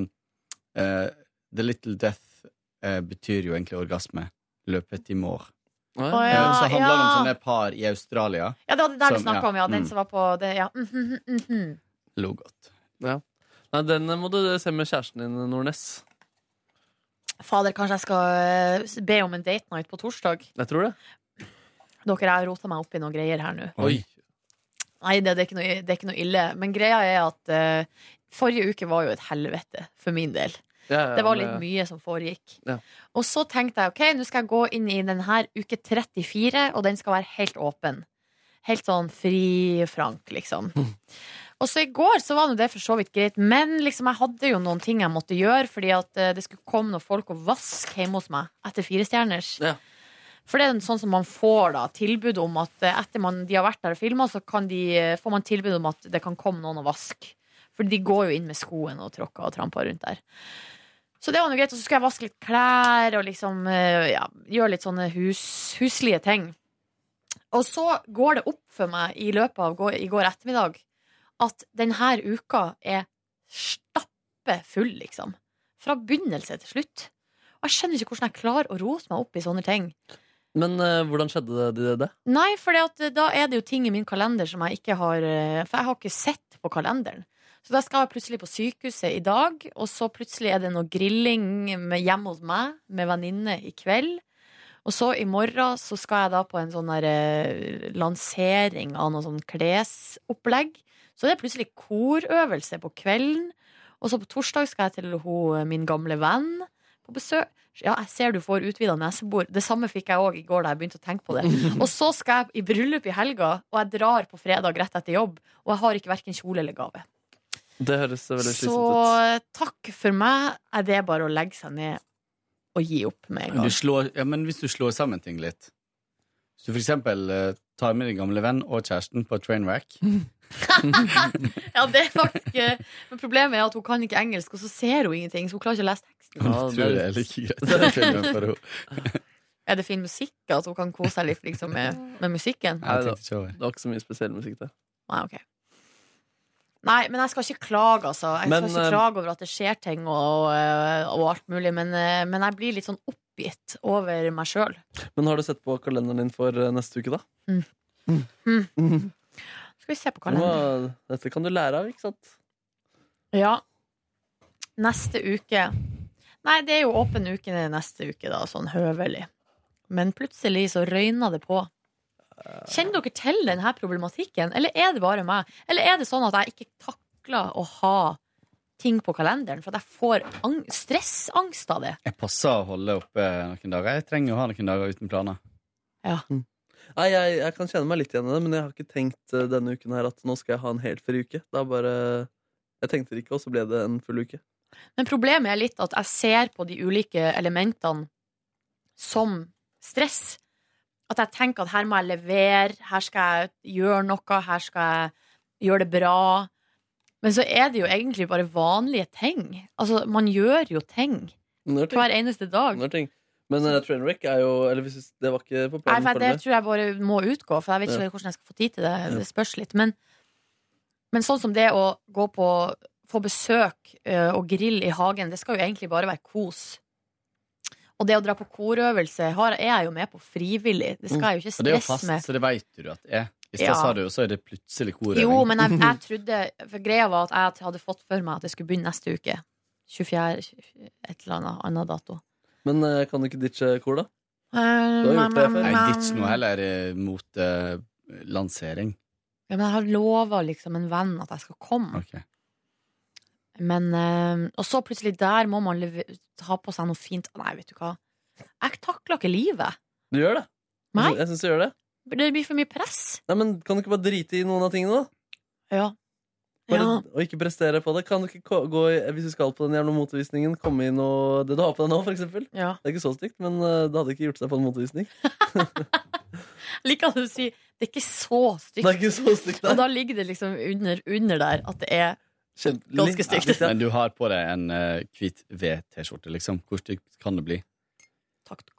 S3: eh, The Little Death eh, betyr jo egentlig orgasme. Le petit mort.
S1: Å,
S3: Eh,
S1: ja,
S3: så handler det om
S1: ja.
S3: sånne par i Australia.
S1: Ja, det var det der du
S3: Som-
S1: snakka om, ja. Den
S3: mm.
S1: som var på det, ja. Mhm, mhm, mhm.
S3: Lo godt.
S5: Ja. Nei, den må du se med kjæresten din, Nordnes.
S1: Fader, kanskje jeg skal eh, be om en date night på torsdag.
S5: Jeg tror det.
S1: Dere, jeg har rota meg opp i noen greier her nå.
S5: Oi.
S1: Nei, det, det, er ikke noe, det er ikke noe ille. Men greia er at eh, forrige uke var jo et helvete for min del.
S5: Ja, ja,
S1: det var
S5: men-
S1: litt mye som foregikk.
S5: Ja.
S1: Og så tenkte jeg ok, nå skal jeg gå inn i den her uke 34, og den skal være helt åpen. Helt sånn fri frank, liksom. Og så i går så var nå det for så vidt greit, men liksom jeg hadde jo noen ting jeg måtte gjøre, fordi at eh, det skulle komme noen folk og vaske hjemme hos meg etter fire stjerners. For det er en sånn som man får da, tilbud om at eh, etter man, de har vært der og filma, så kan de, eh, får man tilbud om at det kan komme noen og vaske. For de går jo inn med skoen og tråkker og tramper rundt der. Så det var noe greit, og så skulle jeg vaske litt klær og liksom, eh, ja, gjøre litt sånne hus, huslige ting. Og så går det opp for meg i løpet av går, i går ettermiddag at denne uka er stappefull, liksom. Fra begynnelse til slutt. Og jeg skjønner ikke hvordan jeg klarer å rote meg opp i sånne ting.
S5: Men eh, hvordan skjedde det? det, det?
S1: Nei, for da er det jo ting i min kalender som jeg ikke har eh, For jeg har ikke sett på kalenderen. Så da skal jeg plutselig på sykehuset i dag, og så plutselig er det noe grilling med- hjemme hos meg med venninne i kveld. Og så i morgen så skal jeg da på en sånn der eh, lansering av noe sånn klesopplegg. Så det er plutselig korøvelse på kvelden. Og så på torsdag skal jeg til ho, min gamle venn på besøk. Ja, jeg ser du får utvida nesebor. Det samme fikk jeg òg i går da jeg begynte å tenke på det. Og så skal jeg i bryllup i helga, og jeg drar på fredag rett etter jobb. Og jeg har ikke verken kjole eller gave.
S5: Det høres veldig
S1: Så
S5: slitsomt ut.
S1: takk for meg. Er det bare å legge seg ned og gi opp med en
S3: Du
S1: gang?
S3: slår, ja, men hvis du slår sammen ting litt Hvis du for eksempel eh, tar med din gamle venn og kjæresten på trainwreck
S1: Mm. Ja, det er faktisk eh, Men problemet er at hun kan ikke engelsk, og så ser hun ingenting. Så hun klarer ikke å lese teksten.
S3: Jeg tror det er like greit den filmen for henne.
S1: Er det fin musikk? At hun kan kose seg litt liksom, med, med musikken?
S5: Nei, det, det var ikke så mye spesiell musikk, det.
S1: Nei, ok Nei, men jeg skal ikke klage, altså. Jeg
S5: Men,
S1: skal
S5: eh,
S1: ikke klage over at det skjer ting og, eh, og alt mulig, men, eh, men jeg blir litt sånn oppgitt over meg sjøl.
S5: Men har du sett på kalenderen din for eh, neste uke, da?
S1: Mm. Skal vi se på
S5: Du må,
S1: kalenderen.
S5: dette kan du lære av, ikke sant?
S1: Ja. Neste uke Nei, det er jo åpen uke neste uke, da, sånn høvelig. Men plutselig så røyner det på. Kjenner dere til denne problematikken, eller er det bare meg? Eller er det sånn at jeg ikke takler å ha ting på kalenderen, for at jeg får ang stressangst av det?
S3: Jeg passer å holde oppe noen dager. Jeg trenger å ha noen dager uten planer.
S5: Nei, jeg, jeg kan kjenne meg litt igjen i det, men jeg har ikke tenkt eh, denne uken her at nå skal jeg ha en helt fri uke. Det er bare Jeg tenkte det ikke, og så ble det en full uke.
S1: Men problemet er litt at jeg ser på de ulike elementene som stress. At jeg tenker at her må jeg levere, her skal jeg gjøre noe, her skal jeg gjøre det bra. Men så er det jo egentlig bare vanlige ting. Altså, man gjør jo ting.
S5: Når ting-
S1: Hver eneste dag.
S5: når ting. Men uh, Trainwreck er jo Eller hvis du- det var ikke
S1: Nei,
S5: på planen
S1: for
S5: for
S1: det
S5: meg.
S1: tror jeg bare må utgå, for jeg vet ikke
S5: Ja.
S1: hvordan jeg skal få tid til det.
S5: Ja.
S1: Det spørs litt. Men, men sånn som det å gå på få besøk ø, og grill i hagen, det skal jo egentlig bare være kos. Og det å dra på korøvelse har, er jeg jo med på frivillig. Det skal jeg jo ikke
S3: Og Mm. det er jo
S1: stresse
S3: fast,
S1: med.
S3: så det vet du at det er. I stad
S1: Ja.
S3: sa du jo, så er det plutselig korøving.
S1: Jo, men jeg, jeg trodde For greia var at jeg hadde fått for meg at det skulle begynne neste uke. 24. et eller annet annen dato.
S5: Men eh, kan du ikke ditche kor, da?
S1: Du
S3: Nei, ditch nå heller eh, mot eh, lansering.
S1: Ja, men jeg har lova liksom en venn at jeg skal komme. Men, eh, og så plutselig der må man leve, ha på seg noe fint. Nei, vet du hva. Jeg takler ikke livet.
S5: Du gjør det.
S1: Nei.
S5: Jeg syns du gjør det.
S1: Det blir for mye press.
S5: Nei, men Kan du ikke bare drite i noen av tingene, da?
S1: Ja.
S5: Bare, Og ikke prestere på det. Kan du ikke ko- gå i, Hvis du skal på den jævla motevisningen, komme i noe Det du har på deg nå, for eksempel.
S1: Ja.
S5: Det er ikke så stygt, men eh, det hadde ikke gjort seg på en motevisning.
S1: Liker at du sier det er ikke så stygt.
S5: Det er ikke så stygt, nei.
S1: Og da ligger det liksom under, under der at det er ganske stygt. liksom.
S3: Ja, Men du har på deg en eh, hvit V-T-skjorte, liksom. Hvor stygt kan det bli?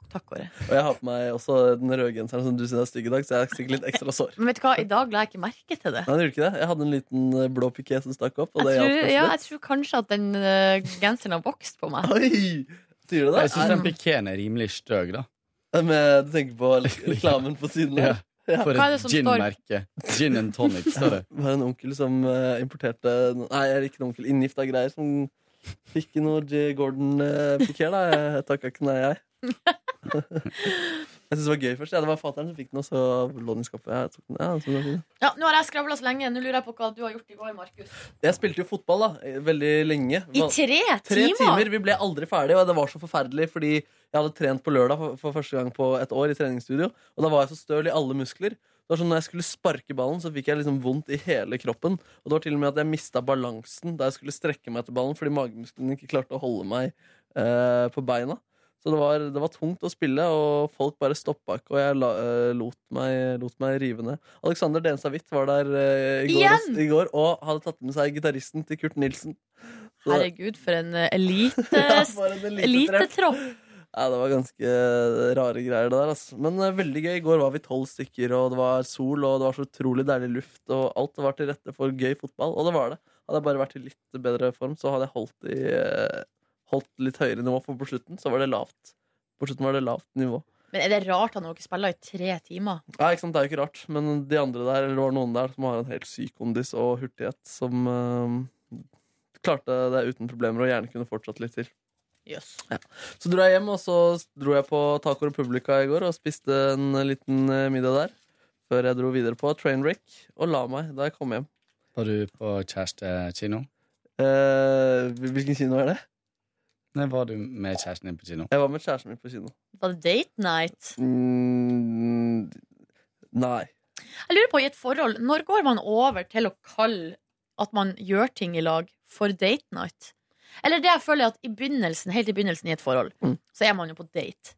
S5: Og jeg har på meg også den røde genseren som du syns er stygg i dag, så jeg er sikkert litt ekstra sår.
S1: Men vet du hva, i dag la jeg ikke merke til det.
S5: Nei, det gjorde ikke det. Jeg hadde en liten eh, blå piké som stakk opp, og det
S1: Jeg tror,
S5: hjalp
S1: ja,
S5: kanskje
S1: jeg
S5: litt.
S1: tror kanskje at den eh, genseren har vokst på meg.
S5: Oi! Sier du det?
S3: Jeg syns den pikeen er rimelig støg, da.
S5: Med, du tenker på re- reklamen på siden
S3: Ja.
S5: der? Ja.
S3: For et gin-merke. Gin and tonic, står det.
S5: Det var en onkel som eh, importerte no- Nei, jeg er ikke en onkel. Inngifta greier som fikk noe J. Gordon uh, piqué, da. Jeg, jeg takka ikke nei, jeg. jeg syns det var gøy først. Ja, det var fatter'n som fikk den, og så lå den i skapet. Jeg, tok den. Ja, jeg synes det var fint.
S1: Ja, nå har jeg skravla så lenge. Nå lurer jeg på hva du har gjort i går, Markus.
S5: Jeg spilte jo fotball da, veldig lenge.
S1: I tre timer?
S5: timer. Vi ble aldri ferdig, og det var så forferdelig fordi jeg hadde trent på lørdag for, for første gang på et år i treningsstudio, og da var jeg så støl i alle muskler. Det var sånn Når jeg skulle sparke ballen, så fikk jeg liksom vondt i hele kroppen. Og det var til og med at jeg mista balansen da jeg skulle strekke meg etter ballen fordi magemusklene ikke klarte å holde meg eh, på beina. Så det var, det var tungt å spille, og folk bare stoppa ikke, og jeg la, eh, lot, meg, lot meg rive ned. Alexander Denstad-Hvitt var der eh, i, går,
S1: Igjen?
S5: i går og hadde tatt med seg gitaristen til Kurt Nilsen. Så-
S1: Herregud, for en eh, elite elitetropp.
S5: ja, det var ganske eh, rare greier, det der. Altså. Men eh, veldig gøy. I går var vi tolv stykker, og det var sol, og det var så utrolig deilig luft, og alt var til rette for gøy fotball, og det var det. Hadde jeg bare vært i litt bedre form, så hadde jeg holdt, i, eh, holdt litt høyere nivå, for på slutten så var det lavt. På slutten var det lavt nivå.
S1: Men er det rart at dere spiller i tre timer?
S5: Nei, ikke sant, det er jo ikke rart, men de andre der, eller det var noen der som har en helt syk kondis og hurtighet, som eh, klarte det uten problemer og gjerne kunne fortsatt litt til.
S1: Jøss.
S5: Ja. Så dro jeg hjem, og så dro jeg på Taco Republica i går og spiste en liten eh, middag der. Før jeg dro videre på Trainwreck og la meg da jeg kom hjem.
S3: Var du på kjærestekino?
S5: Eh, hvilken kino er det?
S3: Nei, var du med kjæresten din på kino?
S5: Jeg var med kjæresten min på kino.
S1: Var det date night?
S5: Mm, nei.
S1: Jeg lurer på, i et forhold, når går man over til å kalle at man gjør ting i lag for date night? Eller det jeg føler at i begynnelsen, helt i begynnelsen i et forhold, så er man jo på date.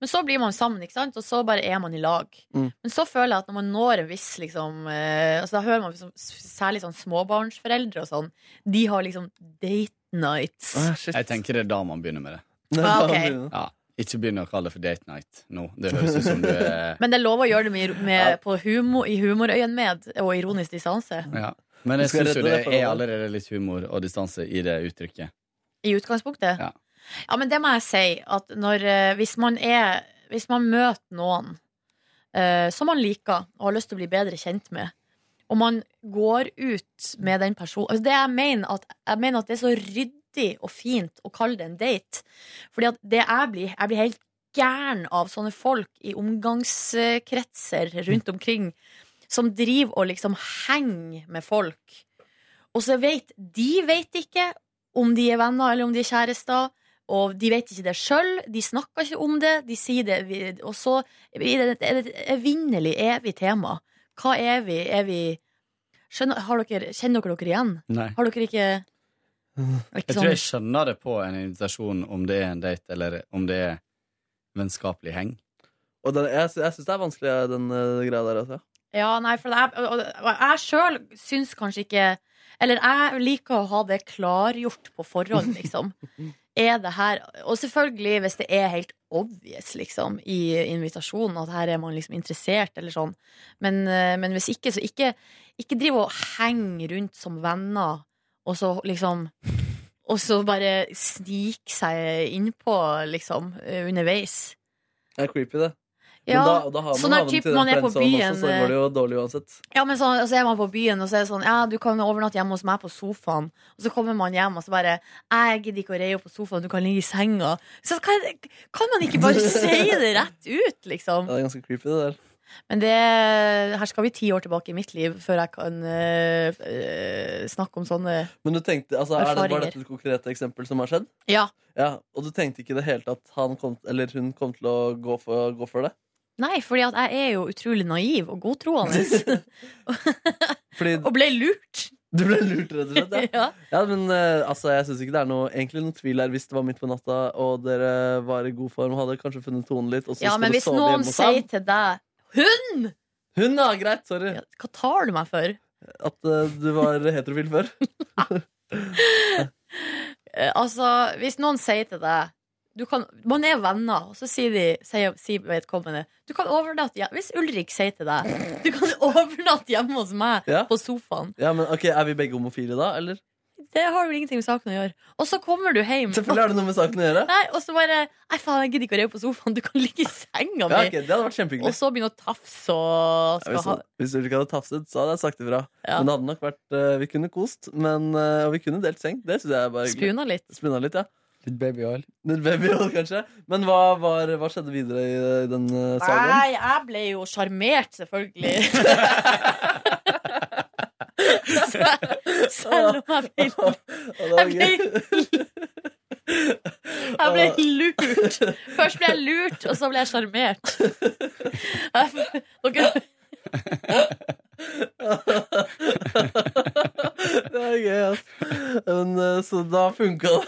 S1: Men så blir man sammen, ikke sant? og så bare er man i lag.
S5: Mm.
S1: Men så føler jeg at når man når en viss liksom, eh, altså Da hører man liksom, s- særlig sånn småbarnsforeldre og sånn. De har liksom date nights.
S5: Ah,
S3: jeg tenker det er da man begynner med det.
S1: Ah, ok.
S3: Ja, ikke begynn å kalle det for date night nå. Det høres ut som du er
S1: Men det er lov å gjøre det med, med, på humor, i humorøyen med, og ironisk distanse.
S3: ja. Men jeg
S5: Du skal
S3: syns jo
S5: redde
S3: det
S5: det
S3: er
S5: forholdet.
S3: allerede litt humor og distanse i det uttrykket.
S1: I utgangspunktet?
S3: Ja.
S1: Ja, men det må jeg si at når, eh, hvis, man er, hvis man møter noen eh, som man liker og har lyst til å bli bedre kjent med, og man går ut med den personen altså det jeg, mener at, jeg mener at det er så ryddig og fint å kalle det en date. Fordi at det jeg blir Jeg blir helt gæren av sånne folk i omgangskretser rundt omkring som driver og liksom henger med folk. Og så vet de vet ikke om de er venner eller om de er kjærester. Og de vet ikke det sjøl, de snakker ikke om det. De sier det, vi- og så er det er det et evinnelig, evig tema. Hva er vi? Er vi skjønner, har dere, Kjenner dere dere igjen?
S3: Nei.
S1: Har dere ikke
S3: Jeg tror jeg skjønner det på en invitasjon om det er en date, eller om det er vennskapelig heng.
S5: Og den, jeg, sy- jeg syns det er vanskelig, den eh, greia der. Altså.
S1: Ja, nei, for jeg, og- og- og jeg sjøl syns kanskje ikke Eller jeg liker å ha det klargjort på forhånd, liksom. Er det her Og selvfølgelig hvis det er helt obvious, liksom, i invitasjonen, at her er man liksom interessert, eller sånn. Men, eh, men hvis ikke, så ikke, ikke driv og heng rundt som venner, og så liksom Og så bare snike seg innpå, liksom, eh, underveis.
S5: Det er creepy, det. Men
S1: Ja,
S5: da, da har man
S1: sånn der
S5: havnet i
S1: typ
S5: den
S1: man er på
S5: friendzonen
S1: byen, eh,
S5: Også, så går det jo dårlig uansett.
S1: Ja, men så, og så er man på byen, og så er det sånn Ja, du kan overnatte hjemme hos meg på sofaen. Og så kommer man hjem, og så bare Jeg gidder ikke å reie opp på sofaen, du kan ligge i senga. Så kan, kan man ikke bare si det rett ut, liksom?
S5: Ja, det er ganske creepy, det der.
S1: Men det Her skal vi ti år tilbake i mitt liv før jeg kan øh, øh, snakke om sånne
S5: Men du tenkte, altså, er det, var
S1: Erfaringer.
S5: dette et konkret eksempel som har skjedd?
S1: Ja.
S5: Ja, Og du tenkte ikke i det hele tatt han kom, eller hun kom til å gå for, gå for det?
S1: Nei, fordi at jeg er jo utrolig naiv og godtroende.
S5: Fordi
S1: og ble lurt.
S5: Du ble lurt, rett og slett?
S1: Ja.
S5: ja men eh, altså, jeg syns ikke det er noe, egentlig noen tvil her hvis det var midt på natta og dere var i god form, hadde kanskje funnet tonen litt, og så
S1: Ja,
S5: skal
S1: men
S5: du
S1: hvis
S5: sove
S1: noen
S5: hjemme hos
S1: sier
S5: ham.
S1: til deg Hun!
S5: Hun, ja, greit, sorry.
S1: Hva tar du meg for?
S5: At eh, du var heterofil før?
S1: Eh, Altså, hvis noen sier til deg du kan, Man er venner, og så sier, de, sier, sier vedkommende Du kan overnatte hjem- Hvis Ulrik sier til deg Du kan overnatte hjemme hos meg
S5: Ja.
S1: på sofaen
S5: Ja, men ok, Er vi begge homofile da, eller?
S1: Det har vel ingenting med saken å gjøre. Og så kommer du hjem.
S5: Selvfølgelig har det noe med saken å gjøre.
S1: Nei, og så bare Nei, faen, jeg gidder ikke å reie på sofaen. Du kan ligge i senga mi.
S5: Ja, ok, det hadde vært kjempehyggelig.
S1: Og så begynne å tafse og skal
S5: Hvis,
S1: ha
S5: hvis du ikke hadde tafset, så hadde jeg sagt ifra.
S1: Ja.
S5: Men det hadde nok vært eh, Vi kunne kost, men, eh, og vi kunne delt seng. Det synes jeg er bare hyggelig.
S1: Spuna litt.
S5: Spuna litt, ja. Litt babyoil. Litt babyoil, kanskje. Men hva, var, hva skjedde videre i eh, den eh, sagaen?
S1: Nei, jeg ble jo sjarmert, selvfølgelig. Sel- Selv om jeg ble Jeg ble, jeg ble lurt. Først ble jeg lurt, og så ble jeg sjarmert. Jeg- Dere
S5: Det er gøy, ass. Men, eh, så da funka det.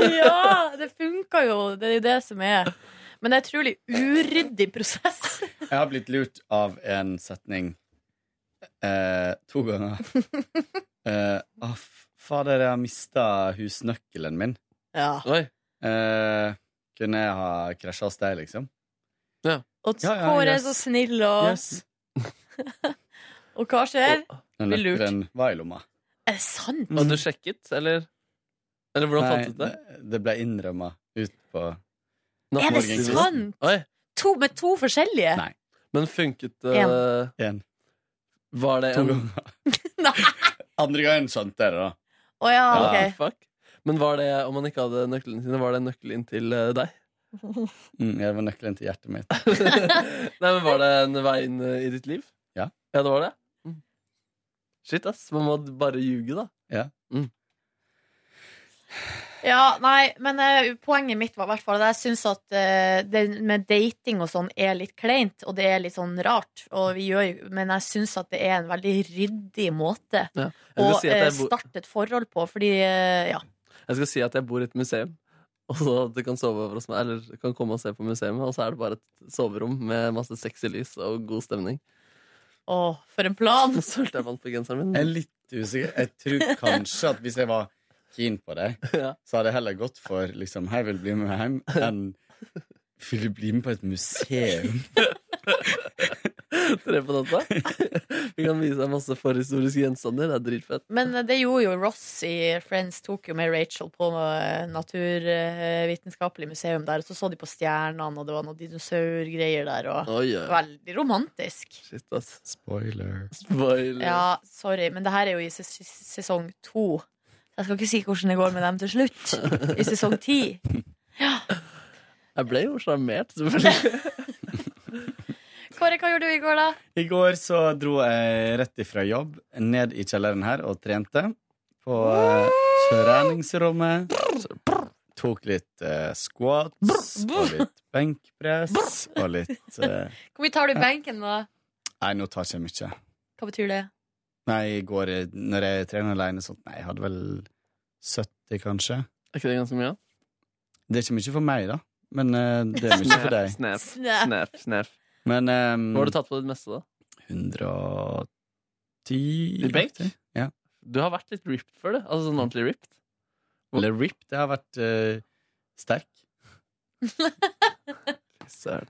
S1: Ja, det funka jo. Det er jo det som er. Men det er en utrolig uryddig prosess.
S3: Jeg har blitt lurt av en setning eh, to ganger. Eh, ah, f- fader, jeg har mista husnøkkelen min.
S1: Ja.
S3: Eh, kunne jeg ha krasja hos deg, liksom?
S1: Og
S3: Ja, ja,
S1: Kåre er
S3: yes.
S1: så snill, og
S3: Yes.
S1: Og hva skjer?
S3: Den
S1: Blir lurt.
S3: nøkkelen var i lomma.
S1: Er det sant?
S5: Og du sjekket, eller? Eller hvordan
S3: Nei,
S5: fant du det?
S3: Det ble innrømma ut på
S1: Er det
S3: morgenkvisten.
S1: sant?
S5: Oi.
S1: To, med to forskjellige?
S3: Nei.
S5: Men funket
S1: En.
S5: det Var det
S3: To
S5: en
S3: ganger. Andre gangen skjønte jeg det, da.
S1: Å ja,
S5: Ja, Ah, fuck. Men var det, om man ikke hadde nøklene sine, var det en nøkkel inn til eh, deg?
S1: ok.
S3: Mm, jeg var nøkkelen til hjertet mitt.
S5: Nei, men Var det en vei inn eh, i ditt liv?
S3: Ja.
S5: Ja, det var det? Mm. Shit, ass. Man må bare ljuge, da. Mm,
S3: Ja.
S1: Ja, nei, men eh, poenget mitt var i hvert fall at jeg syns at eh, det med dating og sånn er litt kleint, og det er litt sånn rart, og vi gjør, jo- men jeg syns at det er en veldig ryddig måte
S5: Ja. Jeg
S1: å
S5: vil si at
S1: eh,
S5: jeg bor-
S1: starte et forhold på, fordi eh, ja.
S5: Jeg skal si at jeg bor i et museum, og så at du kan sove over hos meg, eller du kan komme og se på museet, og så er det bare et soverom med masse sexy lys og god stemning.
S1: Å, for en plan!
S5: Nå sølte jeg vann på genseren min.
S3: Jeg er litt usikker. Jeg tror kanskje at hvis jeg var keen på deg,
S5: Ja.
S3: så hadde jeg heller gått for liksom, 'hei, vil du bli med meg hjem', enn 'vil du bli med på et museum'?
S5: Tre på natta. Vi kan vise deg masse forhistoriske gjenstander. Det er dritfett.
S1: Men eh, det gjorde jo Ross i Friends, tok jo med Rachel på eh, naturvitenskapelig museum der, og så så de på stjernene, og det var noen dinosaurgreier der, og
S5: Oi, oi.
S1: veldig romantisk.
S5: Shit, ass.
S3: Spoiler.
S5: Spoiler.
S1: Ja, sorry, men det her er jo i ses ses- sesong to. Jeg skal ikke si hvordan det går med dem til slutt. I sesong ti.
S5: Jeg ble jo sjarmert, selvfølgelig.
S1: Kåre, hva gjorde du i går, da?
S3: I går så dro jeg rett ifra jobb ned i kjelleren her og trente på eh, treningsrommet. Tok litt eh, squats og litt benkpress og litt eh,
S1: Hvor mye tar du i benken, da?
S3: Nei, nå tar jeg ikke mye.
S1: Hva betyr det?
S3: Nei, i går eh, når jeg trener alene sånt Nei, jeg hadde vel 70, kanskje.
S5: Er ikke det ganske mye?
S3: Det er ikke mye for meg, da. Men eh, det er mye for deg.
S5: Snap,
S1: Snap.
S5: snap, snap.
S3: Men
S5: Hva har du
S3: um,
S5: tatt på ditt meste, da?
S3: 110
S5: I benk?
S3: Ja.
S5: Du har vært litt ripped før, du. Altså sånn ordentlig ripped.
S3: Eller rip. Det har vært eh, sterk.
S5: Søren.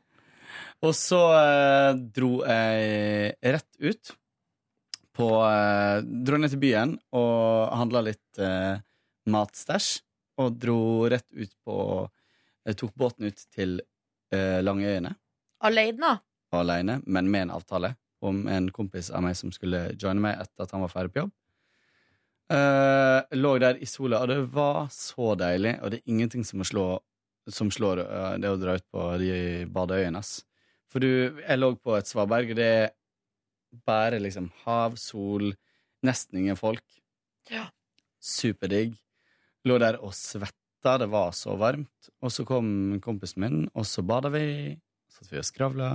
S3: Og så eh, dro jeg rett ut på eh, Dro ned til byen og handla litt eh, matstæsj. Og dro rett ut på Jeg tok båten ut til eh, Langøyene
S1: Aleine?
S3: alene, men med en avtale om en kompis av meg som skulle joine meg etter at han var ferdig på jobb. Eh, lå der i sola, og det var så deilig, og det er ingenting som, å slå, som slår eh, det å dra ut på de badeøyene. ass. For du, jeg lå på et svaberg, og det er bare liksom hav, sol, nesten ingen folk.
S1: Ja.
S3: Superdigg. Lå der og svetta, det var så varmt. Og så kom kompisen min, og så bada vi. Satt vi og skravla.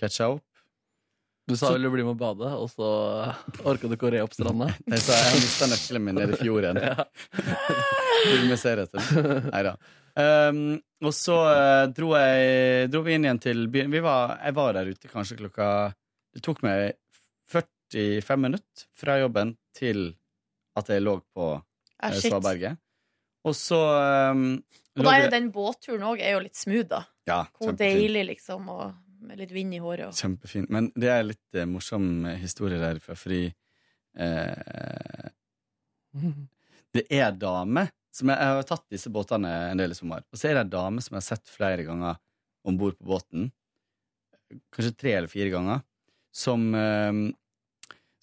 S3: Catcha opp.
S5: Du sa
S3: Så-
S5: vel du bli med å bade, og så orka du ikke å re opp stranda.
S3: Jeg sa jeg mista nøkkelen min nede i fjorden.
S5: Ja.
S3: Vil vi se etter den? Nei da. Um, og så eh, dro, jeg, dro vi inn igjen til byen. Vi var, jeg var der ute kanskje klokka Det tok meg 45 minutter fra jobben til at jeg lå på
S1: Ah,
S3: eh,
S1: shit.
S3: Svaberget. Og så um,
S1: Og da er jo den båtturen òg litt smooth, da.
S3: ja,
S1: Hvor
S3: kjempefin.
S1: deilig, liksom, og med litt vind i håret. Og.
S3: Kjempefin. Men det er litt eh, morsom eh, historie derfra, fordi eh, Det er en dame som jeg, jeg har tatt disse båtene en del i sommer. Og så er det ei dame som jeg har sett flere ganger om bord på båten. Kanskje tre eller fire ganger. Som, eh,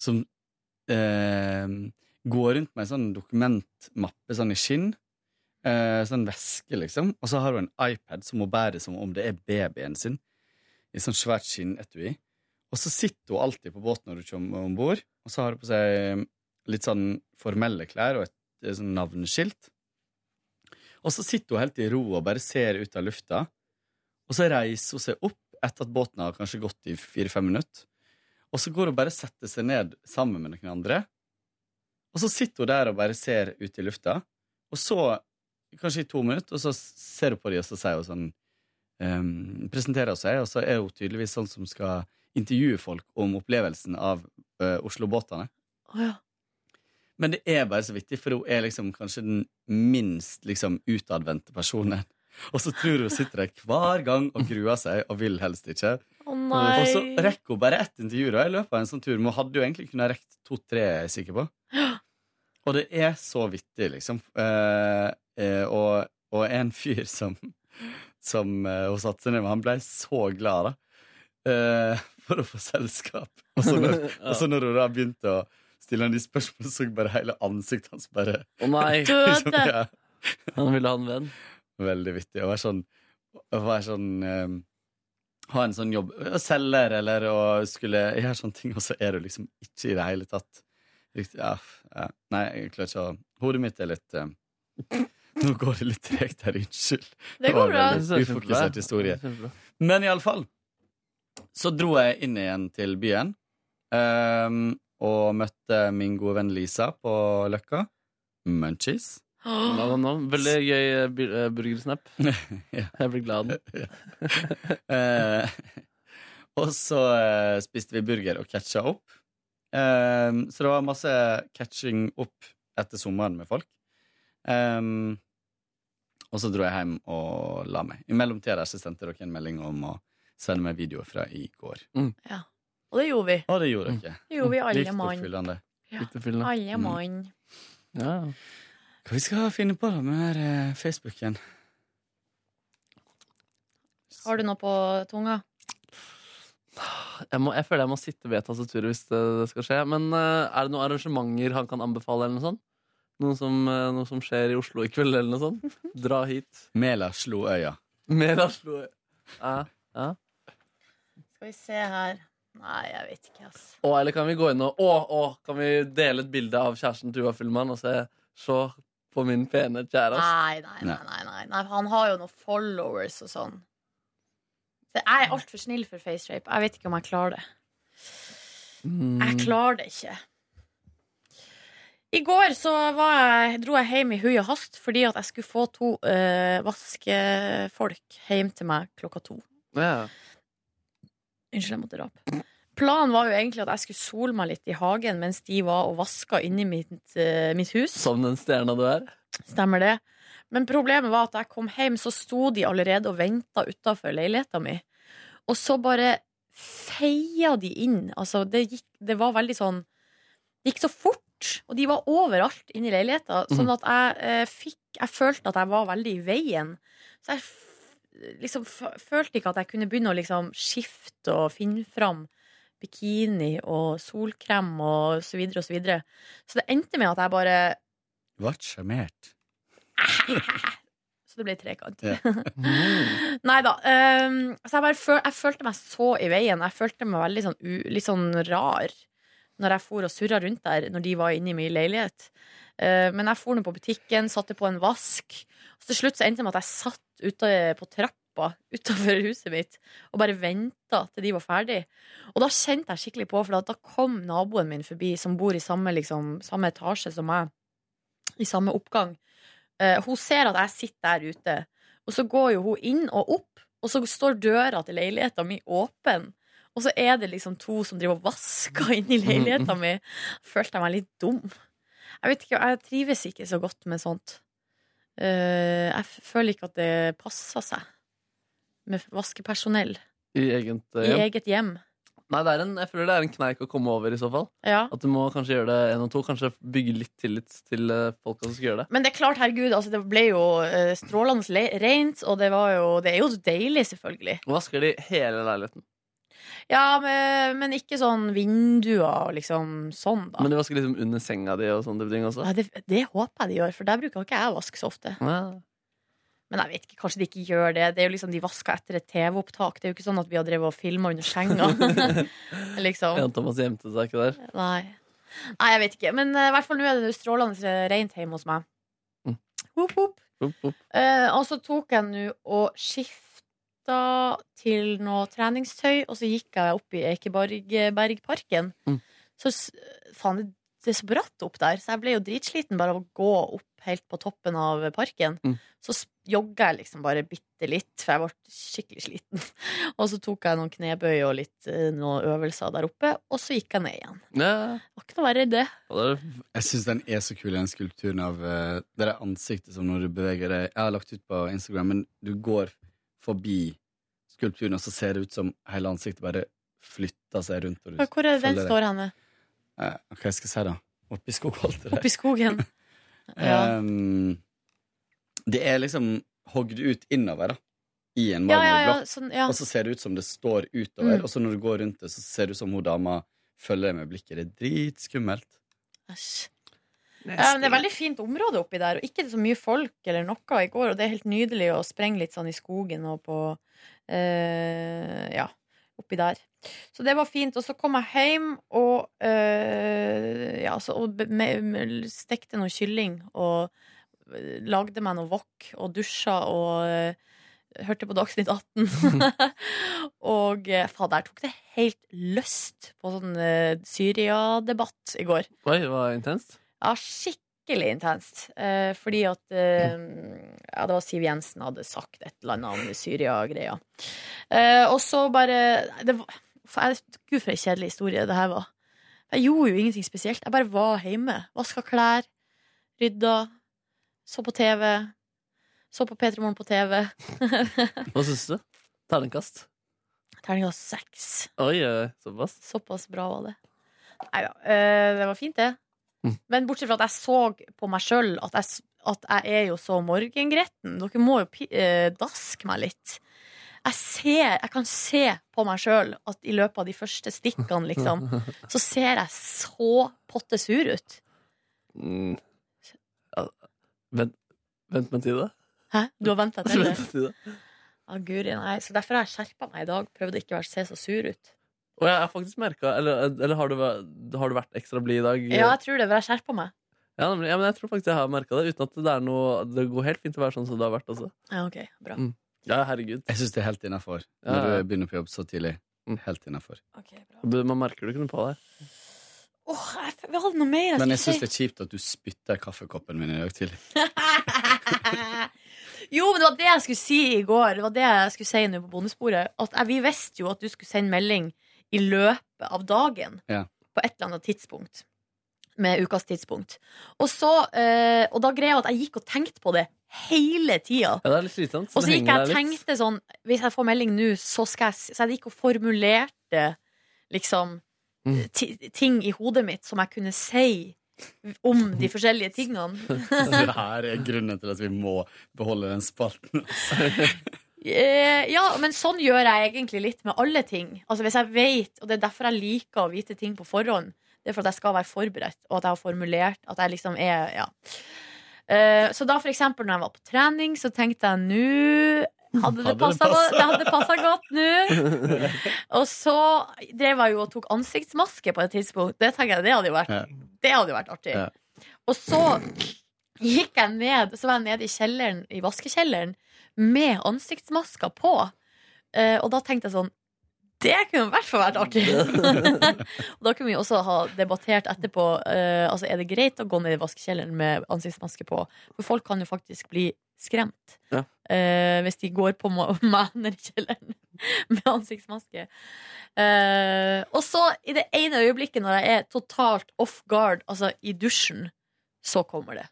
S3: som eh, går rundt med en sånn dokumentmappe sånn i skinn. Eh, sånn veske, liksom. Og så har hun en iPad som hun bærer som om det er babyen sin. I sånn svært skinnetui. Og så sitter hun alltid på båten når hun kommer om bord, og så har hun på seg litt sånn formelle klær og et, eh, sånn navneskilt. Og så sitter hun helt i ro og bare ser ut av lufta. Og så reiser hun seg opp etter at båten har kanskje gått i fire-fem minutter. Og så går hun bare og setter seg ned sammen med noen andre. Og så sitter hun der og bare ser ut i lufta. Og så, kanskje i to minutter, og så ser hun på dem, og så sier hun sånn ehm, Presenterer hun seg, og så er hun tydeligvis sånn som skal intervjue folk om opplevelsen av eh, Oslo-båtene.
S1: Å ja.
S3: Men det er bare så vittig, for hun er liksom kanskje den minst liksom, utadvendte personen. Og så tror hun sitter der hver gang og gruer seg og vil helst ikke.
S1: Å nei.
S3: Og så rekker hun bare ett intervju da, i løpet av en sånn tur. Men hun hadde jo egentlig kunnet rekt to-tre, er jeg sikker på. Og det er så vittig, liksom. Eh, eh, og, og en fyr som, som eh, hun satte seg ned med, han ble så glad da, eh, for å få selskap. Og så når, og så når hun da begynte å stille han de spørsmålene, så bare hele ansiktet hans bare
S5: Å nei.
S3: Liksom,
S5: Døde.
S3: ja.
S5: Han ville ha en venn.
S3: Veldig vittig. Å være sånn, å være sånn ehm, Ha en sånn jobb å Selger eller å skulle gjøre sånne ting, og så er du liksom ikke i det hele tatt riktig ja, f- ja. Nei, jeg klarer ikke å Hodet mitt er litt ehm, Nå går det litt tregt her, unnskyld.
S1: Det
S3: var
S1: går bra.
S3: veldig Ufokusert historie. Men iallfall så dro jeg inn igjen til byen ehm, og møtte min gode venn Lisa på Løkka. Munchies.
S5: Nå, nå, nå. Veldig gøy eh, bir- eh, burgersnap. Jeg blir glad.
S3: Eh, og så eh, spiste vi burger og catcha opp. Eh, så det var masse catching opp etter sommeren med folk. Eh, og så dro jeg hjem og la meg. I mellomtida der så sendte dere en melding om å sende meg videoer fra i går.
S5: Mm.
S1: Og det gjorde vi.
S3: Og det gjorde dere.
S1: Det gjorde vi alle
S3: Likt
S1: mann.
S3: oppfyllende.
S1: Ja. Alle mann.
S3: Hva vi skal finne på da med den her eh, Facebooken?
S1: Har du noe på tunga?
S5: Jeg, må, jeg føler jeg må sitte ved tastaturet hvis det, det skal skje. Men eh, er det noen arrangementer han kan anbefale? eller Noe sånt? Noe som, eh, noe som skjer i Oslo i kveld, eller noe sånt? Dra hit.
S3: Mela slo øya.
S5: Mer Oslo. Ja, ja.
S1: Skal vi se her. Nei, jeg vet ikke, ass.
S5: Å, eller kan vi gå inn og å, å, kan vi dele et bilde av kjæresten Tuva Fyllmann og se, se på min pene kjæreste?
S1: Nei, nei, nei, nei, nei, nei. for Han har jo noen followers og sånn. Så jeg er altfor snill for facerape. Jeg vet ikke om jeg klarer det.
S12: Mm.
S1: Jeg klarer det ikke. I går så var jeg, dro jeg hjem i hui og hast fordi at jeg skulle få to eh, vaskefolk hjem til meg klokka to.
S5: Ja.
S1: Unnskyld, jeg måtte rape. Planen var jo egentlig at jeg skulle sole meg litt i hagen mens de var og vaska inni mitt, eh, mitt hus.
S5: Som den stjerna du er?
S1: Stemmer det. Men problemet var at da jeg kom hjem, så sto de allerede og venta utafor leiligheta mi. Og så bare feia de inn. Altså, det gikk Det var veldig sånn Det gikk så fort. Og de var overalt inne i leiligheta, sånn at jeg eh, fikk Jeg følte at jeg var veldig i veien. Så jeg f liksom f følte ikke at jeg kunne begynne å liksom skifte og finne fram bikini og solkrem og så videre og så videre. Så det endte med at jeg bare
S3: Ble sjarmert.
S1: Så det ble trekant.
S3: Ja.
S1: Nei da. ehm, så jeg, bare føl jeg følte meg så i veien. Jeg følte meg veldig sånn, u litt sånn rar når jeg for og surra rundt der når de var inne i min leilighet. Eh, men jeg for nå på butikken, satte på en vask. Så til slutt så endte det med at jeg satt ute på trappa utafor huset mitt og bare venta til de var ferdig. Og da kjente jeg skikkelig på, for da kom naboen min forbi, som bor i samme, liksom, samme etasje som meg, i samme oppgang. Eh, hun ser at jeg sitter der ute, og så går jo hun inn og opp, og så står døra til leiligheta mi åpen. Og så er det liksom to som driver og vasker inni leiligheta mi. Følte jeg meg litt dum. Jeg vet ikke, jeg trives ikke så godt med sånt. Eh, jeg f- føler ikke at det passer seg med vaskepersonell
S5: I eget eh,
S1: i eget hjem.
S5: Nei, det er en, jeg føler det er en kneik å komme over i så fall.
S1: Ja.
S5: At du må kanskje gjøre det en og to. Kanskje bygge litt tillit til eh, folka som skal gjøre det.
S1: Men det er klart, herregud, altså, det ble jo eh, strålende le- rent, og det, var jo, det er jo deilig, selvfølgelig.
S5: Og vasker de hele leiligheten.
S1: Ja, men, men ikke sånn vinduer og liksom sånn, da.
S5: Men de vasker liksom under senga di og sånne type ting også.
S1: Nei, det, det håper jeg de gjør, for der bruker ikke jeg å vaske så ofte.
S5: Ja.
S1: Men jeg vet ikke, kanskje de ikke gjør det. Det er jo liksom De vasker etter et TV-opptak. Det er jo ikke sånn at vi har drevet og filma under senga. liksom.
S5: Jan Thomas gjemte seg ikke der.
S1: Nei. Nei, jeg vet ikke. Men eh, i hvert fall nå er det jo strålende rent hjemme hos meg. Hopp, hopp.
S5: Hopp, hopp.
S1: Eh, og så tok jeg nå og skifta til noe treningstøy, og så gikk jeg opp i Ekebergparken.
S5: Mm.
S1: Så s- faen, det- det er så bratt opp der, så jeg ble jo dritsliten bare av å gå opp helt på toppen av parken.
S5: Mm.
S1: Så s- jogga jeg liksom bare bitte litt, for jeg ble skikkelig sliten. Og så tok jeg noen knebøy og litt eh, noen øvelser der oppe, og så gikk jeg ned igjen. Det var ikke noe verre enn det.
S3: Jeg syns den er så kul, den skulpturen av eh, det der ansiktet som når du beveger deg Jeg har lagt ut på Instagram, men du går forbi skulpturen, og så ser det ut som hele ansiktet bare flytter seg rundt. Og du
S1: Hvor er det den
S3: følger
S1: står henne?
S3: Eh, hva skal jeg si, da? Oppi skogholtet der.
S1: Oppi skogen. Ja.
S3: Ehm, det er liksom hogd ut innover, da. I en
S1: Ja, ja, ja,
S3: marmorblokk.
S1: sånn, ja.
S3: Og så ser det ut som det står utover,
S1: Mm.
S3: og så når du går rundt det, så ser det ut som hun dama følger deg med blikket. Det er dritskummelt.
S1: Æsj. Ja, men det er veldig fint område oppi der, og ikke så mye folk eller noe i går. Og det er helt nydelig å sprenge litt sånn i skogen og på eh, Ja, oppi der. Så det var fint. Og så kom jeg hjem og, eh, ja, så, og be- me- me- stekte noe kylling og eh, lagde meg noe wok og dusja og eh, hørte på Dagsnytt 18. og eh, faen, der tok det helt løst på sånn eh, Syria-debatt i går.
S5: Oi, det var intenst.
S1: Ja, skikkelig intenst. Eh, fordi at eh, Ja, det var Siv Jensen hadde sagt et eller annet om Syria-greia. Eh, og så bare det var, for jeg, Gud, for ei kjedelig historie det her var. Jeg gjorde jo ingenting spesielt. Jeg bare var hjemme. Vaska klær, rydda, så på TV. Så på P3 Morgen på TV.
S5: Hva syns du? Terningkast?
S1: Terningkast seks.
S5: Oi, oi, såpass?
S1: Såpass bra var det. Nei da. eh, det var fint, det. Men bortsett fra at jeg så på meg sjøl at, jeg s- at jeg er jo så morgengretten. Dere må jo pi- eh, daske meg litt. Jeg, ser, jeg kan se på meg sjøl at i løpet av de første stikkene, liksom, så ser jeg så potte sur ut.
S5: Mm. Ja, vent, vent med en tid, da.
S1: Hæ? Du har venta til det?
S5: Vent en tid, da.
S1: Ah, guri, nei. Så derfor har jeg skjerpa meg i dag. Prøvde ikke å være- se så sur ut.
S5: Og jeg har faktisk merka Eller, eller har, du, væ- har du vært ekstra blid i dag?
S1: Ja, jeg tror det, for jeg skjerpa meg.
S5: Ja, nemlig. ja, men jeg tror faktisk jeg har merka det, uten at det er noe Det går helt fint å være sånn som det har vært også.
S1: Ja, ok, bra.
S5: Mm. Ja, herregud.
S3: Jeg syns det er helt innafor
S5: Ja,
S3: når
S5: ja. Mm.
S3: du begynner på jobb så tidlig. Helt innafor.
S5: Du, man merker det kunne på deg.
S1: Åh, jeg f- vi hadde noe mer
S3: Men
S1: jeg
S3: jeg syns
S1: skulle si.
S3: det er kjipt at du spytter kaffekoppen min i dag tidlig.
S1: Jo, men det var det jeg skulle si i går. Det var det jeg skulle si nå på bondesporet. At jeg, vi visste jo at du skulle sende melding i løpet av dagen.
S3: Ja.
S1: På et eller annet tidspunkt. Med ukas tidspunkt. Og, så, eh, og da greia at jeg gikk og tenkte på det hele tida.
S5: Ja, det er litt slitsomt.
S1: Og så
S5: det
S1: gikk jeg
S5: henger
S1: og
S5: der litt.
S1: tenkte sånn Hvis jeg får melding nå, så skal jeg s- Så jeg gikk og formulerte liksom
S5: Mm.
S1: ti- ting i hodet mitt som jeg kunne si om de forskjellige tingene.
S3: det her er grunnen til at vi må beholde den spalten.
S1: Eh, ja, men sånn gjør jeg egentlig litt med alle ting. Altså Hvis jeg vet, og det er derfor jeg liker å vite ting på forhånd, det er for at jeg skal være forberedt, og at jeg har formulert at jeg liksom er Ja. Eh, så da for eksempel når jeg var på trening, så tenkte jeg nå hadde det
S16: Hadde det
S1: passa
S16: passet?»
S1: godt, det hadde passa godt nå. Og så drev jeg jo og tok ansiktsmaske på et tidspunkt. Det tenker jeg, det hadde jo vært
S16: Ja.
S1: Det hadde jo vært artig.
S16: Ja.
S1: Og så gikk jeg ned Så var jeg nede i kjelleren, i vaskekjelleren med ansiktsmaska på. Eh, og da tenkte jeg sånn Det kunne i hvert fall vært artig! og da kunne vi også ha debattert etterpå eh, Altså, er det greit å gå ned i vaskekjelleren med ansiktsmaske på. For folk kan jo faktisk bli skremt
S5: Ja.
S1: eh, hvis de går på ma- meg nede i kjelleren med ansiktsmaske. Eh, og så, i det ene øyeblikket når jeg er totalt off guard, altså i dusjen, så kommer det.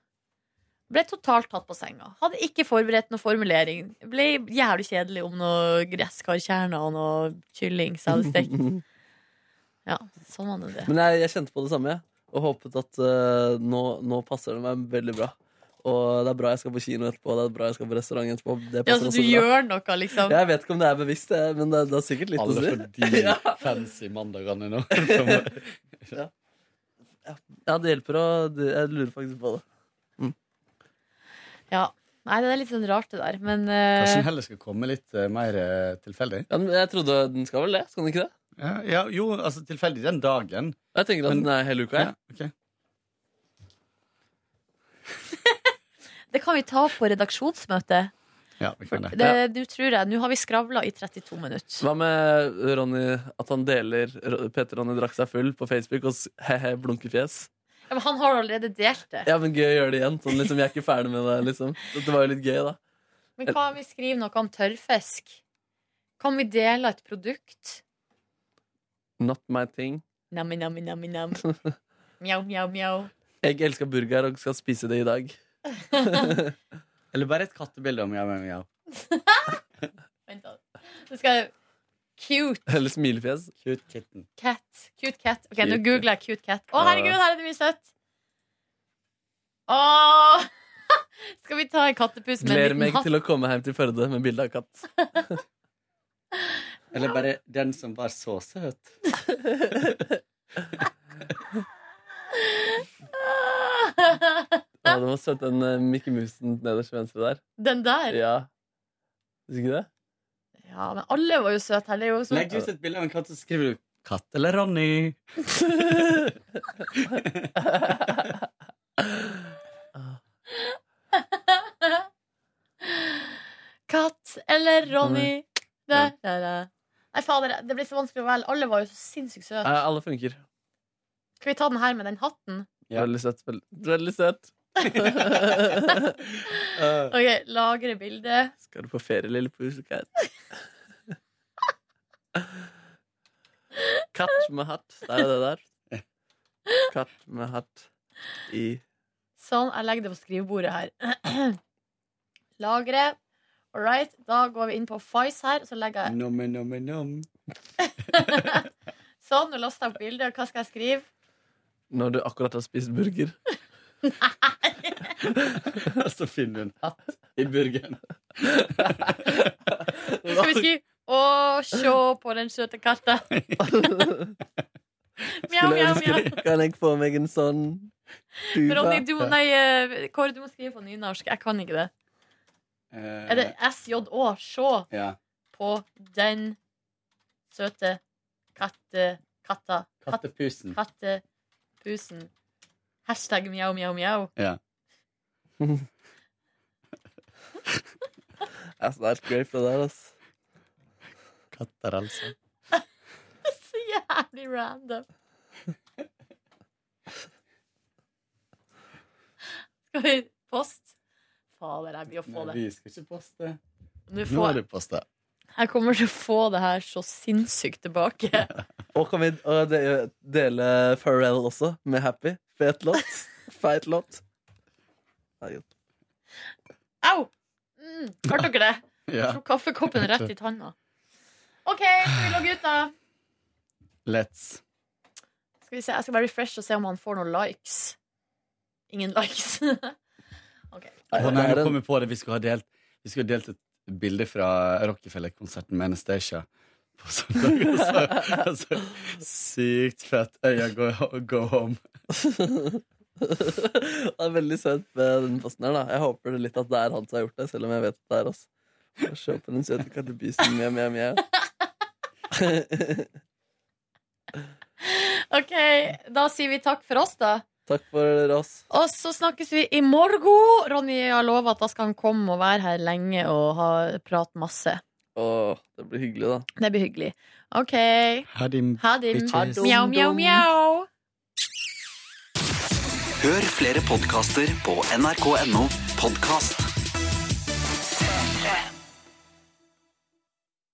S1: Ble totalt tatt på senga. Hadde ikke forberedt noen formulering. Ble jævlig kjedelig om noe gresskarkjerner og noe kylling som jeg hadde stekt. Ja, sånn var det det.
S5: Men jeg, jeg kjente på det samme jeg, og håpet at eh, nå, nå passer det meg veldig bra. Og det er bra jeg skal på kino etterpå, det er bra jeg skal på restaurant etterpå. Det
S1: Ja,
S5: passer
S1: så
S5: også
S1: du
S5: bra.
S1: gjør noe, liksom.
S5: Jeg vet ikke om det er bevisst, jeg, men det, det er sikkert litt
S3: Alle
S5: å si.
S3: for de fancy mandagene nå.
S5: ja. ja, det hjelper å det- Jeg lurer faktisk på det.
S1: Ja. Nei, det er litt sånn rart, det der. Men eh,
S3: Kanskje den heller skal komme litt eh, mer eh, tilfeldig?
S5: Ja, men jeg trodde den skal vel det? Skal den ikke det?
S3: Ja, jo, altså tilfeldig den dagen.
S5: Jeg tenker at den er hele uka, jeg.
S3: Ja, ok.
S1: det kan vi ta opp på redaksjonsmøtet.
S3: ja, vi kan det.
S1: Det, du tror jeg, Nå har vi skravla i 32 minutter.
S5: Hva med Ronny, at han deler Ro- Peter Ronny drakk seg full på Facebook og s- he-he, blunkefjes?
S1: Ja, men han har allerede delt det.
S5: Ja, men gøy å gjøre det igjen. Sånn, liksom, jeg er ikke ferdig med det, liksom. Det var jo litt gøy, da.
S1: Men hva om vi skriver noe om tørrfisk? Kan vi dele et produkt?
S5: Not my thing.
S1: Nam, nam, nam, nam. Mjau, mjau, mjau.
S5: Jeg elsker burger og skal spise det i dag.
S3: Eller bare et kattebilde om jeg, jeg, jeg.
S1: Vent da. Nå skal jeg Cute
S5: Eller smilefjes.
S3: Cute kitten.
S1: cat. Cute cat. Ok, nå
S5: Cute.
S1: googler jeg cute cat. Å, herregud,
S5: Ja.
S1: her er det mye søtt! Åh! Skal vi ta en kattepus med
S5: Gleder
S1: en
S5: meg
S1: liten hatt?
S5: til å komme hjem til Førde med bilde av katt.
S3: Eller bare den som var så søt.
S5: Ja, det var søtt, den eh, Mickey Musen nederst til venstre der.
S1: Den der?
S5: Ja. Syns ikke det?
S1: Ja, men alle var jo søte her. Det er jo
S3: Legg ut
S1: sånn
S3: et bilde av en katt, og så skriver du 'Katt eller Ronny'?
S1: Katt eller Ronny? Da, da, da. Nei, fader, det ble så vanskelig å velge. Alle var jo så sinnssykt søte.
S5: Eh, Alle funker.
S1: Skal vi ta den her med den hatten?
S5: Veldig søtt. Veldig, veldig søtt. Eh,
S1: Ok, Lagre bildet.
S5: Skal du på ferie, lille pusekatt? Katt med hatt. Det er jo det der. Katt med hatt i
S1: Sånn. Jeg legger det på skrivebordet her. Lagre. All right. Da går vi inn på Fice her, og så legger jeg
S3: Nomme, nomme, nom.
S1: Sånn. Nå laster jeg opp bildet. Hva skal jeg skrive?
S5: Når du akkurat har spist burger.
S3: Og så finner du en hatt i burgeren.
S1: Nå skal vi skrive Å, sjå på den søte katta. Mjau, mjau,
S5: Skulle
S1: mjau.
S5: ønske Kan jeg få meg en sånn duva?
S1: Ronny, du må, nei, eh, Kåre, du må skrive på nynorsk. Jeg kan ikke det.
S3: Eh.
S1: Er det SJÅ? Sjå
S3: Ja.
S1: på den søte katte... Katta. Katt-
S3: Kattepusen.
S1: Kattepusen. Hashtag mjau, mjau, mjau.
S3: Ja.
S5: Altså, det er et grape, det der, altså.
S3: Katter, altså.
S1: Så jævlig random. Skal vi post? Fader, jeg blir å få
S3: Nei,
S1: det.
S3: vi skal ikke poste.
S1: Nå
S3: Nå har
S1: får,
S3: du posta.
S1: jeg kommer til å få det her så sinnssykt tilbake.
S5: Og kan vi og de- dele Pharrell også, med Happy? Fet låt. Feit låt. Det er godt.
S1: Au! Mm, hørte dere det?
S3: Ja.
S1: Slo kaffekoppen rett i tanna. OK, skal vi logge ut, da?
S3: Let's.
S1: Skal vi se, Jeg skal bare refreshe og se om han får noen likes. Ingen likes. OK.
S3: Å
S5: det
S3: nei, nå
S5: er en-
S3: kom jeg på det. Vi skulle ha delt, vi skulle ha delt et bilde fra Rockefeller-konserten med Anastacia. På søndag. Og så- og så- Sykt fett. Øya, go, go home.
S5: Det er veldig søtt med den posten her, da. Jeg håper det litt at det er han som har gjort det, selv om jeg vet at det er oss. Å, Se på den søte kattebysen, mjau, mjau, mjau.
S1: OK, da sier vi takk for oss, da.
S5: Takk for oss.
S1: Og så snakkes vi i morgen. Ronny har lova at da skal han komme og være her lenge og ha, prate masse.
S5: Åh, det blir hyggelig, da.
S1: Det blir hyggelig. OK.
S3: Ha det.
S1: Ha det.
S3: Bitches.
S1: Mjau, mjau, mjau.
S4: Hør flere podkaster på nrk.no podkast.